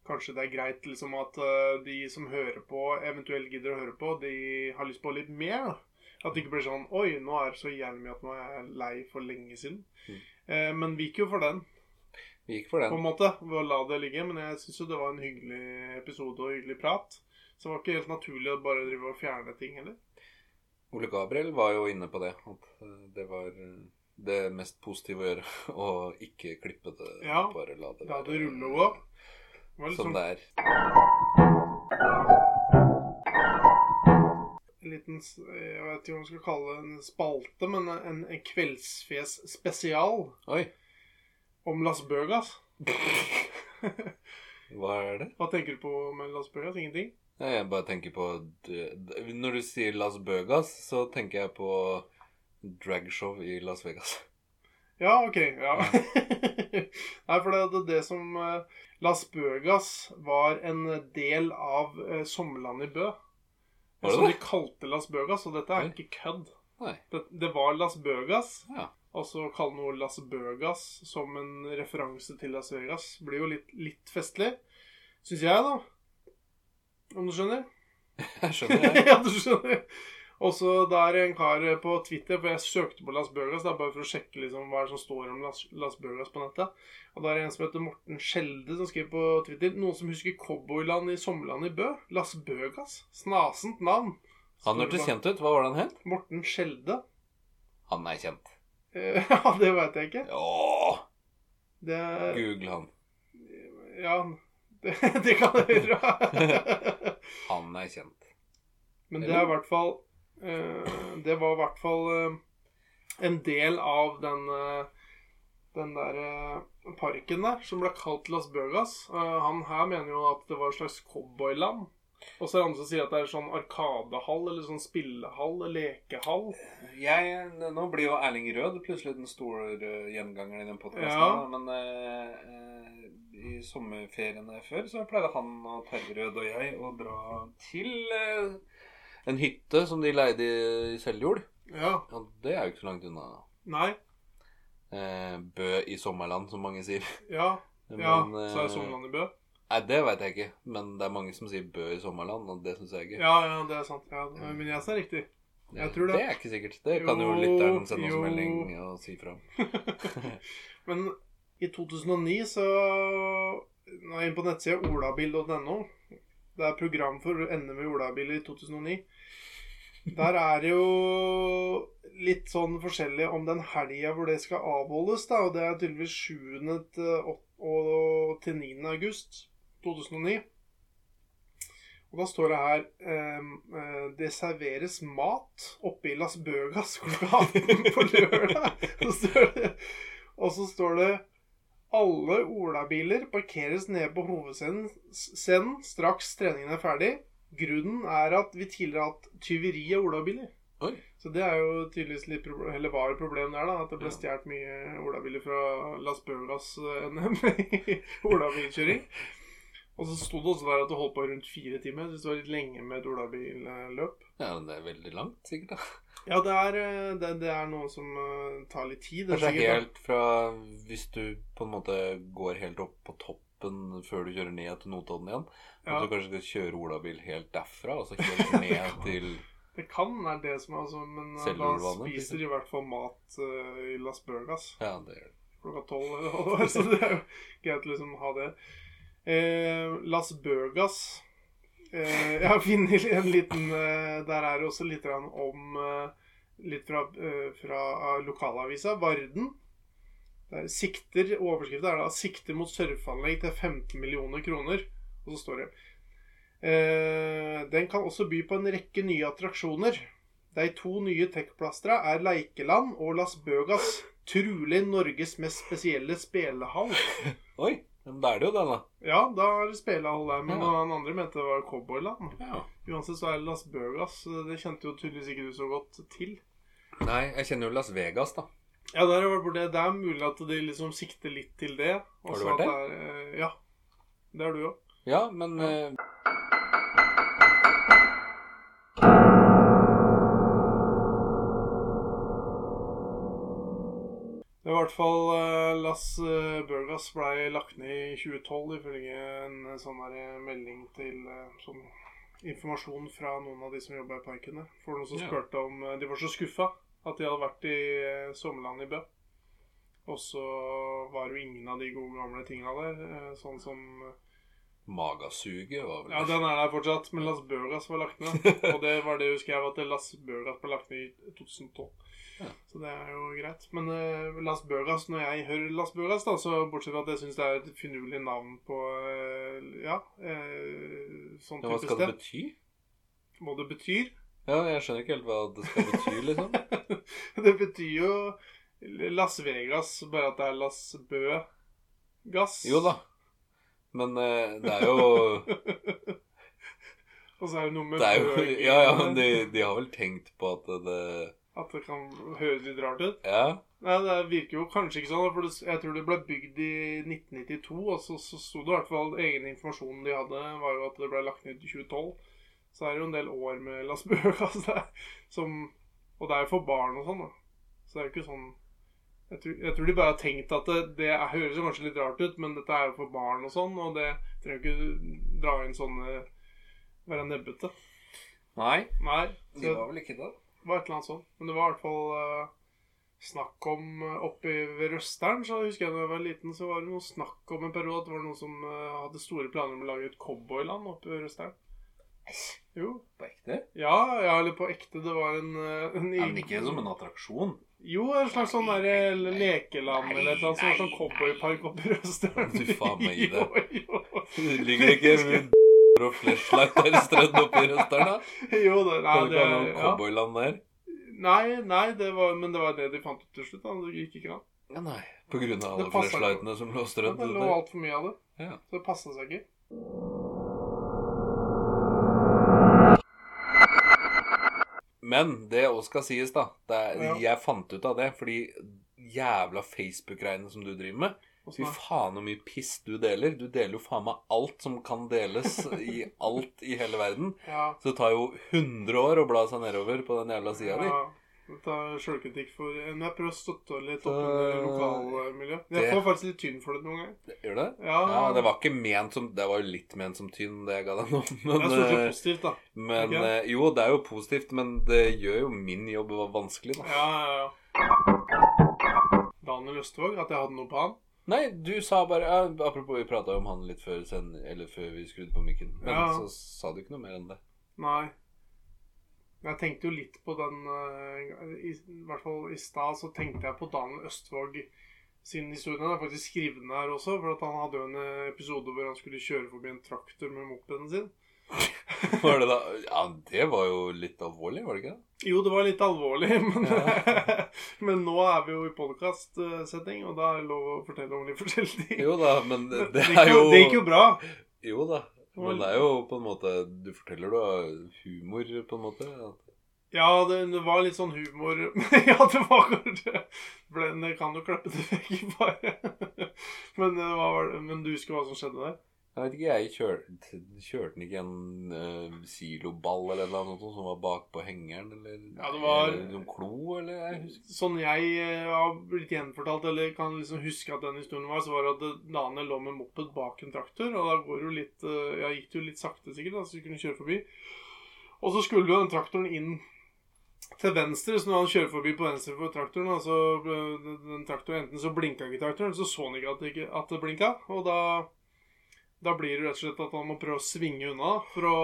kanskje det er greit liksom at eh, de som hører på, eventuelt gidder å høre på, de har lyst på litt mer. da. At det ikke blir sånn Oi, nå er det så jævlig mye at nå er jeg lei for lenge siden.
Mm.
Eh, men vi gikk jo for den
Vi gikk for
på
den.
en måte, ved å la det ligge. Men jeg syns jo det var en hyggelig episode og hyggelig prat. Så det var ikke helt naturlig å bare drive og fjerne ting heller.
Ole Gabriel var jo inne på det. At eh, det var eh, det mest positive å gjøre. Å ikke klippe det.
Ja,
Bare la det
la det
være,
rulle og gå. Det var litt
Som
sånn
det er.
en liten s- Jeg vet ikke om man skal kalle det en spalte, men en, en kveldsfjes spesial
Oi,
om Las Bøgas.
hva er det?
Hva tenker du på med Las Bøgas? Ingenting?
Nei, jeg bare tenker på d- d- Når du sier Las Bøgas, så tenker jeg på dragshow i Las Vegas.
Ja, ok. Ja. Nei, for det, det, det som eh, Las Bøgas var en del av eh, Sommerland i Bø.
Var det
som
det?
de kalte Las Bøgas, og dette er
Oi.
ikke kødd.
Nei.
Det, det var Las Bøgas,
Ja.
og så å kalle noe Las Bøgas som en referanse til Las Vegas blir jo litt, litt festlig. Syns jeg, da. Om du skjønner?
Jeg skjønner det.
ja, du skjønner. Og så det er en kar på Twitter, for jeg søkte på Las Bøgas da, bare for å sjekke liksom, hva er det som står om Las, Las Bøgas på nettet. Og da er det en som heter Morten Skjelde, som skriver på Twitter Noen som husker cowboyland i Sommerland i Bø? Las Bøgas? Snasent navn.
Han hørtes kjent ut. Hva var det han het?
Morten Skjelde?
Han er kjent.
Eh, Ja, det veit jeg ikke.
Åh,
Det er
Google han.
Ja, det, det kan jeg gjøre.
Han er kjent.
Men det er i hvert fall eh, Det var i hvert fall eh, en del av den eh, den der eh, parken der, som ble kalt Las Bøgas. han her mener jo at det var et slags cowboyland. Og så er det andre som sier at det er sånn arkadehall, eller sånn spillehall, lekehall.
Jeg, nå blir jo Erling Rød plutselig den store eh, gjengangeren i den
Ja.
podkasten. Men eh, eh, i sommerferiene før så pleide han og Terje Rød og jeg å dra til eh, en hytte som de leide i Seljord.
Ja.
Ja, det er jo ikke så langt unna.
Nei.
Eh, Bø i sommerland, som mange sier.
Ja. ja.
Men,
Så er
eh,
det Sommerland i Bø.
Nei, det veit jeg ikke. Men det er mange som sier Bø i sommerland, og det syns jeg ikke.
Ja, ja, det er sant. Ja, men jeg sa riktig. jeg tror det.
det er ikke sikkert. Det kan jo
Jo,
lytteren sende oss
jo.
melding og si fra om.
Men i 2009 så Nå er jeg inne på nettsida olabil.no. Det er program for NM i olabil i 2009. Der er det jo litt sånn forskjellig om den helga hvor det skal avholdes, da. Og det er tydeligvis 7. til ått- og- til 9. august 2009. Og da står det her ehm, eh, Det serveres mat oppe i Las Bøgas klokka 18 på lørdag. Så står det, og så står det alle olabiler parkeres nede på hovedscenen scenen straks treningen er ferdig. Grunnen er at vi tidligere har hatt tyveri av olabiler.
Oi.
Så det er jo tydeligvis litt problem, eller var et problem der, da. At det ble
Ja.
stjålet mye olabiler fra Las Bøgas eh, NM i olabilkjøring. Og så sto det også der at det holdt på rundt fire timer. Så det var litt lenge med et olabilløp.
Ja, men det er veldig langt, sikkert. da.
Ja, det er, eh, det, det er noe som eh, tar litt tid. det er
Kanskje
sikkert, da.
helt fra Hvis du på en måte går helt opp på toppen før du kjører ned til Notodden igjen,
Ja.
og så kanskje du skal kjøre olabil helt derfra, og så helt ned til
Det kan være det som er altså, men eh, da
Selvjordvannet,
spiser
liksom.
de i hvert fall mat eh, i Las Bergas
Ja, det er
klokka tolv. eller hva det var, Så det er jo greit å liksom ha det. Eh, Las Bergas eh, Jeg har funnet en liten eh, Der er det også litt grann om eh, Litt fra, eh, fra eh, lokalavisa Varden. Der sikter, Overskriften er da 'Sikter mot surfeanlegg til 15 millioner kroner'. Og så står det eh, Den kan også by på en rekke nye attraksjoner. De to nye Tech-plastra er Leikeland og Las Bøgas. Trulig Norges mest spesielle spelehall.
Oi! Men da er det jo den, da.
Ja, da er det spelehall der, men
Ja.
han andre mente det var Cowboyland.
Ja.
Uansett så er det Las Bøgas. Det kjente jo tydeligvis ikke du så godt til.
Nei, jeg kjenner jo Las Vegas, da.
Ja, der har jeg vært borte. Det er mulig at de liksom sikter litt til det.
Har
Også
du vært
at det er, eh, Ja. Det har du òg.
Ja, men eh,
Det var i hvert fall eh, Las eh, Burgas blei lagt ned i 2012 ifølge en eh, sånn der eh, melding til eh, sånn informasjon fra noen av de som jobba i parken der. For noen som
Ja.
spurte om eh, De var så skuffa at de hadde vært i eh, sommerland i Bø. Og så var jo ingen av de gode gamle tinga der. eh, Sånn som
Magasuget var vel
Ja, den er der fortsatt, men Las Burgas var lagt ned. Og det var det jeg husker jeg var at Las Burgas ble lagt ned i 2012.
Ja.
Så det er jo greit. Men eh, Las Burgas, når jeg hører Las Burgas, da, så bortsett fra at jeg syns det er et finurlig navn på eh, Ja, eh, sånn
Ja, Hva
type
skal det
sted.
bety?
Hva det betyr?
Ja, jeg skjønner ikke helt hva det skal bety, liksom.
det betyr jo Las Vegas, bare at det er Las Bø Gass.
Jo da. Men eh, det er jo
Og så er det noe med
Det er jo,
Bø-
ja, ja, men de, de har vel tenkt på at det
At det kan høres litt rart ut.
Ja,
Nei, Det virker jo kanskje ikke sånn. For det- jeg tror det ble bygd i 1992. Og så, så sto det i hvert fall egen informasjon de hadde, var jo at det ble lagt ned i 2012. Så er det jo en del år med Las Bøgas der. Som, og det er jo for barn og sånn, da. Så det er jo ikke sånn Jeg tror, jeg tror de bare har tenkt at det, det er- høres jo kanskje litt rart ut, men dette er jo for barn og sånn. Og det trenger jo ikke dra inn sånne Være nebbete.
Nei.
Nei. så-
vel ikke det?
det var et eller annet sånt. Men det var i hvert fall eh, snakk om eh, oppe i- ved Røsteren. Så husker jeg da jeg var liten, så var det noe snakk om en periode at det var noen som eh, hadde store planer om å lage et cowboyland oppe ved Røsteren. Jo.
På ekte?
Ja, ja, eller på ekte. Det var en, eh, en
Ja, men ikke som en attraksjon.
Jo, en slags sånn der eh, lekeland eller et eller annet. Sånn, sånn cowboypark oppe i Røsteren.
Du faen meg i
det. Jo, jo.
Det ligger ikke og flashlight der strødd oppi røsteren, da?
jo det, nei,
Kan du
det,
ikke ha noe
ja.
cowboyland der?
nei, nei det var, men det var det de fant ut til slutt. Da. Det gikk ikke an.
Ja, nei. På grunn av alle
Det passer ikke.
flashlightene som lå
Ja,
strødd
Det lå
der.
altfor mye av det.
Ja.
Så det passa seg ikke.
Men det òg skal sies, da. Det er,
Ja.
Jeg fant ut av det fordi jævla Facebook-greiene som du driver med
Og
Fy
sånn,
faen så mye piss du deler. Du deler jo faen meg alt som kan deles i alt i hele verden.
ja,
Så det tar jo 100 år å bla seg nedover på den jævla sida di.
ja, ta sjølkritikk for Men jeg prøver å støtte litt
Så-
opp under lokalmiljøet. Jeg
det-
får faktisk litt tynn for det noen ganger.
Gjør det?
Ja,
Ja, det var ikke ment som Det var jo litt ment som tynn, det jeg ga deg nå.
jeg
Men,
støtter
eh,
positivt, da.
men
ikke?
eh, jo, det er jo positivt, men det gjør jo min jobb vanskelig, da.
Ja, ja, ja. Daniel Østvåg, at jeg hadde noe på han.
Nei, du sa bare ja, Apropos, vi prata jo om han litt før, send, eller før vi skrudde på mikken. Men
Ja.
så sa du ikke noe mer enn det.
Nei. Men Jeg tenkte jo litt på den eh, I, i hvert fall i stad så tenkte jeg på Dan Østvåg sin historie. Den er faktisk skrevet her også, for at han hadde jo en eh, episode hvor han skulle kjøre forbi en traktor med mopeden sin.
Var det da? Ja, det var jo litt alvorlig, var det ikke det?
Jo, det var litt alvorlig, men,
Ja.
men nå er vi jo i podkast-setting, og da er det lov å fortelle om litt forskjellige ting.
Jo da, men det, det
gikk
er jo
det gikk jo bra.
Jo da. Men det er jo på en måte Du forteller du har humor, på en måte. at-
Ja, det, det var litt sånn humor Ja, det var kanskje ble, det kan jo klippe det vekk, bare. Men, eh, hva var det? men du husker hva som skjedde der?
Jeg vet ikke, jeg kjørte, kjørte den ikke en eh, siloball eller noe sånt som var bakpå hengeren? Eller
Ja, det var-
eller noen klo, eller? Jeg husker.
Sånn jeg eh, har blitt gjenfortalt, eller kan liksom huske at den historien var, så var det at eh, Daniel lå med moped bak en traktor, og da går det jo litt eh, Ja, gikk det jo litt sakte, sikkert, da, så vi kunne kjøre forbi. Og så skulle jo den traktoren inn til venstre, så når han kjører forbi på venstre for traktoren, altså øh, den den traktoren, enten så blinka ikke traktoren, så så han ikke at det, ikke, at det blinka, og da, da blir det rett og slett at han må prøve å svinge unna for å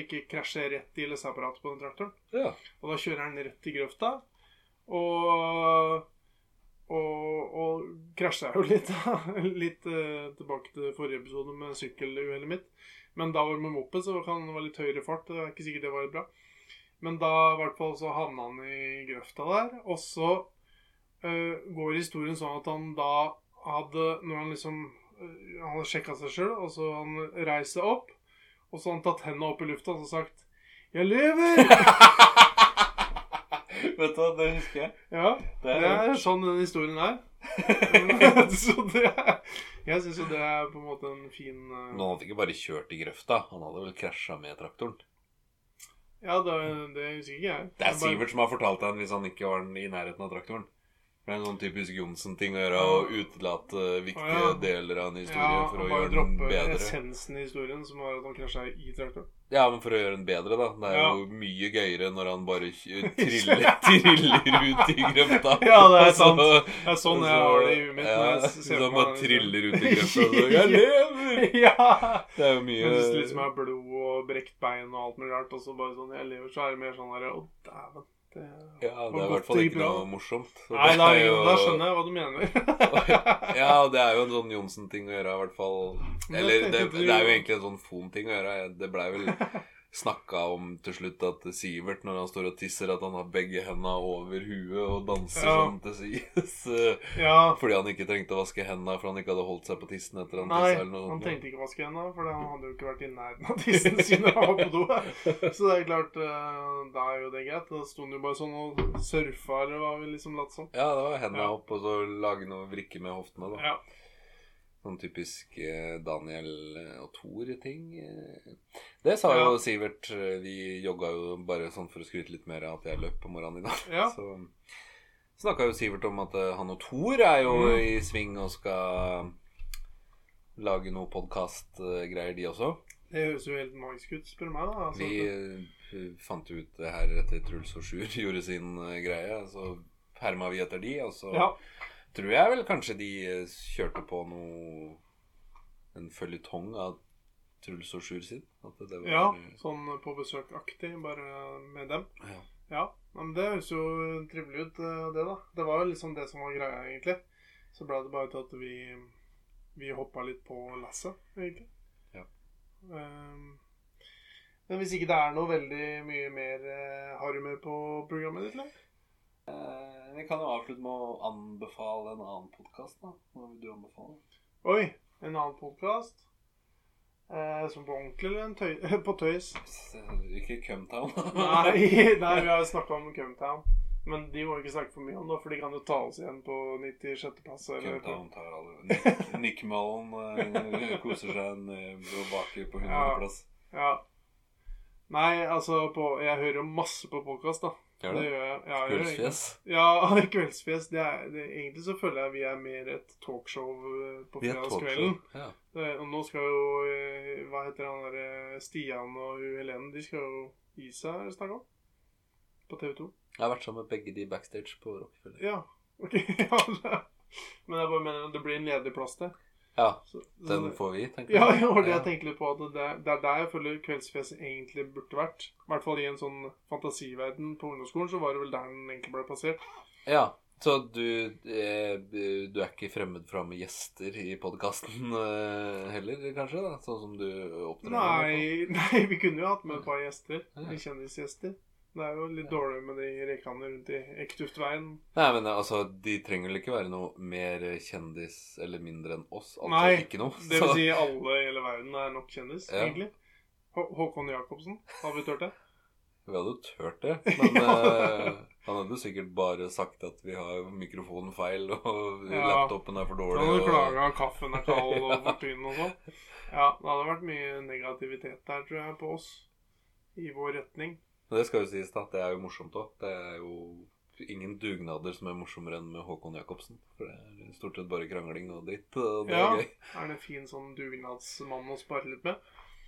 ikke krasje rett i leseapparatet på den traktoren.
Ja.
Og da kjører han rett i grøfta, og, og, og krasja jo litt, da. Litt eh, tilbake til forrige episode med sykkeluhellet mitt. Men da var det med moped, så kan det være litt høyere fart. Det er ikke sikkert det var bra. Men da i hvert fall så havna han i grøfta der. Og så eh, går historien sånn at han da hadde Når han liksom eh, Han hadde sjekka seg sjøl, og så han reiser opp. Og så har han tatt henda opp i lufta og så sagt 'Jeg lever!'
Vet du hva, det husker jeg.
ja,
Det
det
er,
er sånn den historien er. så det er Jeg syns jo det er på en måte en fin eh,
Men han hadde ikke bare kjørt i grøfta, han hadde vel krasja med traktoren.
Ja, det, det husker ikke jeg.
Det er
Jeg bare-
Sivert som har fortalt deg hvis han ikke var i nærheten av traktoren. Det er en sånn typisk Johnsen-ting å gjøre, å utelate viktige
Å, ja.
deler av en historie
Ja,
for å
han bare
gjøre den
dropper
bedre.
essensen i historien, som var at han krasja i traktoren.
Ja, men for å gjøre den bedre, da. Det er
Ja.
jo mye gøyere når han bare kj- triller, triller ut i grøfta.
Ja, det er
Og
sant.
så-
Det er sånn
og
jeg
så-
har det i huet mitt.
Ja,
når jeg ser
så
på
han bare
meg den historien.
triller ut i grøfta. og Så, jeg lever!
Ja!
Det er jo
Men hvis det liksom
mye
er blod og brekt bein og alt mulig rart, og så bare sånn Jeg lever, så er det mer sånn derre Å, dæven. Det...
Ja, det
var
er i
godt
hvert fall
det gikk
ikke
bra.
noe morsomt. Så
Nei,
det
da,
er jo-
da skjønner jeg hva du mener.
Ja, det er jo en sånn Johnsen-ting å gjøre, i hvert fall.
Men jeg
Eller
tenkte
det,
at
det
du-
er jo egentlig en sånn Fon-ting å gjøre. Det blei vel snakka om til slutt at Sivert, når han står og tisser, at han har begge henda over huet og danser
Ja.
sånn til sides. eh,
ja.
Fordi han ikke trengte å vaske henda, for han ikke hadde holdt seg på tissen etter han
Nei,
tissa eller noe
han
sånt.
tenkte ikke å vaske hendene, for han hadde jo ikke vært i nærheten av tissen sin når han var på do. Så det er klart, eh, da er jo det greit. Da sto han jo bare sånn og surfa, eller hva vi liksom latt som.
Ja, det var henda
Ja.
opp, og så lage noe vrikke med hoftene, da.
Ja.
Sånn typisk eh, Daniel og Thor-ting. eh. Det sa jo
Ja.
Sivert. eh, Vi jogga jo bare sånn for å skryte litt mer av at jeg løp på morgenen i dag.
ja.
Så snakka jo Sivert om at eh, han og Thor er jo
Mm.
i sving og skal lage noe podkast-greier, de også.
Det høres jo helt magisk ut, spør du meg. da. Altså,
Vi eh, fant jo ut det her etter Truls og Sjur gjorde sin eh, greie, så herma vi etter de, og så
ja.
tror jeg vel kanskje de eh, kjørte på noe En føljetong av Truls og Sjur sin. At det var
ja, sånn på besøkaktig, bare med dem.
Ja.
Ja, men det høres jo trivelig ut, eh, det, da. Det var jo liksom det som var greia, egentlig. Så ble det bare til at vi, vi hoppa litt på lasset, egentlig.
Ja.
Ehm, men hvis ikke det er noe veldig mye mer eh, Har du mer på programmet ditt, eller?
Eh, Vi kan jo avslutte med å anbefale en annen podkast, da. Hva vil du anbefale?
Oi, en annen podkast. som på ordentlig, eller en tøy, på tøys?
Ikke Cumtown.
Nei, nei, vi har jo snakka om Cumtown. Men de må vi ikke snakke for mye om nå, for de kan jo ta oss igjen på 96.-plass. eller-
Cumtown tar alle Nick, Nick Mullen eh, koser seg en eh, og baker på
Ja.
100.-plass.
Ja. Nei, altså på, Jeg hører jo masse på podkast, da.
Gjør det?
gjør jeg. Ja, jeg gjør egentlig-
Gullfjes.
Ja, Kveldsfjes. Det er, det, egentlig så føler jeg vi er mer et talkshow eh, på
Vi er et
fredagskvelden.
talkshow. Ja.
Det- Og nå skal jo eh, Hva heter han derre Stian og hun Helene? De skal jo gi seg, er det snakk om? På TV 2.
Jeg har vært sammen med begge de backstage på Rockefeller.
Ja, ok. Ja, det- Men jeg bare mener at det blir en ledig plass der.
Ja,
Så,
den får vi, tenker
Ja, det var det jeg tenkte litt på. At det, det er der jeg føler Kveldsfjes egentlig burde vært. I hvert fall i en sånn fantasiverden på ungdomsskolen, så var det vel der den egentlig ble plassert.
Ja, så du, eh, du er ikke fremmed fra med gjester i podkasten heller, kanskje? da? Sånn som du opptrer?
Nei, nei, vi kunne jo hatt med et par gjester.
Ja.
Litt Kjendisgjester. Det er jo litt dårlig med de rekene rundt i Ektuftveien.
Nei, men altså, de trenger vel ikke være noe mer kjendis eller mindre enn oss? Altså
Nei,
ikke noe.
Det vil
så-
si alle i hele verden er nok kjendis,
Ja.
egentlig. Hå Håkon Jacobsen, hadde vi tørt det?
Vi hadde jo tørt det, men
Ja.
eh, han hadde sikkert bare sagt at vi har mikrofonen feil, og
Ja.
laptopen er for
Da
dårlig.
hadde du
og-
klaga kaffen er kald og
Ja.
fortyn og sånn. Ja, det hadde vært mye negativitet der, tror jeg, på oss. I vår retning.
Men det skal jo sies, da. Det er jo morsomt òg. Det er jo ingen dugnader som er morsommere enn med Håkon Jacobsen. For det er stort sett bare krangling og dritt, og det
Ja.
er gøy.
Er det en fin sånn dugnadsmann å spare litt med?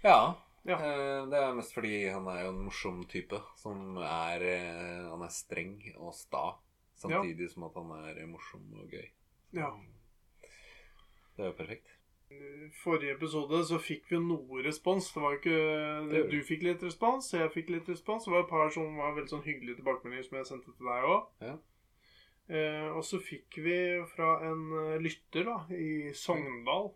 Ja.
Ja.
eh, Det er mest fordi han er jo en morsom type. Som er eh, Han er streng og sta. Samtidig som at han er eh, morsom og gøy.
Ja.
Det er jo perfekt.
I forrige episode så fikk vi noe respons. Det var jo ikke
Det gjorde vi.
Du fikk litt respons, jeg fikk litt respons. Det var et par som var veldig sånn hyggelige tilbakemeldinger som jeg sendte til deg òg.
Ja.
Eh, og så fikk vi fra en eh, lytter da, i Sogndal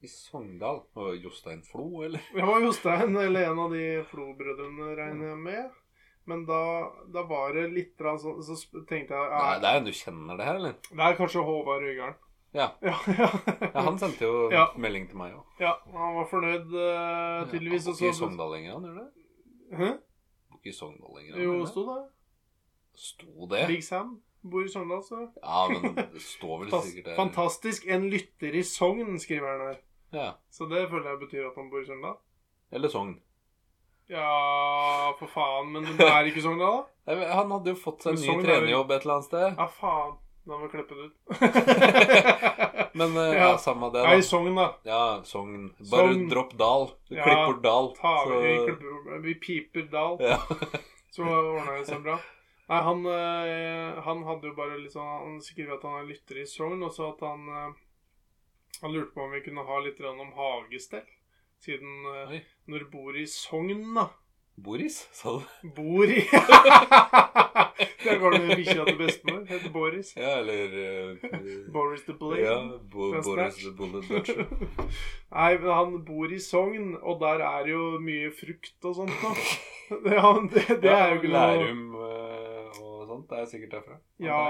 I Sogndal og Jostein Flo, eller?
Det var Jostein, eller en av de Flo-brødrene, regner jeg med. Men da, da var det litt grann sånn Så sp- tenkte jeg
Nei,
ja,
det er jo du kjenner det her, eller?
Det er kanskje Håvard Øygarden.
Ja.
Ja, ja.
ja han sendte jo
Ja.
melding til meg òg.
Ja, han var fornøyd, eh, tydeligvis.
Ikke i
Og så
Sogndal lenger, han gjør det?
Hæ?
Ikke i Sogndal lenger. han
Jo,
gjør
det
det?
sto det.
Sto det?
Big Sam bor i Sogndal, så
Ja, men det står vel
Fas-
sikkert der.
Fantastisk. En lytter i Sogn, skriver han her.
Ja.
Så det føler jeg betyr at han bor i Sogndal.
Eller Sogn.
Ja, for faen. Men det er ikke Sogndal, da?
Nei, men Han hadde jo fått seg en
Men
ny
Sogn er jo-
trenerjobb et eller annet sted.
Ja, faen. Da må vi klippe det ut.
Men eh, ja.
Ja.
samme det,
Nei,
da.
Sogn, da.
Ja, Sogn. Bare
Sogn.
dropp Dal. Du
Ja,
klipper bort Dal.
Ta,
så-
vi, klipper, vi piper Dal,
Ja.
så ordner det seg bra. Nei, han, eh, han hadde jo bare litt sånn Han skriver at han er lytter i Sogn, og så at han eh, Han lurte på om vi kunne ha litt grann om hagestell. Siden eh,
Oi.
når du bor i Sogn, da
Boris, sa du?
Bor i Der går det med bikkja til bestemor. Heter Boris.
Ja, eller eh,
Boris the Blade.
Ja, Bo
Den
Boris
Snatch.
the Bullet Dutcher.
Nei, men han bor i Sogn, og der er jo mye frukt og sånt nå. Det, han, det, det
Ja,
er jo ikke noe
Lærum eh, og sånt. Det er sikkert derfra.
Ja.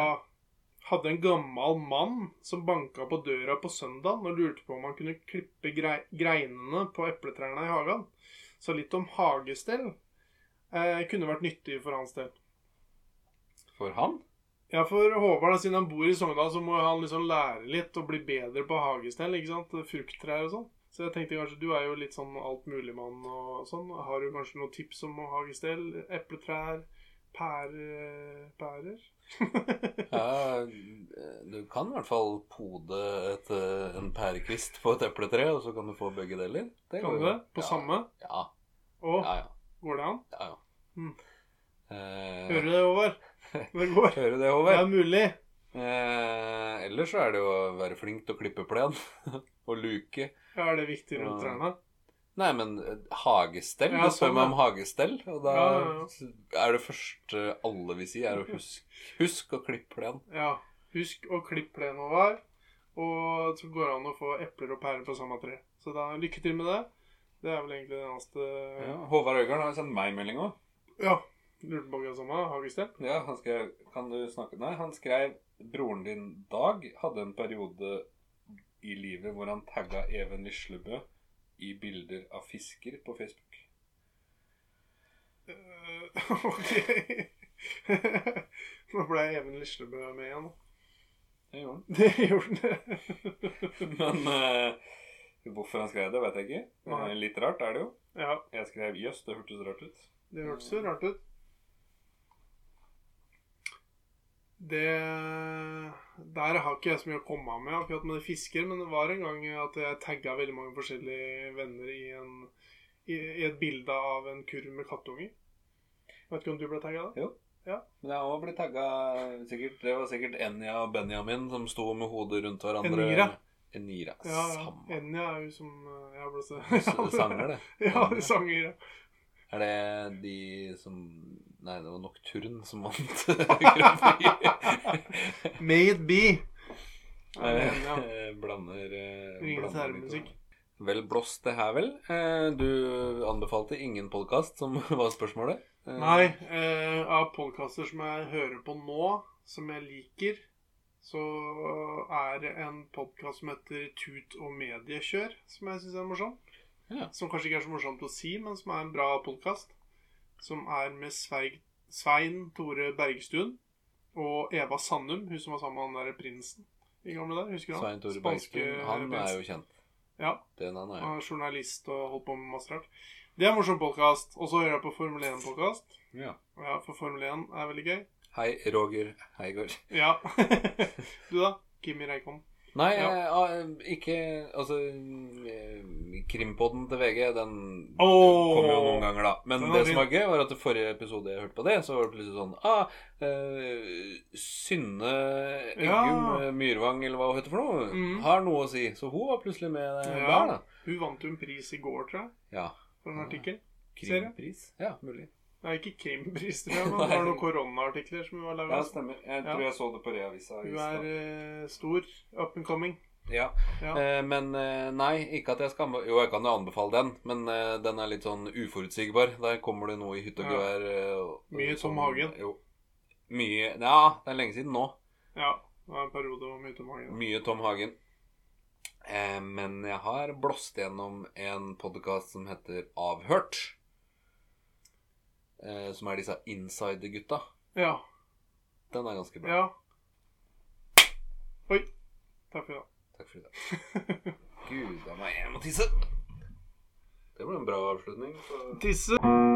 Hadde en gammel mann som banka på døra på søndag og lurte på om han kunne klippe grei greinene på epletrærne i hagen. Så litt om hagestell eh, kunne vært nyttig for hans del.
For han?
Ja, for Håvard, da, siden han bor i Sogndal, så må han liksom lære litt og bli bedre på hagestell. ikke sant? Frukttrær og sånn. Så jeg tenkte kanskje du er jo litt sånn altmuligmann og sånn. Har du kanskje noen tips om hagestell? Epletrær? Pære, pærer?
Ja, du kan i hvert fall pode et, eh, en pærekvist på et epletre, og så kan du få begge deler. Det går
kan du
jo.
det? På
ja.
samme?
Ja,
Å,
ja, ja.
går det an?
ja, ja.
Mm.
Eh,
Hører du det, Håvard? Det går.
hører du det,
Det
Håvard?
er mulig.
Eh, ellers så er det jo å være flink til å klippe plen og luke.
Ja, er det viktig rundt
Ja.
trærne?
Nei, men eh, hagestell.
Ja,
du spør
sånn,
meg
ja.
om hagestell, og da
Ja, ja, ja.
er det første alle vil si, er å husk, husk å klippe plen.
Ja. Husk å klippe plenen, Håvard. Og så går det an å få epler og pærer på samme tre. Så da lykke til med det. Det er vel egentlig det eneste
Ja, Håvard Øygarden har sendt meg melding òg.
Ja. Lurte på hva som var hagestell.
Ja, han skrev Kan du snakke Nei, han skrev Broren din Dag hadde en periode i livet hvor han tagga Even Lislebø i bilder av fisker på Facebook.
Eh, ok. Nå ble jeg Even Lislebø med igjen.
Det gjorde han.
Det gjorde den.
Men eh, hvorfor han skrev det, vet jeg ikke.
Nei.
Eh, litt rart er det jo.
ja.
Jeg skrev jøss, det hørtes rart ut.
Det hørtes jo rart ut. Det Der har ikke jeg så mye å komme av med akkurat med fisker, men det var en gang at jeg tagga veldig mange forskjellige venner i, en, i, i et bilde av en kurv med kattunger. Vet ikke om du ble tagga da?
Men jeg har også eh, blitt tagga sikkert, Det var sikkert Enja og Benjamin som sto med hodet rundt hverandre.
Enira.
En nier er
Ja, ja.
samme
Enja er jo som eh, Ja, blåse.
S- sanger, det.
Ja, sanger. ja.
Er det de som Nei, det var Nocturne som vant eh, Grand Prix.
May it be. Ja,
Eh,
men, ja.
eh, Blander eh,
Ringenes
blander
herre-musikk.
litt. Vel blåst, det her vel. Eh, Du anbefalte ingen podkast, som var spørsmålet. Eh,
Nei, eh, av podkaster som jeg hører på nå, som jeg liker, så eh, er det en podkast som heter Tut og mediekjør, som jeg syns er morsom.
Ja.
Som kanskje ikke er så morsomt å si, men som er en bra podkast. Som er med Sveig, Svein Tore Bergstuen og Eva Sandum, hun som var sammen med han derre prinsen i gamle der. Husker du han?
Svein Tore
Spanske
Bergstuen, han er
prinsen.
jo kjent.
Ja,
Den han er jo.
han er journalist og holdt på med masse rart. Det er en morsom podkast. Og så hører jeg på Formel 1-podkast.
Ja.
Ja, for Formel 1 er veldig gøy.
Hei, Roger Heigård.
Ja. du da? Kimi Reikon.
Nei,
Ja.
eh, ah, ikke Altså, eh, krimpodden til VG, den
Åh!
kommer jo noen ganger, da. Men
Den var
det som
fin.
var gøy, var at det forrige episode jeg hørte på det, så var det plutselig sånn ah, eh, Synne Eggum
Ja.
eh, Myrvang, eller hva hun heter for noe,
Mm.
har noe å si. Så hun var plutselig med eh,
Ja.
der, da.
Hun vant jo en pris i går, tror jeg,
Ja.
for en
Ja.
artikkel. Ser du?
Krimpris. Ja, mulig.
Nei, ikke krimpris, tror jeg, men det var noen koronaartikler som hun har laga.
stemmer. Jeg
tror
jeg så det på Reavisa.
Hun er eh, stor. Up and coming.
Ja.
Ja.
Eh, men eh, nei, ikke at jeg skal anbe- Jo, jeg kan jo anbefale den, men eh, den er litt sånn uforutsigbar. Der kommer det noe i hytt og
Ja.
gevær. eh, og-
Mye Tom
som-
Hagen.
Jo. Mye Ja, det er lenge siden nå.
Ja. Det var en periode om utemangen.
Mye Tom Hagen. Eh, men jeg har blåst gjennom en podkast som heter Avhørt. Eh, som er disse insider-gutta.
Ja.
Den er ganske bra.
Ja. Oi. Takk for i dag.
Takk for i dag. Gud a meg, jeg må tisse! Det ble en bra avslutning. Så...
Tisse.